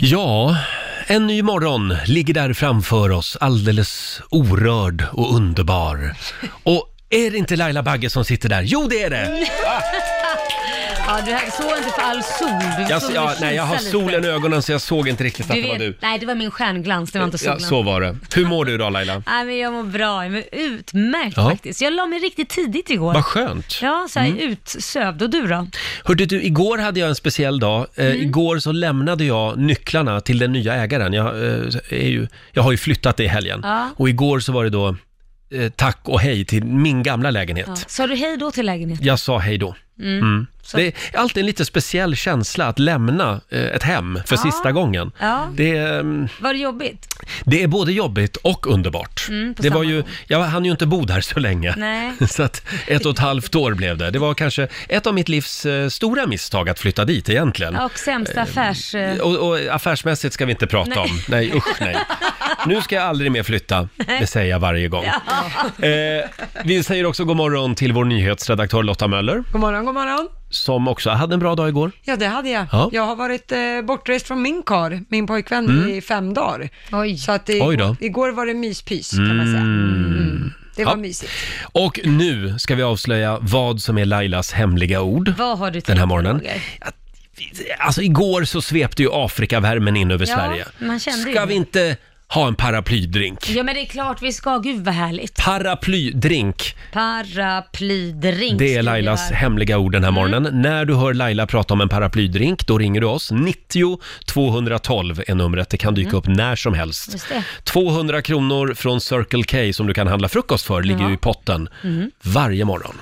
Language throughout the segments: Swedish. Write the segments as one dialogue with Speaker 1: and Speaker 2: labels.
Speaker 1: Ja, en ny morgon ligger där framför oss, alldeles orörd och underbar. Och är det inte Laila Bagge som sitter där? Jo, det är det!
Speaker 2: Ja, du här- såg inte för all sol. Du
Speaker 1: Jag,
Speaker 2: såg
Speaker 1: ja,
Speaker 2: det
Speaker 1: nej, jag har
Speaker 2: kisa
Speaker 1: solen i ögonen så jag såg inte riktigt att
Speaker 2: Du
Speaker 1: det var du.
Speaker 2: vet, nej, det var min stjärnglans, det var inte solen.
Speaker 1: Ja, så var det. Hur mår du idag Laila?
Speaker 2: Nej, men jag mår bra, jag mår utmärkt
Speaker 1: Ja.
Speaker 2: faktiskt. Jag la mig riktigt tidigt igår.
Speaker 1: Vad skönt! Mm.
Speaker 2: Ja, så här utsövd. Och du då?
Speaker 1: Hörde du, igår hade jag en speciell dag. Eh,
Speaker 2: Mm.
Speaker 1: Igår så lämnade jag nycklarna till den nya ägaren. Jag, eh, är ju, jag har ju flyttat i helgen.
Speaker 2: Ja.
Speaker 1: Och igår så var det då eh, tack och hej till min gamla lägenhet.
Speaker 2: Ja. Sa du hej då till lägenheten?
Speaker 1: Jag sa hej då. Mm.
Speaker 2: Så-
Speaker 1: Det är alltid en lite speciell känsla att lämna eh, ett hem för
Speaker 2: Ja.
Speaker 1: sista gången.
Speaker 2: Ja.
Speaker 1: Det, är, mm,
Speaker 2: Var det jobbigt?
Speaker 1: det är både jobbigt och underbart.
Speaker 2: Mm, på
Speaker 1: det var
Speaker 2: samma
Speaker 1: ju,
Speaker 2: gång.
Speaker 1: jag hann ju inte bo där så länge.
Speaker 2: Nej.
Speaker 1: Så att ett och ett halvt år blev det. Det var kanske ett av mitt livs eh, stora misstag att flytta dit egentligen.
Speaker 2: Och sämsta affärs... eh,
Speaker 1: Och, och affärsmässigt ska vi inte prata
Speaker 2: Nej.
Speaker 1: om. Nej, usch nej. Nu ska jag aldrig mer flytta, det säger jag varje gång. Eh, vi säger också god morgon till vår nyhetsredaktör Lotta Möller,
Speaker 3: God morgon, god morgon.
Speaker 1: som också hade en bra dag igår.
Speaker 3: Ja, det hade jag.
Speaker 1: Ja.
Speaker 3: Jag har varit eh, bortrest från min kar, min pojkvän, i fem dagar.
Speaker 2: Oj.
Speaker 3: Så att det,
Speaker 1: Mm. Oj då.
Speaker 3: igår var det myspys, kan man säga. Mm. Det var
Speaker 1: Ja.
Speaker 3: mysigt.
Speaker 1: Och nu ska vi avslöja vad som är Lailas hemliga ord
Speaker 2: Vad har du tänkt
Speaker 1: den här morgonen.
Speaker 2: Roger?
Speaker 1: Att- Alltså igår så svepte ju Afrikavärmen in över
Speaker 2: Ja,
Speaker 1: Sverige.
Speaker 2: man kände ju
Speaker 1: ska
Speaker 2: det.
Speaker 1: vi inte ha en paraplydrink?
Speaker 2: Ja, men det är klart vi ska. Gud vad härligt.
Speaker 1: Paraplydrink,
Speaker 2: Paraplydrink.
Speaker 1: det är
Speaker 2: skriver
Speaker 1: Lailas
Speaker 2: jag.
Speaker 1: hemliga ord den här
Speaker 2: Mm.
Speaker 1: morgonen. När du hör Laila prata om en paraplydrink, då ringer du oss. 90 212 är numret, det kan dyka upp när som helst.
Speaker 2: Mm. Just det.
Speaker 1: 200 kronor från Circle K som du kan handla frukost för ligger ju i potten
Speaker 2: Mm.
Speaker 1: varje morgon.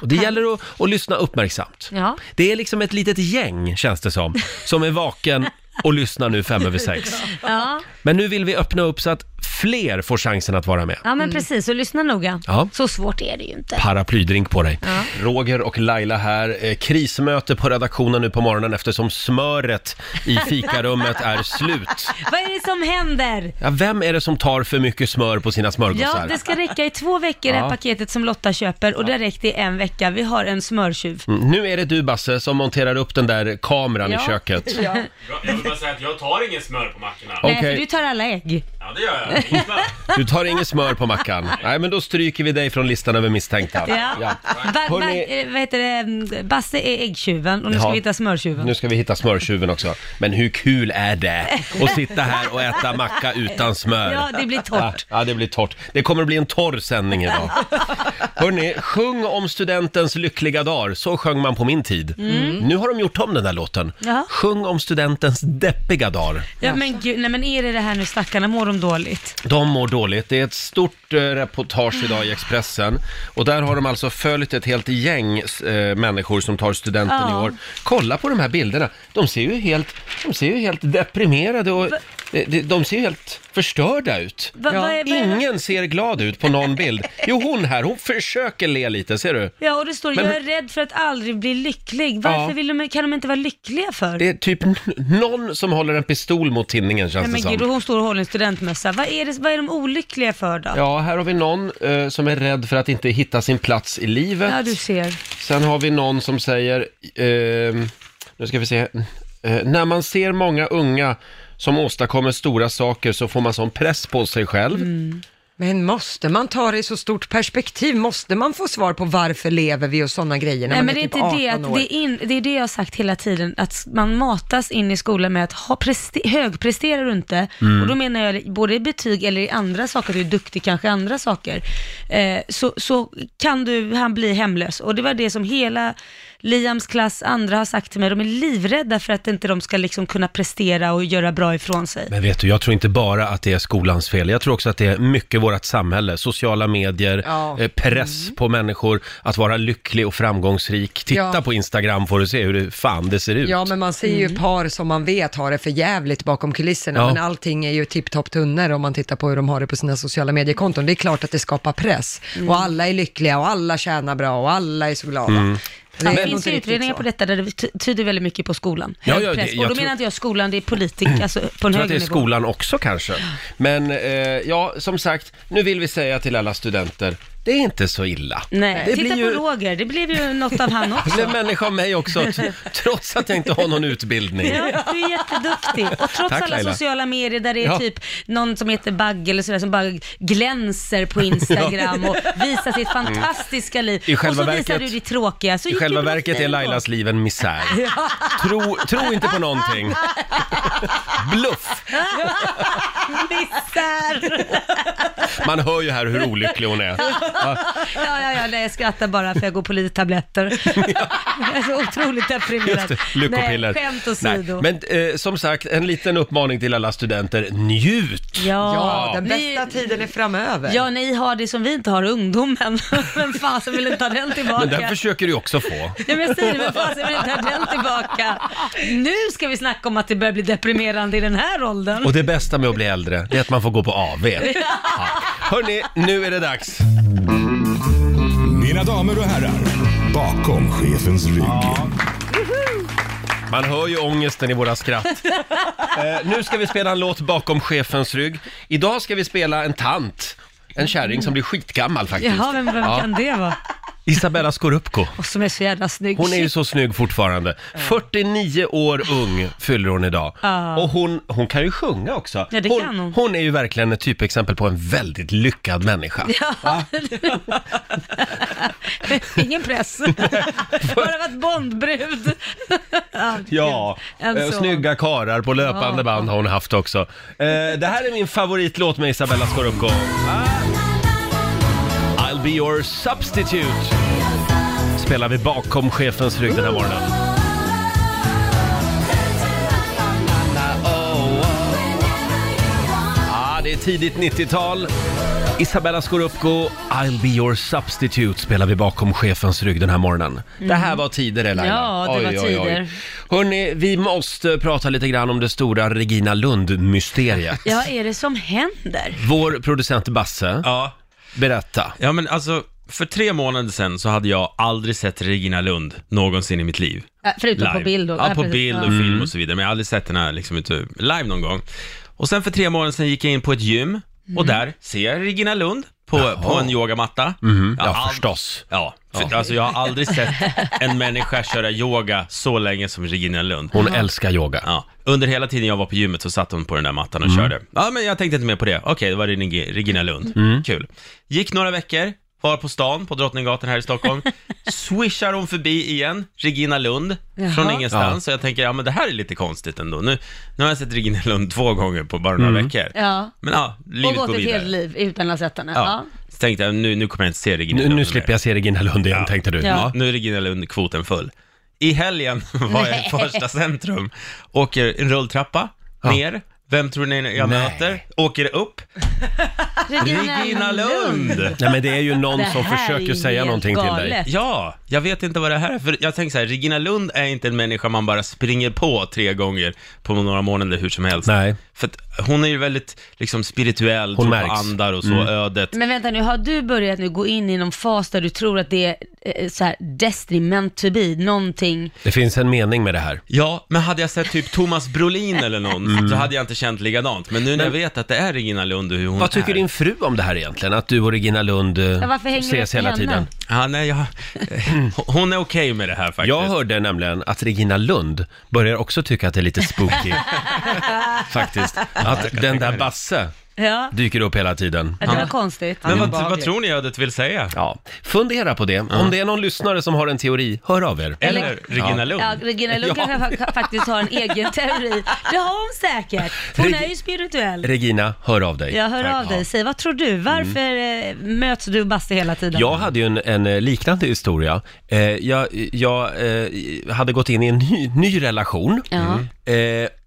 Speaker 1: Och det gäller att, att lyssna uppmärksamt.
Speaker 2: Ja.
Speaker 1: Det är liksom ett litet gäng, känns det som, som är vaken och lyssnar nu fem över sex.
Speaker 2: Ja.
Speaker 1: Men nu vill vi öppna upp så att fler får chansen att vara med.
Speaker 2: Ja men precis, så lyssna noga.
Speaker 1: Ja.
Speaker 2: Så svårt är det ju inte.
Speaker 1: paraplydrink på dig. Roger och Laila här. Eh, Krismöte på redaktionen nu på morgonen eftersom smöret i fikarummet är slut.
Speaker 2: Vad är det som händer?
Speaker 1: Ja, vem är det som tar för mycket smör på sina smörgåsar?
Speaker 2: Ja, det ska räcka i två veckor det
Speaker 1: Ja.
Speaker 2: här paketet som Lotta köper och det har räckt i en vecka. Vi har en smörtjuv.
Speaker 1: Mm, Nu är det du Basse som monterar upp den där kameran i
Speaker 2: Ja.
Speaker 1: köket.
Speaker 4: Bra, Jag vill bara säga att jag tar ingen smör på mackorna.
Speaker 1: Okej.
Speaker 2: Nej, för du tar alla ägg.
Speaker 4: Ja, det gör jag. Ingen smör.
Speaker 1: Du tar inget smör på mackan. Nej, men då stryker vi dig från listan över misstänkta.
Speaker 2: Ja. Va, va,
Speaker 1: Hörrni-
Speaker 2: eh, vad heter det? Basse är äggtjuven och nu
Speaker 1: Ja.
Speaker 2: ska vi hitta smörtjuven.
Speaker 1: Nu ska vi hitta smörtjuven också. Men hur kul är det att sitta här och äta macka utan smör?
Speaker 2: Ja, det blir torrt.
Speaker 1: Ja, ja, det blir torrt. Det kommer att bli en torr sändning idag. Hörni, sjung om studentens lyckliga dag. Så sjöng man på min tid.
Speaker 2: Mm.
Speaker 1: Nu har de gjort om den där låten.
Speaker 2: Ja.
Speaker 1: Sjung om studentens deppiga dag.
Speaker 2: Ja, men gud, nej men är det det här nu stackarna, mår de dåligt?
Speaker 1: De mår dåligt. Det är ett stort eh, reportage idag i Expressen. Och där har de alltså följt ett helt gäng eh, människor som tar studenten
Speaker 2: Ja.
Speaker 1: i år. Kolla på de här bilderna. De ser ju helt, de ser ju helt deprimerade och de, de- de ser ju helt förstörda ut.
Speaker 2: Va,
Speaker 3: Ja,
Speaker 2: vad är, vad är,
Speaker 1: Ingen ser glad ut på någon bild. Jo, hon här, hon försöker le lite, ser du?
Speaker 2: Ja, och det står
Speaker 1: Men-
Speaker 2: jag är rädd för att aldrig bli lycklig. Varför
Speaker 1: Ja.
Speaker 2: vill de, kan de inte vara lyckliga för?
Speaker 1: Det är typ n- någon som håller en pistol mot tinningen, känns
Speaker 2: Nej,
Speaker 1: det
Speaker 2: men gud, och
Speaker 1: som.
Speaker 2: hon står och håller en studentmössa. Vad är, det, vad är de olyckliga för då? Ja,
Speaker 1: Ja, här har vi någon eh, som är rädd för att inte hitta sin plats i livet.
Speaker 2: du ser.
Speaker 1: Sen har vi någon som säger, ehm, nu ska vi se, eh, när man ser många unga som åstadkommer stora saker så får man sån press på sig själv.
Speaker 2: Mm.
Speaker 3: Men måste man ta det i så stort perspektiv? Måste man få svar på varför lever vi och sådana grejer när
Speaker 2: Nej,
Speaker 3: man
Speaker 2: men det
Speaker 3: är
Speaker 2: är
Speaker 3: typ
Speaker 2: inte
Speaker 3: 18
Speaker 2: det, att
Speaker 3: år?
Speaker 2: det, är in, det är det jag har sagt hela tiden, att man matas in i skolan med att ha preste, högpresterar du inte,
Speaker 1: Mm.
Speaker 2: och då menar jag både i betyg eller i andra saker, du är duktig kanske i andra saker, eh, så, så kan du, han bli hemlös. Och det var det som hela Liams klass, andra har sagt till mig, de är livrädda för att inte de ska liksom kunna prestera och göra bra ifrån sig.
Speaker 1: Men vet du, jag tror inte bara att det är skolans fel. Jag tror också att det är mycket vårt samhälle, sociala medier,
Speaker 3: Ja. Mm.
Speaker 1: eh, press på människor att vara lycklig och framgångsrik. Titta
Speaker 3: Ja.
Speaker 1: på Instagram får du se hur det, fan det ser ut.
Speaker 3: Ja, men man ser ju
Speaker 2: Mm.
Speaker 3: par som man vet har det för jävligt bakom kulisserna,
Speaker 1: Ja.
Speaker 3: men allting är ju tipptopp tunnor om man tittar på hur de har det på sina sociala mediekonton. Det är klart att det skapar press,
Speaker 2: Mm.
Speaker 3: och alla är lyckliga och alla tjänar bra och alla är så glada.
Speaker 1: Mm.
Speaker 3: Det
Speaker 2: Det,
Speaker 3: är nog
Speaker 2: finns
Speaker 3: inte
Speaker 2: ju
Speaker 3: riktigt
Speaker 2: utredningar
Speaker 3: så.
Speaker 2: på detta där det ty- tyder väldigt mycket på skolan.
Speaker 1: Ja,
Speaker 2: Hög
Speaker 1: ja, det-
Speaker 2: press.
Speaker 1: jag
Speaker 2: och då
Speaker 1: tror-
Speaker 2: menar inte jag skolan, det är politiker, alltså på en
Speaker 1: Jag tror att det
Speaker 2: högre
Speaker 1: är
Speaker 2: nivå.
Speaker 1: skolan också kanske. Men eh, ja, som sagt, nu vill vi säga till alla studenter, det är inte så illa.
Speaker 2: Nej,
Speaker 1: Det
Speaker 2: titta
Speaker 1: blir ju-
Speaker 2: på Roger, det blev ju något av han
Speaker 1: Det
Speaker 2: också.
Speaker 1: blev en människa av mig också, t- trots att jag inte har någon utbildning.
Speaker 2: Ja, du är jätteduktig. Och trots
Speaker 1: Tack,
Speaker 2: alla
Speaker 1: Laila.
Speaker 2: sociala medier där det är
Speaker 1: Ja.
Speaker 2: typ någon som heter Bagge eller sådär som bara glänser på Instagram och visar sitt fantastiska liv.
Speaker 1: Mm. I själva
Speaker 2: och så visar
Speaker 1: verket-
Speaker 2: du ditt tråkiga. Så
Speaker 1: I
Speaker 2: gick
Speaker 1: själva
Speaker 2: det bra
Speaker 1: verket
Speaker 2: för
Speaker 1: är
Speaker 2: dig då.
Speaker 1: Lailas liv en misär. Tro, tro inte på någonting. Bluff!
Speaker 2: Misär!
Speaker 1: Man hör ju här hur olycklig hon är.
Speaker 2: Ja, ja, ja, nej, jag skrattar bara för jag går på lite tabletter. Jag är så otroligt
Speaker 1: Just
Speaker 2: deprimerad.
Speaker 1: det, lyckopiller.
Speaker 2: Nej, skämt
Speaker 1: Nej,
Speaker 2: åsido.
Speaker 1: Men eh, som sagt, en liten uppmaning till alla studenter. Njut!
Speaker 2: Ja,
Speaker 3: Ja, den
Speaker 2: ni-
Speaker 3: bästa tiden är framöver.
Speaker 2: Ja, ni har det som vi inte har, ungdomen. Vem fasen vill inte ha den tillbaka?
Speaker 1: Men den försöker du ju också få.
Speaker 2: Nej men jag säger det, men fasen vill inte ha den tillbaka. Nu ska vi snacka om att det börjar bli deprimerande i den här åldern.
Speaker 1: Och det bästa med att bli äldre, det är att man får gå på AV. Ja. Hörni, nu är det dags.
Speaker 5: Mina damer och herrar, bakom chefens rygg.
Speaker 1: Man hör ju ångesten i våra skratt. Eh, nu ska vi spela en låt bakom chefens rygg. Idag ska vi spela en tant. En kärring som blir skitgammal faktiskt.
Speaker 2: Jaha, vem, vem
Speaker 1: Ja.
Speaker 2: kan det vara?
Speaker 1: Isabella Scorupco.
Speaker 2: Och som är så jävla snygg.
Speaker 1: Hon är ju så snygg fortfarande. 49 år ung fyller hon idag.
Speaker 2: Ja.
Speaker 1: Och hon, hon kan ju sjunga också.
Speaker 2: Ja, det
Speaker 1: hon,
Speaker 2: kan hon.
Speaker 1: hon är ju verkligen ett typexempel på en väldigt lyckad människa.
Speaker 2: Ja. Ingen press. Bara varit Bondbrud. Ja,
Speaker 1: Ja,
Speaker 2: en
Speaker 1: eh,
Speaker 2: sån.
Speaker 1: snygga karar på löpande
Speaker 2: Ja.
Speaker 1: band har hon haft också. Eh, det här är min favoritlåt med Isabella Scorupco. Ah. I'll be your substitute. Spelar vi bakom chefens rygg den här morgonen. Ah, det är tidigt 90-tal. Isabella Scorupco, I'll be your substitute spelar vi bakom chefens rygg den här morgonen. Det här var tider, Laila.
Speaker 2: Mhm. Ja, det var tider.
Speaker 1: Hörni, vi måste prata lite grann om det stora Regina Lund-mysteriet.
Speaker 2: Ja, vad är det som händer?
Speaker 1: Vår producent Basse,
Speaker 4: Ja.
Speaker 1: berätta.
Speaker 4: ja, men alltså, för tre månader sedan så hade jag aldrig sett Regina Lund någonsin i mitt liv.
Speaker 2: Äh, Förutom på bild. och-
Speaker 4: Ja, på
Speaker 2: precis.
Speaker 4: bild och
Speaker 2: Ja.
Speaker 1: Mm.
Speaker 4: film och så vidare, men jag har aldrig sett henne liksom ute live någon gång. Och sen för tre månader sedan gick jag in på ett gym, och
Speaker 2: Mm.
Speaker 4: där ser jag Regina Lund på, på en yogamatta. Jag har
Speaker 1: Mm-hmm. Ja,
Speaker 4: ald-
Speaker 1: förstås.
Speaker 4: Ja, för, alltså jag har aldrig sett en människa köra yoga så länge som Regina Lund.
Speaker 1: Hon älskar yoga.
Speaker 4: Ja, under hela tiden jag var på gymmet så satt hon på den där mattan och körde. Ja, men jag tänkte inte mer på det. Okej, det var Reg- Regina Lund. Kul. Gick några veckor, var på stan, på Drottninggatan här i Stockholm. Swishar hon förbi igen, Regina Lund,
Speaker 2: Jaha.
Speaker 4: från ingenstans. Så jag tänker, ja men det här är lite konstigt ändå. Nu, nu har jag sett Regina Lund två gånger på bara några veckor.
Speaker 2: Ja.
Speaker 4: Men ja, livet
Speaker 2: Och gått
Speaker 4: går
Speaker 2: ett
Speaker 4: vidare.
Speaker 2: helt liv utan att ha sett henne.
Speaker 4: Ja.
Speaker 2: Ja.
Speaker 4: Så tänkte jag, nu, nu kommer jag inte se Regina
Speaker 1: Nu,
Speaker 4: Lund
Speaker 1: nu
Speaker 4: mer.
Speaker 1: slipper jag se Regina Lund igen,
Speaker 4: Ja.
Speaker 1: tänkte du.
Speaker 2: Ja.
Speaker 4: Ja. Nu är Regina Lund-kvoten full. I helgen var jag i första centrum, åker en rulltrappa ner, vem tror ni jag
Speaker 1: Nej.
Speaker 4: möter? Åker upp? Regina Lund!
Speaker 1: Nej, men det är ju någon
Speaker 2: Det
Speaker 1: som
Speaker 2: här är
Speaker 1: försöker
Speaker 2: ju
Speaker 1: säga
Speaker 2: helt
Speaker 1: någonting till dig.
Speaker 2: galet.
Speaker 4: Ja, jag vet inte vad det här är, för jag tänker så här, Regina Lund är inte en människa man bara springer på tre gånger på några månader hur som helst.
Speaker 1: Nej.
Speaker 4: För att hon är ju väldigt liksom spirituell,
Speaker 1: Hon
Speaker 4: tror på
Speaker 1: märks. Mm.
Speaker 4: andar och så, ödet.
Speaker 2: Men vänta nu, har du börjat nu gå in i någon fas där du tror att det är eh, så här destiny meant to be, någonting?
Speaker 1: Det finns en mening med det här. Mm.
Speaker 4: Ja, men hade jag sett typ Thomas Brolin eller någon, så hade jag inte känt likadant. Men nu när jag vet att det är Regina Lund och hur hon
Speaker 1: Vad tycker
Speaker 4: är.
Speaker 1: din fru om det här egentligen? Att du och Regina Lund eh,
Speaker 2: varför hänger du
Speaker 1: ses
Speaker 2: efter
Speaker 1: hela
Speaker 2: henne?
Speaker 1: tiden?
Speaker 4: Ja, nej, jag, hon är okej med det här faktiskt.
Speaker 1: Jag hörde nämligen att Regina Lund börjar också tycka att det är lite spooky. Faktiskt. Att den där Basse
Speaker 2: Ja,
Speaker 1: dyker upp hela tiden.
Speaker 2: ja det var konstigt.
Speaker 4: Men vad,
Speaker 3: Obehagligt.
Speaker 4: vad tror ni ödet vill säga?
Speaker 1: Ja, fundera på det. Om det är någon lyssnare som har en teori, hör av er.
Speaker 4: Eller,
Speaker 2: Eller-
Speaker 4: Regina Lund?
Speaker 2: Ja, Regina Lund
Speaker 1: Ja.
Speaker 2: kanske fa- faktiskt har en egen teori. Det har hon säkert. Hon
Speaker 1: Reg-
Speaker 2: är ju spirituell.
Speaker 1: Regina, hör av dig.
Speaker 2: Jag hör
Speaker 1: Tack.
Speaker 2: av dig, säg vad tror du? Varför eh,
Speaker 4: Mm.
Speaker 2: möts du och Basse hela tiden?
Speaker 1: Jag hade ju en, en eh, liknande historia. Eh, jag jag eh, hade gått in i en ny, ny relation.
Speaker 2: Ja.
Speaker 1: Eh,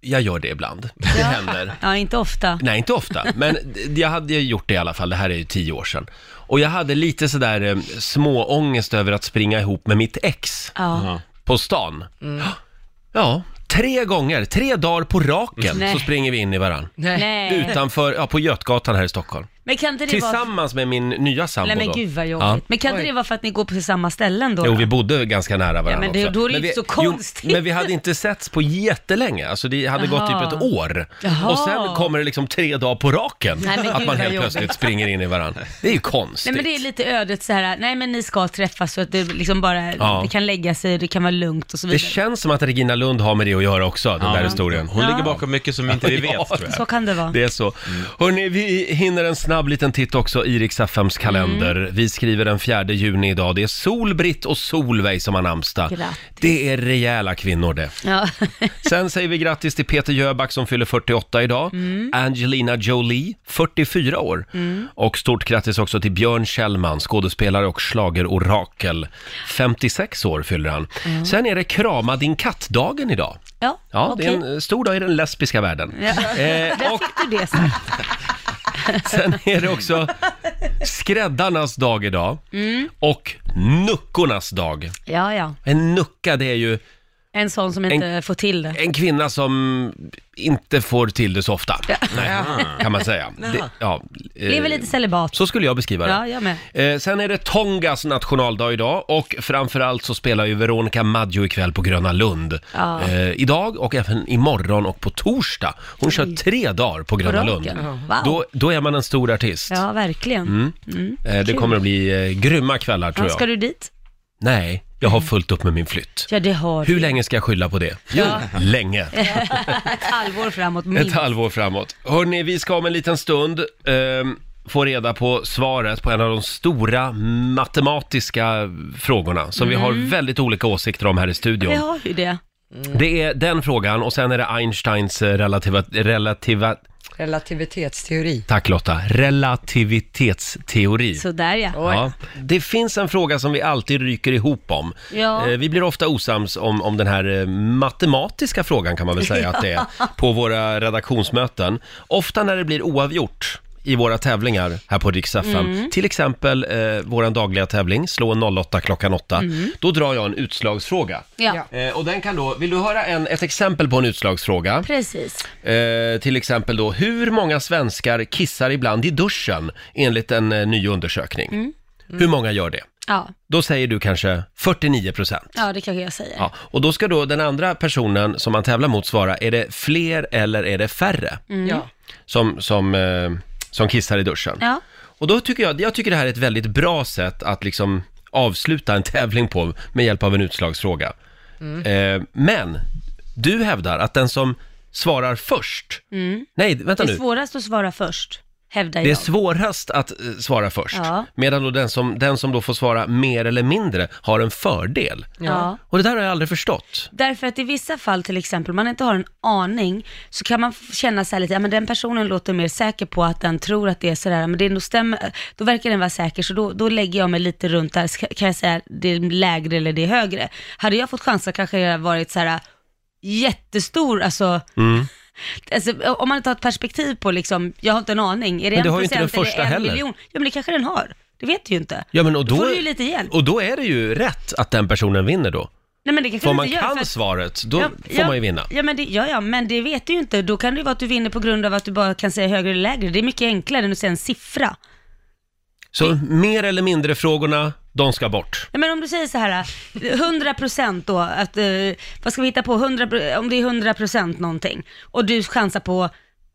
Speaker 1: jag gör det ibland. Det händer.
Speaker 2: ja, inte ofta.
Speaker 1: Nej, inte ofta, men d- jag hade ju gjort det i alla fall. Det här är ju tio år sedan. Och jag hade lite sådär eh, småångest över att springa ihop med mitt ex
Speaker 2: Ja.
Speaker 1: på stan.
Speaker 4: Mm.
Speaker 1: Ja, tre gånger, tre dagar på raken
Speaker 2: Nej.
Speaker 1: så springer vi in i varann.
Speaker 3: Nej.
Speaker 2: Mm. Nej.
Speaker 1: Utanför, ja på Götgatan här i Stockholm.
Speaker 2: Men kan inte det vara...
Speaker 1: Tillsammans med min nya sambo
Speaker 2: Nej men
Speaker 1: då.
Speaker 2: gud vad jobbigt.
Speaker 1: Ja.
Speaker 2: Men kan inte det vara för att ni går på samma ställen då?
Speaker 1: Jo, vi bodde ganska nära varandra
Speaker 2: men det-
Speaker 1: också.
Speaker 2: då är det
Speaker 1: Men
Speaker 2: ju
Speaker 1: vi-
Speaker 2: inte så konstigt.
Speaker 1: Jo, men vi hade inte setts på jättelänge. Alltså det hade gått
Speaker 2: Jaha.
Speaker 1: typ ett år.
Speaker 2: Jaha.
Speaker 1: Och sen kommer det liksom tre dagar på raken.
Speaker 2: Nej, men
Speaker 1: att man
Speaker 2: gud, vad
Speaker 1: helt
Speaker 2: jobbigt.
Speaker 1: plötsligt springer in i varandra. Det är ju
Speaker 2: Nej
Speaker 1: konstigt.
Speaker 2: men det är lite ödet så här. nej men ni ska träffas så att det liksom bara,
Speaker 1: Ja.
Speaker 2: det kan lägga sig, det kan vara lugnt och så
Speaker 1: Det
Speaker 2: vidare.
Speaker 1: känns som att Regina Lund har med det att göra också, den där historien.
Speaker 4: Hon
Speaker 2: Ja.
Speaker 4: ligger bakom mycket som inte vi vet,
Speaker 1: Ja.
Speaker 4: tror jag.
Speaker 2: Så kan det vara.
Speaker 1: Det är så. Hörni, vi hinner en snabb liten titt också i Rix FMs kalender.
Speaker 2: Mm.
Speaker 1: Vi skriver den 4 juni idag. Det är Solbritt och Solveig som har namnsdag.
Speaker 2: Grattis.
Speaker 1: Det är rejäla kvinnor det.
Speaker 2: Ja.
Speaker 1: Sen säger vi grattis till Peter Jöback som fyller 48 idag.
Speaker 2: Mm.
Speaker 1: Angelina Jolie, 44 år. Och stort grattis också till Björn Kjellman, skådespelare och schlagerorakel. 56 år fyller han. Sen är det krama din katt-dagen idag.
Speaker 2: ja,
Speaker 1: Ja,
Speaker 2: okej.
Speaker 1: det är en eh, stor dag i den lesbiska världen.
Speaker 2: Ja.
Speaker 1: Eh,
Speaker 2: Där
Speaker 1: och
Speaker 2: fick du det sagt.
Speaker 1: sen är det också skräddarnas dag idag. Och nuckornas dag.
Speaker 2: Mm. Ja, ja.
Speaker 1: En nucka, det är ju
Speaker 2: En sån som inte får till det.
Speaker 1: en Eh, kvinna som inte får till det så ofta. Nej, kan man säga. Det, ja, eh,
Speaker 2: Lever lite celibat.
Speaker 1: så skulle jag beskriva det.
Speaker 2: Ja, jag med.
Speaker 1: Eh, sen är det Tongas nationaldag idag och framförallt så spelar ju Veronica Maggio ikväll på Gröna Lund.
Speaker 2: Ja.
Speaker 1: Eh, idag och även imorgon och på torsdag. Hon kör tre dagar på Gröna Lund.
Speaker 2: raken. Wow.
Speaker 1: Då, då är man en stor artist.
Speaker 2: Ja, verkligen. Mm.
Speaker 1: eh, det
Speaker 2: kul.
Speaker 1: kommer att bli eh, grymma kvällar tror
Speaker 2: Ja, ska
Speaker 1: jag.
Speaker 2: du dit?
Speaker 1: Nej, jag har fullt upp med min flytt.
Speaker 2: Ja, det har
Speaker 1: Hur
Speaker 2: du.
Speaker 1: länge ska jag skylla på det? Jo, länge.
Speaker 2: Ett halvår framåt
Speaker 1: Ett
Speaker 2: minst.
Speaker 1: halvår framåt. Hörni, vi ska om en liten stund ehm, få reda på svaret på en av de stora matematiska frågorna som vi
Speaker 2: Mm.
Speaker 1: har väldigt olika åsikter om här i
Speaker 2: Vi
Speaker 1: studion.
Speaker 2: har ju det.
Speaker 1: Det är den frågan och sen är det Einsteins eh, relativa, relativa
Speaker 3: Relativitetsteori.
Speaker 1: tack Lotta, relativitetsteori.
Speaker 2: Sådär ja.
Speaker 1: Ja. Det finns en fråga som vi alltid ryker ihop om.
Speaker 2: Ja.
Speaker 1: Eh, Vi blir ofta osams om, om den här eh, matematiska frågan kan man väl säga att det är på våra redaktionsmöten. Ofta när det blir oavgjort i våra tävlingar här på Rix FM.
Speaker 2: Mm.
Speaker 1: Till exempel eh, vår dagliga tävling, Slå en 08 klockan 8. Då drar jag en utslagsfråga.
Speaker 2: Mm. Ja,
Speaker 3: Ja.
Speaker 1: Eh, och den kan då, vill du höra en, ett exempel på en utslagsfråga?
Speaker 2: precis.
Speaker 1: Eh, till exempel då, hur många svenskar kissar ibland i duschen enligt en eh, ny undersökning? Mm. Hur många gör det?
Speaker 2: Mm. Ja,
Speaker 1: Då säger du kanske 49 procent.
Speaker 2: ja det kanske jag säger.
Speaker 1: Ja, och då ska då den andra personen som man tävlar mot svara, är det fler eller är det färre
Speaker 3: Ja.
Speaker 1: som, som, eh, som kissar i duschen?
Speaker 2: Ja.
Speaker 1: Och då tycker jag, jag tycker det här är ett väldigt bra sätt att liksom avsluta en tävling på med hjälp av en utslagsfråga.
Speaker 2: Mm.
Speaker 1: Eh, men du hävdar att den som svarar först,
Speaker 2: Mm.
Speaker 1: nej vänta
Speaker 2: Det
Speaker 1: nu,
Speaker 2: är svårast att svara först, hävdar jag.
Speaker 1: det är svårast att eh, svara först,
Speaker 2: Ja.
Speaker 1: medan då den som, den som då får svara mer eller mindre har en fördel.
Speaker 2: ja.
Speaker 1: Och det där har jag aldrig förstått.
Speaker 2: Därför att i vissa fall till exempel, man inte har en aning, så kan man f- känna så här lite, ja men den personen låter mer säker på att den tror att det är sådär, men det nog stämmer, då verkar den vara säker, så då, då lägger jag mig lite runt där, Ska- kan jag säga det är lägre eller det är högre. Hade jag fått chansen kanske jag hade varit så här jättestor, alltså,
Speaker 1: Mm.
Speaker 2: alltså om man inte har ett perspektiv på liksom, jag har inte en aning, är det
Speaker 1: Men det
Speaker 2: en
Speaker 1: har ju inte den
Speaker 2: procent eller
Speaker 1: första
Speaker 2: en
Speaker 1: heller.
Speaker 2: miljon? Ja men det kanske den har, det vet du ju inte.
Speaker 1: Ja, men och då,
Speaker 2: får du ju lite hjälp.
Speaker 1: Och då är det ju rätt att den personen vinner då.
Speaker 2: Nej, men det kanske
Speaker 1: För om
Speaker 2: den
Speaker 1: man
Speaker 2: inte gör,
Speaker 1: kan
Speaker 2: för att-
Speaker 1: svaret, då får man ju vinna.
Speaker 2: Ja, men det, ja, ja, men det vet du ju inte. Då kan det ju vara att du vinner på grund av att du bara kan säga högre eller lägre. Det är mycket enklare än att säga en siffra.
Speaker 1: Så mer eller mindre frågorna, de ska bort.
Speaker 2: Ja, men om du säger så här, 100% då, att, eh, vad ska vi hitta på, 100, pro- om det är 100% någonting och du chansar på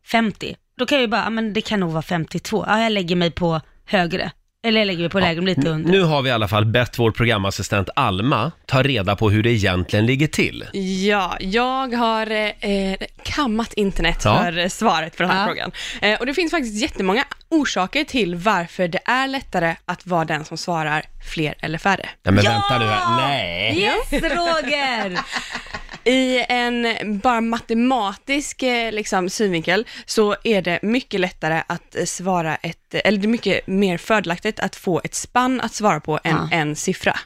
Speaker 2: 50, då kan jag ju bara, ja, men det kan nog vara 52. Ja, jag lägger mig på högre. Eller jag lägger mig på lägre, lite under.
Speaker 1: Nu har vi i alla fall bett vår programassistent Alma ta reda på hur det egentligen ligger till.
Speaker 6: Ja, jag har eh, kammat internet
Speaker 1: Ja.
Speaker 6: för eh, svaret på den här frågan. Eh, och det finns faktiskt jättemånga orsaker till varför det är lättare att vara den som svarar fler eller färre.
Speaker 1: Nej men
Speaker 2: Ja!
Speaker 1: vänta nu här, nej!
Speaker 2: Yes, Roger!
Speaker 6: I en bara matematisk eh, liksom, synvinkel så är det mycket lättare att eh, svara ett, eller det är mycket mer fördelaktigt att få ett spann att svara på än en siffra.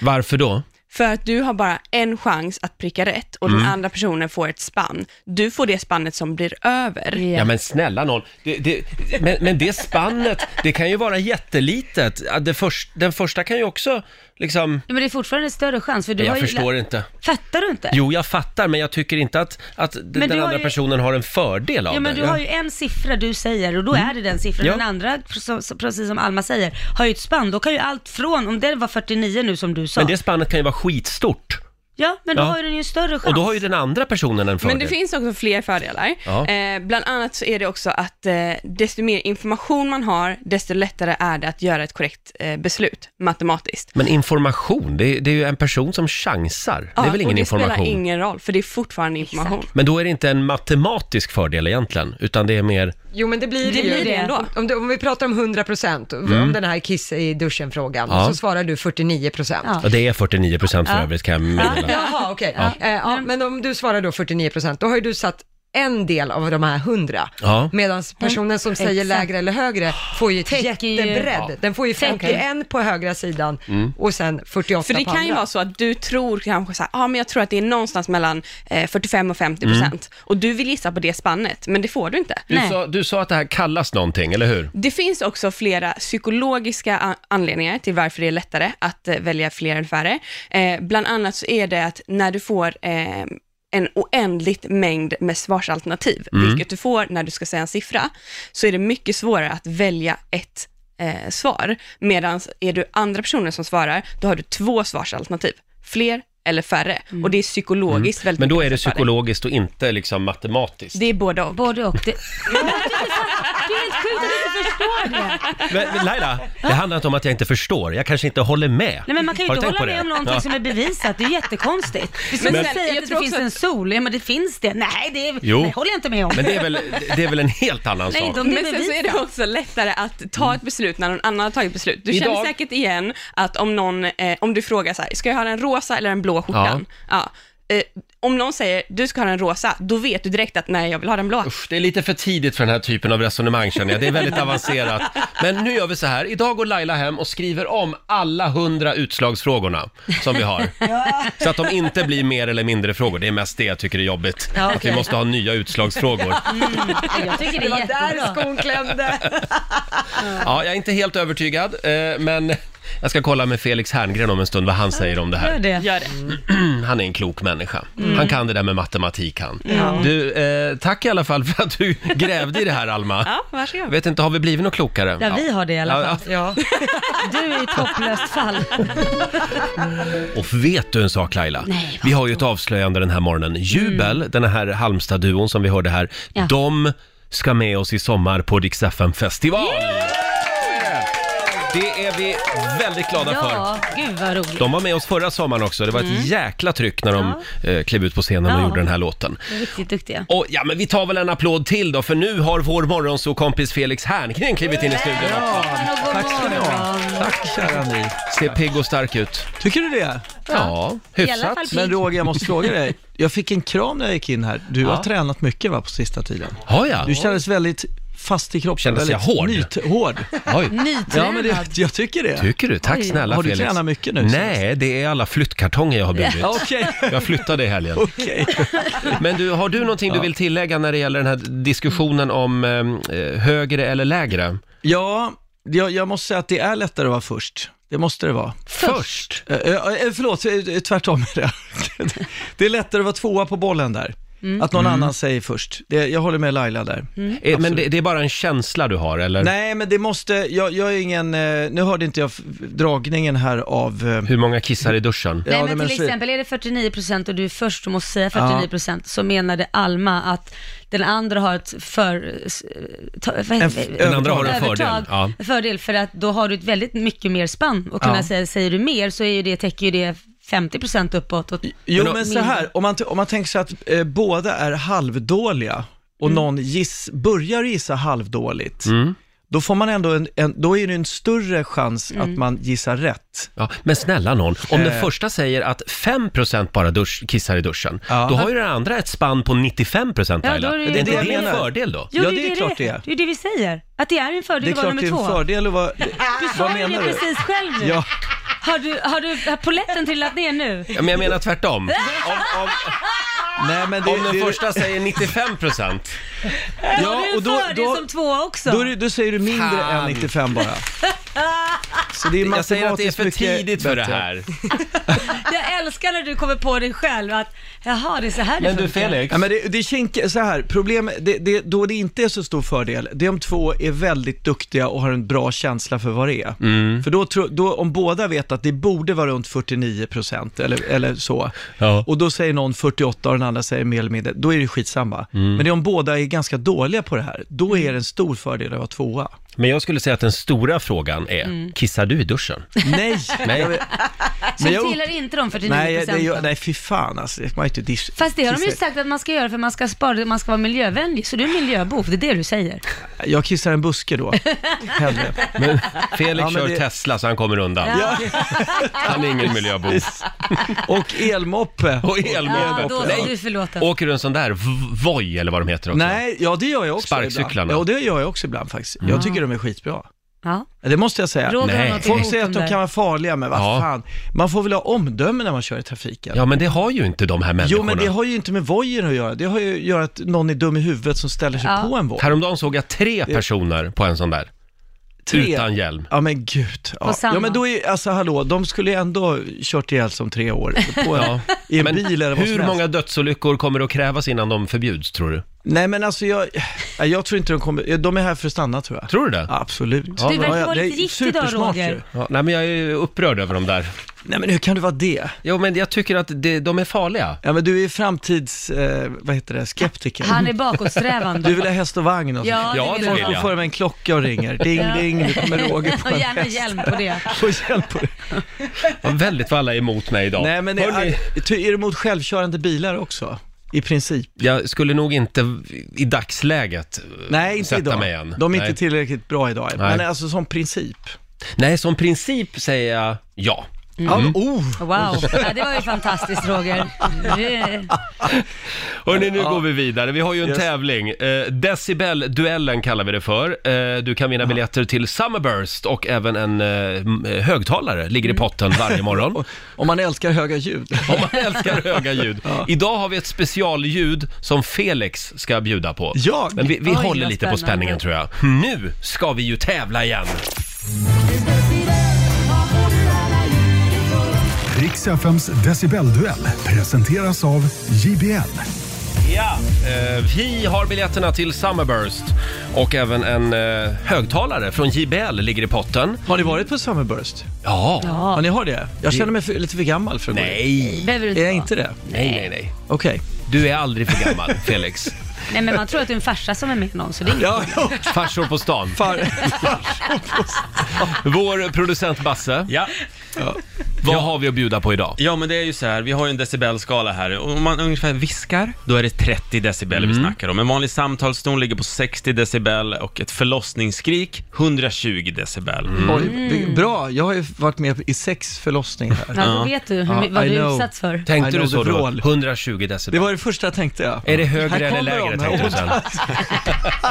Speaker 1: Varför då?
Speaker 6: För att du har bara en chans att pricka rätt och
Speaker 1: Mm.
Speaker 6: den andra personen får ett spann. Du får det spannet som blir över.
Speaker 1: Ja. men snälla någon. Det, det, men, men det spannet, det kan ju vara jättelitet. Ja, Det först, den första kan ju också liksom...
Speaker 2: Ja, men det är fortfarande en större chans för du har
Speaker 1: Jag
Speaker 2: ju...
Speaker 1: förstår inte.
Speaker 2: Fattar du inte?
Speaker 1: Jo, jag fattar, men jag tycker inte att, att d-
Speaker 2: Men
Speaker 1: den
Speaker 2: du har
Speaker 1: andra
Speaker 2: ju-
Speaker 1: personen har en fördel av
Speaker 2: Ja, men
Speaker 1: det.
Speaker 2: du har ju en siffra du säger och då är det den siffran.
Speaker 1: Mm. Ja.
Speaker 2: Den andra, som- som- precis som Alma säger, har ju ett spann. Då kan ju allt från, om det var 49 nu som du sa,
Speaker 1: Men det spannet kan ju vara skitstort.
Speaker 2: ja, men då
Speaker 1: Ja.
Speaker 2: har ju den ju en större chans.
Speaker 1: Och då har ju den andra personen en fördel.
Speaker 6: Men det finns också fler fördelar.
Speaker 1: Ja.
Speaker 6: Eh, bland annat så är det också att eh, desto mer information man har, desto lättare är det att göra ett korrekt eh, beslut matematiskt.
Speaker 1: Men information, det är, det är ju en person som chansar. det är väl
Speaker 6: och
Speaker 1: ingen
Speaker 6: det
Speaker 1: information?
Speaker 6: spelar ingen roll, för det är fortfarande information.
Speaker 1: Men då är det inte en matematisk fördel egentligen, utan det är mer...
Speaker 3: Jo, men det blir
Speaker 2: Det
Speaker 3: ju.
Speaker 2: blir det ändå.
Speaker 3: Om, du, om vi pratar om 100 procent, om den här kiss i duschen-frågan,
Speaker 1: Mm. Ja.
Speaker 3: så svarar du 49 procent.
Speaker 2: Ja.
Speaker 1: Ja, det är 49 procent för
Speaker 2: Ja.
Speaker 1: övrigt kan jag meddela.
Speaker 3: Jaha, okej. Ja. Eh, ja, men om du svarar då 49 procent, då har ju du satt en del av de här 100,
Speaker 1: Ja.
Speaker 3: medan personen som säger
Speaker 2: Mm. Exakt.
Speaker 3: lägre eller högre får ju ett
Speaker 2: Täcker ju-
Speaker 3: jättebredd. Den får ju 51 på högra sidan
Speaker 1: Mm.
Speaker 3: och sen 48
Speaker 6: För det
Speaker 3: på
Speaker 6: kan ju
Speaker 3: andra.
Speaker 6: vara så att du tror kanske så här, ah, men jag tror att det är någonstans mellan eh, 45 och 50 procent och du vill gissa på det spannet, men det får du inte.
Speaker 1: Du
Speaker 2: Nej.
Speaker 1: sa, du sa att Mm. det här kallas någonting, eller hur?
Speaker 6: Det finns också flera psykologiska a- anledningar till varför det är lättare att eh, välja fler än färre. Eh, bland annat så är det att när du får eh, en oändligt mängd med svarsalternativ, vilket du får när du ska säga en siffra, så är det mycket svårare att välja ett eh, svar. Medan är du andra personer som svarar, då har du två svarsalternativ, fler eller färre.
Speaker 2: Mm.
Speaker 6: Och det är psykologiskt väldigt
Speaker 1: Mm. Men då är det
Speaker 6: mycket lättare.
Speaker 1: psykologiskt och inte liksom matematiskt.
Speaker 6: Det är både och.
Speaker 2: Både och. Det, Men det, är inte fan- det är helt sjukt att du inte förstår det.
Speaker 1: Men, men Laila, det handlar inte om att jag inte förstår. Jag kanske inte håller med.
Speaker 2: Nej, men man kan ju
Speaker 1: Har du
Speaker 2: inte
Speaker 1: tänkt
Speaker 2: hålla
Speaker 1: på det?
Speaker 2: med om någonting som är bevisat. Det är jättekonstigt. Det är som
Speaker 6: Men-
Speaker 2: att
Speaker 6: Men-
Speaker 2: säga
Speaker 6: jag
Speaker 2: att det
Speaker 6: tror
Speaker 2: finns
Speaker 6: också
Speaker 2: en sol. Ja, men det finns det. Nej, det är,
Speaker 1: Jo.
Speaker 2: nej, håller jag inte med om.
Speaker 1: Men det är väl, det är väl en helt annan
Speaker 2: Nej,
Speaker 1: sak? Mm.
Speaker 2: de- det är
Speaker 6: Men sen så är det
Speaker 2: bevisat.
Speaker 6: också lättare att ta ett beslut när någon annan har tagit beslut. Du
Speaker 1: Idag-
Speaker 6: känner säkert igen att om någon, eh, om du frågar så här, ska jag ha den rosa eller den blå skjortan? Ja. Eh, om någon säger, du ska ha den rosa, då vet du direkt att nej, jag vill ha den blå.
Speaker 1: Usch, det är lite för tidigt för den här typen av resonemang känner jag. Det är väldigt avancerat. Men nu gör vi så här. Idag går Laila hem och skriver om alla hundra utslagsfrågorna som vi har. Så att de inte blir mer eller mindre frågor. Det är mest det jag tycker är jobbigt.
Speaker 2: Ja,
Speaker 1: Att vi
Speaker 2: okej.
Speaker 1: måste ha nya utslagsfrågor.
Speaker 2: Mm. Jag tycker det är
Speaker 3: Där
Speaker 2: jättebra.
Speaker 3: skon klämde.
Speaker 1: Ja, jag är inte helt övertygad, eh, men jag ska kolla med Felix Herngren om en stund vad han säger om det
Speaker 2: Gör
Speaker 1: här. Mm.
Speaker 2: det. Mm.
Speaker 6: Gör det.
Speaker 1: Han är en klok människa. Han kan det där med matematik han. Du, eh, tack i alla fall för att du grävde i det här Alma.
Speaker 6: Ja, varsågod.
Speaker 1: Jag vet inte, har vi blivit något klokare?
Speaker 2: Ja, vi har det i alla fall.
Speaker 3: Ja.
Speaker 2: Du är ett hopplöst fall.
Speaker 1: Och vet du en sak Laila?
Speaker 2: Nej, vad Mm.
Speaker 1: vi har ju ett avslöjande den här morgonen. Jubel, den här Halmstad-duon som vi hörde här,
Speaker 2: Ja.
Speaker 1: de ska med oss i sommar på Dix FM festival Det är vi väldigt glada för.
Speaker 2: Ja, gud vad roligt.
Speaker 1: De var med oss förra sommaren också. Det var ett jäkla tryck när de eh, klev ut på scenen och
Speaker 2: Mm. Ja.
Speaker 1: gjorde den här låten.
Speaker 2: De är Riktigt duktiga.
Speaker 1: Och ja, men vi tar väl en applåd till då, för nu har vår morgonsåkompis Felix Herngren klivit in i studion.
Speaker 2: Tack ska ni ha.
Speaker 7: Tack kära ni.
Speaker 1: Ser pigg och stark ut.
Speaker 7: Tycker du det?
Speaker 1: Ja,
Speaker 2: I alla fall
Speaker 1: hyfsat.
Speaker 7: Men
Speaker 2: pigg.
Speaker 7: Roger, jag måste fråga dig. Jag fick en kram när jag gick in här. Du har tränat mycket va, på sista tiden?
Speaker 1: Har jag?
Speaker 7: Du kändes väldigt fast i kroppen.
Speaker 1: Kändes jag
Speaker 7: väldigt
Speaker 1: hård?
Speaker 7: Nyt, hård.
Speaker 1: Oj.
Speaker 7: Ja,
Speaker 2: Nytränad.
Speaker 7: men det, jag tycker det.
Speaker 1: Tycker du? Tack
Speaker 2: Oj.
Speaker 1: snälla
Speaker 7: Har du
Speaker 1: Felix.
Speaker 7: tränat mycket nu?
Speaker 1: Nej, det är alla flyttkartonger jag har burit.
Speaker 7: Ja, Okej,
Speaker 1: Jag flyttade i helgen.
Speaker 7: okej.
Speaker 1: Men du, har du någonting du vill tillägga när det gäller den här diskussionen om eh, högre eller lägre? Eh,
Speaker 7: Ja, jag, jag måste säga att det är lättare att vara först. Det måste det vara.
Speaker 1: Först!
Speaker 7: Eh, eh, eh, Förlåt, eh, eh, tvärtom är det. Det är lättare att vara tvåa på bollen där.
Speaker 2: Mm.
Speaker 7: Att
Speaker 1: Mm.
Speaker 7: någon annan säger först. Det, jag håller med Laila där.
Speaker 1: Eh, Men det, det är bara en känsla du har, eller?
Speaker 7: Nej, men det måste, jag, jag är ingen, eh, nu hörde inte jag f- dragningen här av... eh,
Speaker 1: Hur många kissar i duschen?
Speaker 7: ja,
Speaker 2: Nej,
Speaker 7: det
Speaker 2: men till
Speaker 7: så-
Speaker 2: exempel är det 49% och du är först och måste säga 49% så menade Alma att den andra har ett för... s- ta- vad heter
Speaker 7: f-
Speaker 2: det?
Speaker 7: Den
Speaker 1: andra har en
Speaker 2: Övertag.
Speaker 1: fördel,
Speaker 2: Fördel för att då har du ett väldigt mycket mer spann och kunna
Speaker 7: Ja.
Speaker 2: säga, säger du mer så är ju det, täcker ju det 50% uppåt. Och,
Speaker 7: Jo,
Speaker 1: Men-
Speaker 7: men, så här, om man, t- om man tänker sig att eh, båda är halvdåliga och
Speaker 2: Mm.
Speaker 7: någon giss, börjar gissa halvdåligt,
Speaker 1: Mm.
Speaker 7: då får man ändå en, en, då är det en större chans
Speaker 2: Mm.
Speaker 7: att man gissar rätt.
Speaker 1: Ja, men snälla någon, om den
Speaker 7: Eh.
Speaker 1: första säger att 5% bara dusch, kissar i duschen,
Speaker 7: Ja.
Speaker 1: då har ju den andra ett spann på 95%
Speaker 2: Ja,
Speaker 1: Laila.
Speaker 2: då är det-
Speaker 1: det, är
Speaker 7: det
Speaker 1: inte
Speaker 7: jag
Speaker 1: det en
Speaker 7: menar.
Speaker 1: fördel då?
Speaker 2: Jo,
Speaker 7: Ja,
Speaker 2: ju
Speaker 7: det är klart det är.
Speaker 2: Det är ju det vi säger. Att det är en fördel
Speaker 7: Det är
Speaker 2: att vara
Speaker 7: klart det
Speaker 2: nummer
Speaker 7: är en
Speaker 2: två.
Speaker 7: fördel att vara...
Speaker 2: Du sa ju det precis själv nu.
Speaker 7: Ja,
Speaker 2: Har du, har du har poletten trillat ner nu?
Speaker 1: Ja, men jag menar tvärtom. Om, om,
Speaker 7: Nej, men
Speaker 1: om den första säger 95 procent.
Speaker 2: Ja, har du och då, fördel som tvåa också?
Speaker 7: Då, är det- då säger du mindre
Speaker 1: Fan.
Speaker 7: än 95 bara. Så det är
Speaker 1: Jag säger att det är för
Speaker 7: matematiskt mycket
Speaker 1: tidigt för det
Speaker 7: bättre.
Speaker 1: här.
Speaker 2: Jag älskar när du kommer på dig själv att, jaha, det är så här det funkar.
Speaker 7: Ja, men det, det är kinkigt, så här, problem, det, det, då det inte är så stor fördel, det är om två är väldigt duktiga och har en bra känsla för vad det är.
Speaker 1: Mm.
Speaker 7: För då, tror- då, om båda vet att det borde vara runt 49 procent eller, eller så,
Speaker 1: Ja.
Speaker 7: och då säger någon 48 och den andra säger mer eller mindre, då är det skitsamma.
Speaker 1: Mm.
Speaker 7: Men det är om båda är ganska dåliga på det här, då är det en stor fördel att vara tvåa.
Speaker 1: Men jag skulle säga att den stora frågan är,
Speaker 2: Mm.
Speaker 1: kissar du i duschen?
Speaker 7: Nej!
Speaker 1: Nej.
Speaker 2: Så
Speaker 7: Men jag-
Speaker 2: du tillhör inte de 49
Speaker 7: Nej, det, gör-
Speaker 2: procenten?
Speaker 7: nej, fy fan alltså, man är inte dis-
Speaker 2: Fast det har de ju
Speaker 7: kissar-
Speaker 2: sagt att man ska göra för man ska spara, det, man ska vara miljövänlig, så du är en miljöbov, det är det du säger.
Speaker 7: Jag kissar en buske då, hellre.
Speaker 1: Men Felix
Speaker 7: Ja, men
Speaker 1: kör
Speaker 7: det-
Speaker 1: Tesla så han kommer undan. Han är ingen miljöbov.
Speaker 7: Och elmoppe.
Speaker 1: Och
Speaker 2: Ja, då
Speaker 1: elmoppe.
Speaker 2: är
Speaker 1: Nej.
Speaker 2: du förlåten.
Speaker 1: Åker du en sån där v- Voi eller vad de heter också?
Speaker 7: Nej, ja det gör jag också
Speaker 1: Sparkcyklarna.
Speaker 7: ibland. Ja, det gör jag också ibland faktiskt. Jag tycker de är skitbra.
Speaker 2: Ja.
Speaker 7: Det måste jag säga.
Speaker 2: Roger
Speaker 1: Mm. Nej.
Speaker 2: har något
Speaker 7: Folk
Speaker 2: emot
Speaker 7: säger
Speaker 2: dem
Speaker 7: att de
Speaker 2: där.
Speaker 7: kan vara farliga, men vad
Speaker 1: Ja.
Speaker 7: fan. Man får väl ha omdöme när man kör i trafiken.
Speaker 1: Ja, men det har ju inte de här människorna.
Speaker 7: Jo, men det har ju inte med vojen att göra. Det har ju att göra att någon är dum i huvudet som ställer sig
Speaker 2: Ja.
Speaker 7: på en voj.
Speaker 1: Häromdagen såg jag tre personer på en sån där,
Speaker 7: Tre.
Speaker 1: utan hjälm.
Speaker 7: Ja, men gud.
Speaker 2: På
Speaker 7: Ja.
Speaker 2: samma.
Speaker 7: ja, men då är alltså hallå, de skulle ju ändå kört ihjäl som tre år på en,
Speaker 1: Ja.
Speaker 7: i en
Speaker 1: Men
Speaker 7: bil eller vad som
Speaker 1: hur
Speaker 7: helst.
Speaker 1: många dödsolyckor kommer det att krävas innan de förbjuds, tror du?
Speaker 7: Nej, men alltså jag, nej, jag tror inte de kommer, de är här för att stanna tror jag.
Speaker 1: Tror du det?
Speaker 7: Absolut.
Speaker 2: Du verkar vara
Speaker 7: det är
Speaker 2: lite gift idag,
Speaker 7: supersmart
Speaker 2: Roger.
Speaker 7: ju.
Speaker 1: Ja, nej, men jag är ju upprörd över de där.
Speaker 7: Nej, men hur kan du vara det?
Speaker 1: Jo, men jag tycker att det, de är farliga.
Speaker 7: Ja, men du är framtids, eh, vad heter det, skeptiker.
Speaker 2: Han är
Speaker 7: Du
Speaker 2: bakåtsträvande.
Speaker 7: vill ha häst och vagn och
Speaker 2: Ja,
Speaker 7: sånt.
Speaker 2: det
Speaker 1: Ja,
Speaker 2: vill
Speaker 1: det
Speaker 2: han.
Speaker 1: vill
Speaker 7: Folk
Speaker 1: jag.
Speaker 7: får för mig en klocka och ringer. Ding,
Speaker 2: Ja.
Speaker 7: ding, nu kommer Roger på
Speaker 2: Och
Speaker 7: en
Speaker 2: gärna
Speaker 7: häst.
Speaker 2: hjälm på det.
Speaker 7: Få hjälp på det.
Speaker 1: Ja, väldigt vad alla är emot mig idag.
Speaker 7: Nej, men
Speaker 1: Hörrni,
Speaker 7: är, ty- är du mot självkörande bilar också? I princip.
Speaker 1: jag skulle nog inte i dagsläget eh,
Speaker 7: Nej, inte
Speaker 1: sätta
Speaker 7: idag.
Speaker 1: mig än.
Speaker 7: De är
Speaker 1: nej.
Speaker 7: inte tillräckligt bra idag.
Speaker 1: Nej.
Speaker 7: Men alltså som princip.
Speaker 1: nej, som princip säger jag ja. Mm.
Speaker 7: Ja, oh.
Speaker 2: Wow, ja, det var ju fantastiskt Roger. Det-
Speaker 1: Hörni, nu går vi vidare. Vi har ju en
Speaker 7: Yes.
Speaker 1: tävling. Eh, Decibel-duellen kallar vi det för. Eh, du kan vinna biljetter till Summerburst och även en eh, m- eh, högtalare ligger
Speaker 7: Mm.
Speaker 1: i potten varje morgon.
Speaker 7: Om man älskar höga ljud.
Speaker 1: Om man älskar höga ljud. Idag har vi ett specialljud som Felix ska bjuda på.
Speaker 7: Jag?
Speaker 1: Men vi, vi
Speaker 2: Oj,
Speaker 1: håller
Speaker 2: vad
Speaker 1: lite på spänningen
Speaker 2: spännande.
Speaker 1: tror jag. Nu ska vi ju tävla igen.
Speaker 5: Riks FMs decibelduell presenteras av JBL.
Speaker 1: Ja, eh, vi har biljetterna till Summerburst och även en eh, högtalare från JBL ligger i potten.
Speaker 7: Har ni varit på Summerburst?
Speaker 1: Ja.
Speaker 7: Ja, ni har det? Jag känner mig för, lite för gammal för att gå dit.
Speaker 1: Nej,
Speaker 2: Behöver du inte
Speaker 7: Är jag
Speaker 2: vara.
Speaker 7: inte det?
Speaker 1: nej, nej, nej.
Speaker 7: Okej.
Speaker 1: Du är aldrig för gammal, Felix.
Speaker 2: Nej men man tror att du är en farsa som är med någon, så det är inget.
Speaker 7: Ja, ja,
Speaker 1: Farsor på stan.
Speaker 7: far.
Speaker 1: Vår producent Basse,
Speaker 4: Ja,
Speaker 1: vad har vi att bjuda på idag?
Speaker 4: ja men det är ju så här, vi har ju en decibelskala här. Om man ungefär viskar, då är det 30 decibel
Speaker 1: Mm.
Speaker 4: vi snackar om. En vanlig samtalston ligger på 60 decibel och ett förlossningsskrik 120 decibel.
Speaker 1: Mm.
Speaker 7: Oj, vi- bra, jag har ju varit med i sex förlossningar här.
Speaker 2: Ja, då vet du hur, my- vad
Speaker 7: I
Speaker 2: du är
Speaker 7: know.
Speaker 2: utsatt för.
Speaker 1: Tänkte
Speaker 7: I know
Speaker 1: du så
Speaker 7: the
Speaker 1: då?
Speaker 7: vrål.
Speaker 1: 120
Speaker 7: Det
Speaker 1: decibel.
Speaker 7: var det första jag tänkte ja.
Speaker 1: Är det högre eller
Speaker 7: kommer
Speaker 1: lägre
Speaker 7: de,
Speaker 1: tänkte du
Speaker 7: här
Speaker 1: sen?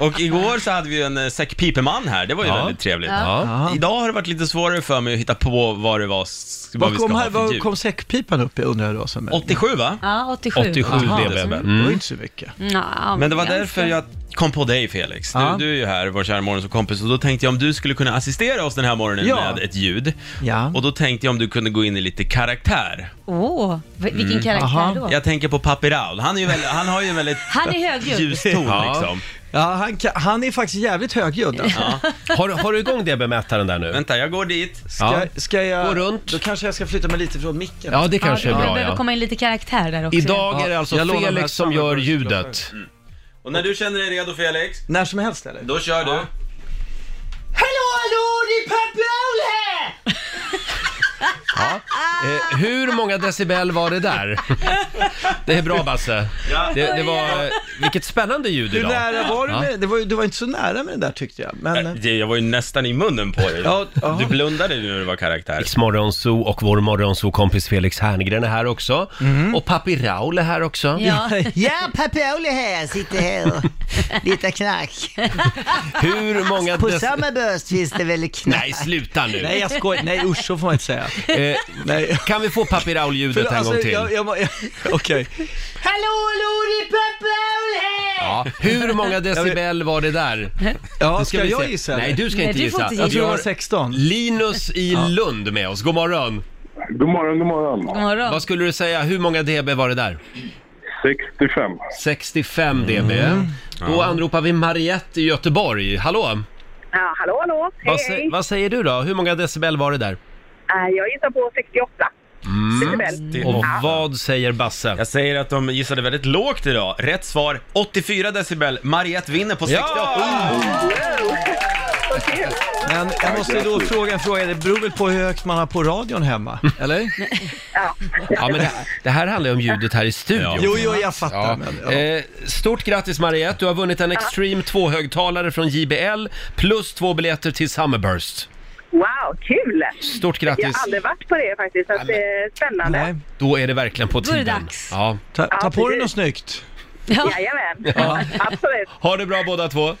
Speaker 4: Och igår så hade vi ju en eh, säck pipeman här, det var ju
Speaker 1: Ja.
Speaker 4: väldigt trevligt.
Speaker 1: Ja.
Speaker 7: Ja.
Speaker 4: Idag har det varit lite svårare för mig att hitta på vad det var, s- vad
Speaker 7: Var
Speaker 4: vi ska
Speaker 7: kom,
Speaker 4: ha
Speaker 7: här,
Speaker 4: för
Speaker 7: var
Speaker 4: ljud.
Speaker 7: kom säckpipan upp undrar jag då? Som
Speaker 4: 87 va? Mm.
Speaker 2: Ja, 87.
Speaker 1: 87
Speaker 7: Aha,
Speaker 1: dB.
Speaker 7: Det var ju inte så mycket.
Speaker 2: Ja,
Speaker 4: Men det var
Speaker 2: ganska.
Speaker 4: därför jag kom på dig Felix. Du,
Speaker 7: Ja.
Speaker 4: du är ju här, vår kära morgonsåkompis, och då tänkte jag om du skulle kunna assistera oss den här morgonen
Speaker 7: Ja.
Speaker 4: med ett ljud.
Speaker 7: Ja.
Speaker 4: Och då tänkte jag om du kunde gå in i lite karaktär.
Speaker 2: Åh, vil- vilken
Speaker 7: Mm. Aha.
Speaker 2: karaktär då?
Speaker 4: Mm. Jag tänker på Papi Raul. Han, är ju väl, han har ju en väldigt
Speaker 2: Han är högljudd.
Speaker 4: ljus ton
Speaker 1: Ja.
Speaker 4: liksom.
Speaker 7: Ja, han, kan, han är faktiskt jävligt högljudd. alltså.
Speaker 1: Har, har du igång dB-mätaren där nu?
Speaker 4: Vänta, jag går dit.
Speaker 1: Ja.
Speaker 7: Ska, ska jag...
Speaker 1: Gå runt.
Speaker 7: Då kanske jag ska flytta mig lite från micken.
Speaker 1: Ja, det kanske
Speaker 2: ja,
Speaker 1: är
Speaker 2: Det
Speaker 1: bra
Speaker 2: behöver
Speaker 1: ja.
Speaker 2: komma in lite karaktär där också.
Speaker 1: Idag
Speaker 7: Ja,
Speaker 1: är det alltså
Speaker 7: jag lånar de här
Speaker 1: Felix som gör
Speaker 7: Summerburst-klockorna.
Speaker 1: ljudet.
Speaker 4: Och när du känner dig redo Felix,
Speaker 7: Mm. När som helst eller?
Speaker 4: då kör du.
Speaker 8: Hallå, hallå, det är Papp Raul här!
Speaker 1: Eh, hur många decibel var det där? Det är bra Basse. Det, det var, eh, vilket spännande ljud
Speaker 7: Hur
Speaker 1: idag.
Speaker 7: nära var du
Speaker 1: Ja.
Speaker 7: med det? Var, ju- du var inte så nära med den där tyckte jag. Men,
Speaker 4: Äh, det- Jag var ju nästan i munnen på dig.
Speaker 7: Ja, ja.
Speaker 4: Du blundade nu när det var karaktär.
Speaker 1: Morgonzoo och vår morgonzoo-kompis Felix Herngren är här också.
Speaker 7: Mm.
Speaker 1: Och Papi Raul är här också.
Speaker 2: Ja.
Speaker 8: Ja, pappa Olle här, sitter här och lite knack.
Speaker 1: Hur många
Speaker 8: På
Speaker 1: dec-
Speaker 8: samma bröst finns det väl knack?
Speaker 1: Nej, sluta nu.
Speaker 7: nej jag skojar, nej usch så får man inte säga.
Speaker 1: Eh,
Speaker 7: Nej. alltså,
Speaker 1: kan vi få Papi Raul-ljudet en gång till?
Speaker 7: jag, jag, må- jag, okej.
Speaker 8: Hallå, hallå, det är pappa Olle här!
Speaker 1: Ja. Hur många decibel var det där?
Speaker 7: Ja,
Speaker 1: Nu
Speaker 7: ska
Speaker 1: vi
Speaker 7: jag
Speaker 1: se.
Speaker 7: gissa?
Speaker 1: Nej,
Speaker 7: eller?
Speaker 1: du ska
Speaker 2: Nej,
Speaker 1: inte
Speaker 2: du får
Speaker 1: gissa.
Speaker 2: inte
Speaker 7: Jag
Speaker 1: Vi
Speaker 7: tror jag var
Speaker 1: har
Speaker 7: 16.
Speaker 1: Linus i Lund med oss. God morgon.
Speaker 9: God morgon, god morgon.
Speaker 2: God morgon.
Speaker 1: Vad skulle du säga, hur många dB var det där?
Speaker 9: 65.
Speaker 1: 65 dB.
Speaker 7: Mm.
Speaker 1: Då anropar vi Mariette i Göteborg. Hallå!
Speaker 10: Ja, hallå, hallå. Hej,
Speaker 1: Vad, sä-
Speaker 10: hej.
Speaker 1: vad säger du då? Hur många decibel var det där?
Speaker 10: Eh, Jag gissar på 68. Decibel.
Speaker 4: Det-
Speaker 1: Mm. Och vad säger Basse?
Speaker 4: Jag säger att de gissade väldigt lågt idag. Rätt svar 84 decibel. Mariette vinner på 68.
Speaker 2: Ah.
Speaker 10: Så kul.
Speaker 7: Men jag måste då fråga en fråga, det beror väl på hur högt man har på radion hemma? Eller?
Speaker 10: Ja.
Speaker 1: Ja, men det, det här handlar ju om ljudet här i studion.
Speaker 7: Jo, jo, jag
Speaker 1: Ja.
Speaker 7: fattar. Men, ja.
Speaker 1: Eh, stort grattis Mariette, du har vunnit en Extreme 2-högtalare från JBL plus två biljetter till Summerburst.
Speaker 10: Wow, kul!
Speaker 1: Stort
Speaker 10: Jag
Speaker 1: grattis!
Speaker 10: har aldrig varit på det faktiskt, så att det är spännande.
Speaker 7: Nej.
Speaker 1: Då är det verkligen på
Speaker 2: Då är det
Speaker 1: tiden.
Speaker 2: dags.
Speaker 1: Ja.
Speaker 7: Ta, ta på dig
Speaker 10: precis.
Speaker 7: något snyggt.
Speaker 2: Ja.
Speaker 10: Jajamän, absolut.
Speaker 1: Ha det bra båda två!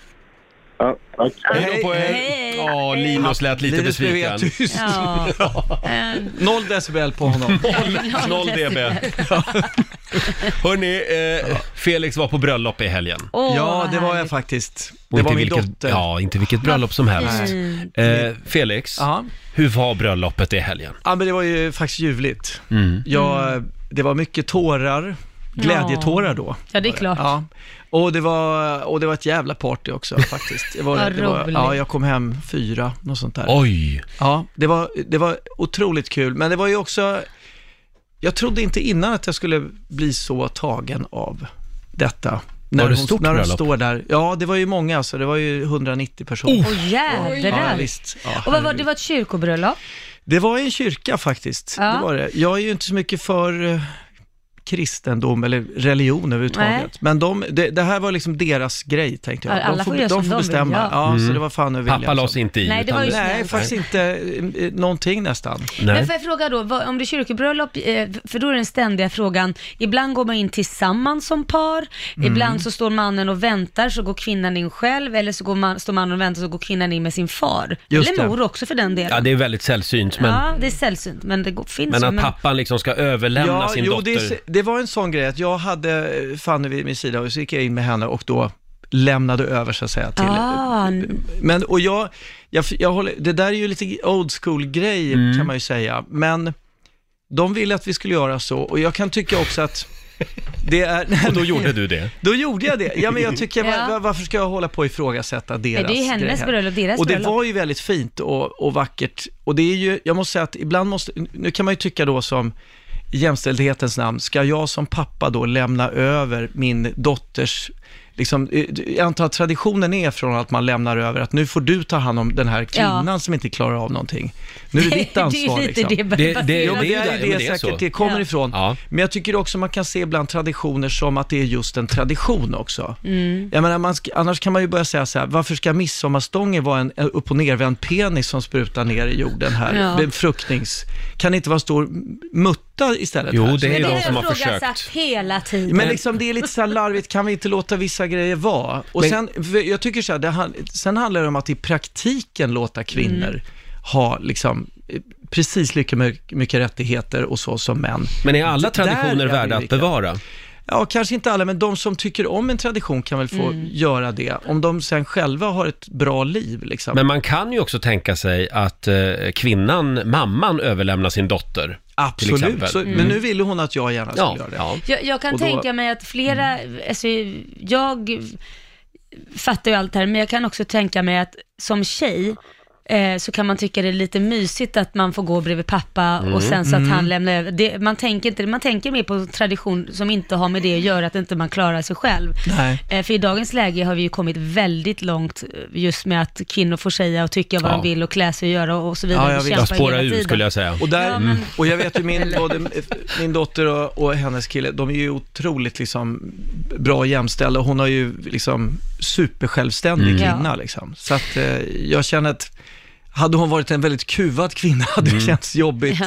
Speaker 9: Ja, tack.
Speaker 1: Hej då på er!
Speaker 2: Hej.
Speaker 1: Ja, Linus lät lite
Speaker 7: Linus blev
Speaker 1: besviken.
Speaker 7: helt tyst.
Speaker 2: Ja. Eh,
Speaker 7: Noll decibel på honom.
Speaker 1: Noll dB. Hörni, eh, Felix var på bröllop i helgen.
Speaker 2: åh,
Speaker 7: ja,
Speaker 2: vad
Speaker 7: det var jag
Speaker 2: härligt.
Speaker 7: faktiskt.
Speaker 1: Och
Speaker 7: Det var min
Speaker 1: vilket,
Speaker 7: dotter.
Speaker 1: Ja, inte vilket bröllop som helst.
Speaker 2: Mm.
Speaker 1: Eh, Felix,
Speaker 7: Ja.
Speaker 1: hur var bröllopet i helgen?
Speaker 7: ja, men det var ju faktiskt ljuvligt.
Speaker 1: Mm.
Speaker 7: Jag,
Speaker 2: Mm.
Speaker 7: det var mycket tårar, glädjetårar då.
Speaker 2: Ja, det är klart.
Speaker 7: Ja. Och, det var, och det var ett jävla party också faktiskt. Det var,
Speaker 2: Vad
Speaker 7: det var,
Speaker 2: roligt.
Speaker 7: ja, jag kom hem fyra, något sånt där.
Speaker 1: Oj!
Speaker 7: Ja, det var, det var otroligt kul, men det var ju också... Jag trodde inte innan att jag skulle bli så tagen av detta. När
Speaker 1: det
Speaker 7: hon,
Speaker 1: stort
Speaker 7: när hon
Speaker 1: bröllop?
Speaker 7: står där. Ja, det var ju många, så det var ju 190 personer.
Speaker 2: Åh
Speaker 7: Ja,
Speaker 2: jädrar.
Speaker 7: visst. Ja,
Speaker 2: Och vad var,
Speaker 7: herregud.
Speaker 2: det var ett kyrkobröllop?
Speaker 7: Det var i en kyrka faktiskt.
Speaker 2: Ja.
Speaker 7: Det var det. Jag är ju inte så mycket för eh, kristendom eller religion överhuvudtaget.
Speaker 2: Nej.
Speaker 7: Men de, det, det här var liksom deras grej tänkte jag.
Speaker 2: Ja, alla får göra
Speaker 7: de
Speaker 2: som
Speaker 7: får
Speaker 2: de vill,
Speaker 7: bestämma.
Speaker 2: ja.
Speaker 7: ja, så det var fan
Speaker 1: Mm.
Speaker 7: över
Speaker 1: Pappa
Speaker 7: viljan.
Speaker 1: la sig inte i.
Speaker 2: Nej, det
Speaker 1: utan
Speaker 2: var ju
Speaker 7: Nej, faktiskt inte eh, någonting nästan.
Speaker 1: Nej.
Speaker 2: Men får jag fråga då, vad, om det är kyrkobröllop, eh, för då är den ständiga frågan, ibland går man in tillsammans som par, ibland så står mannen och väntar så går kvinnan in själv, eller så går man, står mannen och väntar så går kvinnan in med sin far.
Speaker 7: Just
Speaker 2: eller
Speaker 7: det.
Speaker 2: mor också för den delen.
Speaker 1: Ja,
Speaker 2: Ja,
Speaker 1: det är väldigt sällsynt,
Speaker 2: det,
Speaker 1: men,
Speaker 2: är sällsynt, men det går,
Speaker 1: men
Speaker 2: finns ju,
Speaker 1: att pappan liksom ska överlämna sin
Speaker 7: jo,
Speaker 1: dotter.
Speaker 7: Det, det var en sån grej att jag hade eh, Fanny vid min sida och så gick jag in med henne och då lämnade över så att säga till...
Speaker 2: Ah, n-
Speaker 7: Men, och jag, jag, jag håller, det där är ju lite old school grej
Speaker 1: Mm.
Speaker 7: kan man ju säga, men de ville att vi skulle göra så och jag kan tycka också att det är...
Speaker 1: Och då gjorde du det.
Speaker 7: Då gjorde jag det. Ja, men jag tycker,
Speaker 2: Ja.
Speaker 7: va- va- varför ska jag hålla på och ifrågasätta deras
Speaker 2: det är hennes
Speaker 7: grej här?
Speaker 2: bröllop, deras
Speaker 7: Och det
Speaker 2: bröllop.
Speaker 7: var ju väldigt fint och, och vackert. Och det är ju, jag måste säga att ibland måste, nu kan man ju tycka då som i jämställdhetens namn, ska jag som pappa då lämna över min dotters Liksom, eh, jag antar att traditionen är från att man lämnar över att nu får du ta hand om den här kvinnan som inte klarar av någonting. Nu är det ditt
Speaker 2: det är
Speaker 7: ansvar.
Speaker 2: ju lite
Speaker 7: liksom.
Speaker 2: det,
Speaker 1: Det- det-
Speaker 2: baserat-
Speaker 7: Jo, men det
Speaker 1: Ja,
Speaker 7: är
Speaker 1: men
Speaker 7: ju det
Speaker 1: det är så.
Speaker 7: säkert det kommer
Speaker 2: Ja.
Speaker 7: ifrån.
Speaker 1: Ja.
Speaker 7: Men jag tycker också man kan se ibland traditioner som att det är just en tradition också.
Speaker 2: Mm.
Speaker 7: Jag menar, man ska, annars kan man ju börja säga så här, varför ska midsommarstången vara en, en upp och nervänd penis som sprutar ner i jorden här?
Speaker 2: Ja.
Speaker 7: Befruktnings... Kan det inte vara stor mutta istället?
Speaker 1: Jo,
Speaker 7: här?
Speaker 1: det är
Speaker 2: det
Speaker 1: de
Speaker 2: har
Speaker 1: som har
Speaker 2: jag
Speaker 1: försökt.
Speaker 2: ifrågasatt hela tiden.
Speaker 7: Men liksom det är lite så här larvigt, kan vi inte låta vissa grejer vara? Och
Speaker 1: Men-
Speaker 7: sen, för jag tycker så här, det, han- sen handlar det om att i praktiken låta kvinnor
Speaker 1: Mm.
Speaker 7: ha liksom eh, precis lika my- mycket rättigheter och så som män.
Speaker 1: Men är alla
Speaker 7: Det där
Speaker 1: traditioner
Speaker 7: är
Speaker 1: värda att
Speaker 7: olika.
Speaker 1: bevara?
Speaker 7: Ja, kanske inte alla, men de som tycker om en tradition kan väl få
Speaker 1: Mm.
Speaker 7: göra det, om de sen själva har ett bra liv liksom.
Speaker 1: Men man kan ju också tänka sig att eh, kvinnan, mamman, överlämnar sin dotter. till exempel. Mm.
Speaker 7: Absolut, så, men nu ville hon att jag gärna skulle
Speaker 1: Ja,
Speaker 7: göra det.
Speaker 1: ja.
Speaker 2: Jag, jag kan
Speaker 7: Och då-
Speaker 2: tänka mig att flera, alltså, jag fattar ju allt det här, men jag kan också tänka mig att som tjej, eh, så kan man tycka det är lite mysigt att man får gå bredvid pappa och sen så att
Speaker 11: Mm.
Speaker 2: han lämnar över. Det, man, tänker inte, man tänker mer på tradition som inte har med det att göra, att inte man klarar sig själv.
Speaker 11: Nej.
Speaker 2: Eh, För i dagens läge har vi ju kommit väldigt långt eh, just med att kvinnor får säga och tycka vad
Speaker 7: Ja.
Speaker 2: de vill och klä sig och göra och så vidare. och kämpa hela tiden.
Speaker 7: Och, där,
Speaker 2: Ja, men-
Speaker 7: och jag vet ju min, både min dotter och, och hennes kille, de är ju otroligt liksom, bra och jämställda. Hon har ju liksom supersjälvständig
Speaker 12: Mm.
Speaker 7: kvinna.
Speaker 12: Ja.
Speaker 7: Liksom. Så att eh, jag känner att, hade hon varit en väldigt kuvad kvinna hade det
Speaker 1: Mm.
Speaker 7: känts jobbigt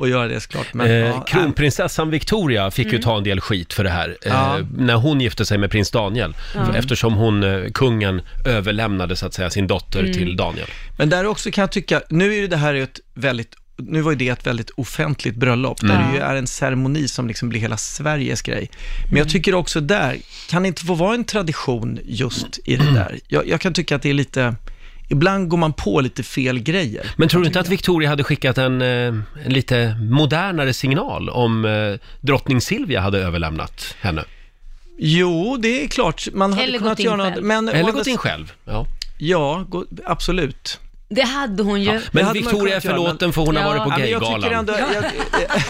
Speaker 7: att göra det såklart. Men,
Speaker 1: eh,
Speaker 7: ja, äh,
Speaker 1: kronprinsessan Victoria fick ju
Speaker 7: Mm.
Speaker 1: ta en del skit för det här eh,
Speaker 7: Ja.
Speaker 1: när hon gifte sig med prins Daniel.
Speaker 7: Ja.
Speaker 1: Eftersom hon, eh, kungen, överlämnade så att säga sin dotter
Speaker 7: Mm.
Speaker 1: till Daniel.
Speaker 7: Men där också kan jag tycka, nu är ju det här ett väldigt, nu var ju det ett väldigt offentligt bröllop, där
Speaker 1: Mm.
Speaker 7: det ju är en ceremoni som liksom blir hela Sveriges grej. Men jag tycker också där, kan det inte få vara en tradition just i det där? Jag, jag kan tycka att det är lite, ibland går man på lite fel grejer.
Speaker 1: Men tror du inte att Victoria hade skickat en, eh, en lite modernare signal om eh, drottning Silvia hade överlämnat henne?
Speaker 7: Jo, det är klart, man hade
Speaker 2: Eller
Speaker 7: kunnat
Speaker 2: gått in
Speaker 7: göra något.
Speaker 2: själv.
Speaker 7: Men,
Speaker 1: Eller
Speaker 7: å
Speaker 1: gått
Speaker 7: andra-
Speaker 1: in själv. Ja,
Speaker 7: ja gå, absolut.
Speaker 2: Det hade hon ju.
Speaker 1: Men Victoria är förlåten för hon har varit på
Speaker 7: Ja, men jag
Speaker 1: Gaygalan.
Speaker 7: tycker ändå- jag-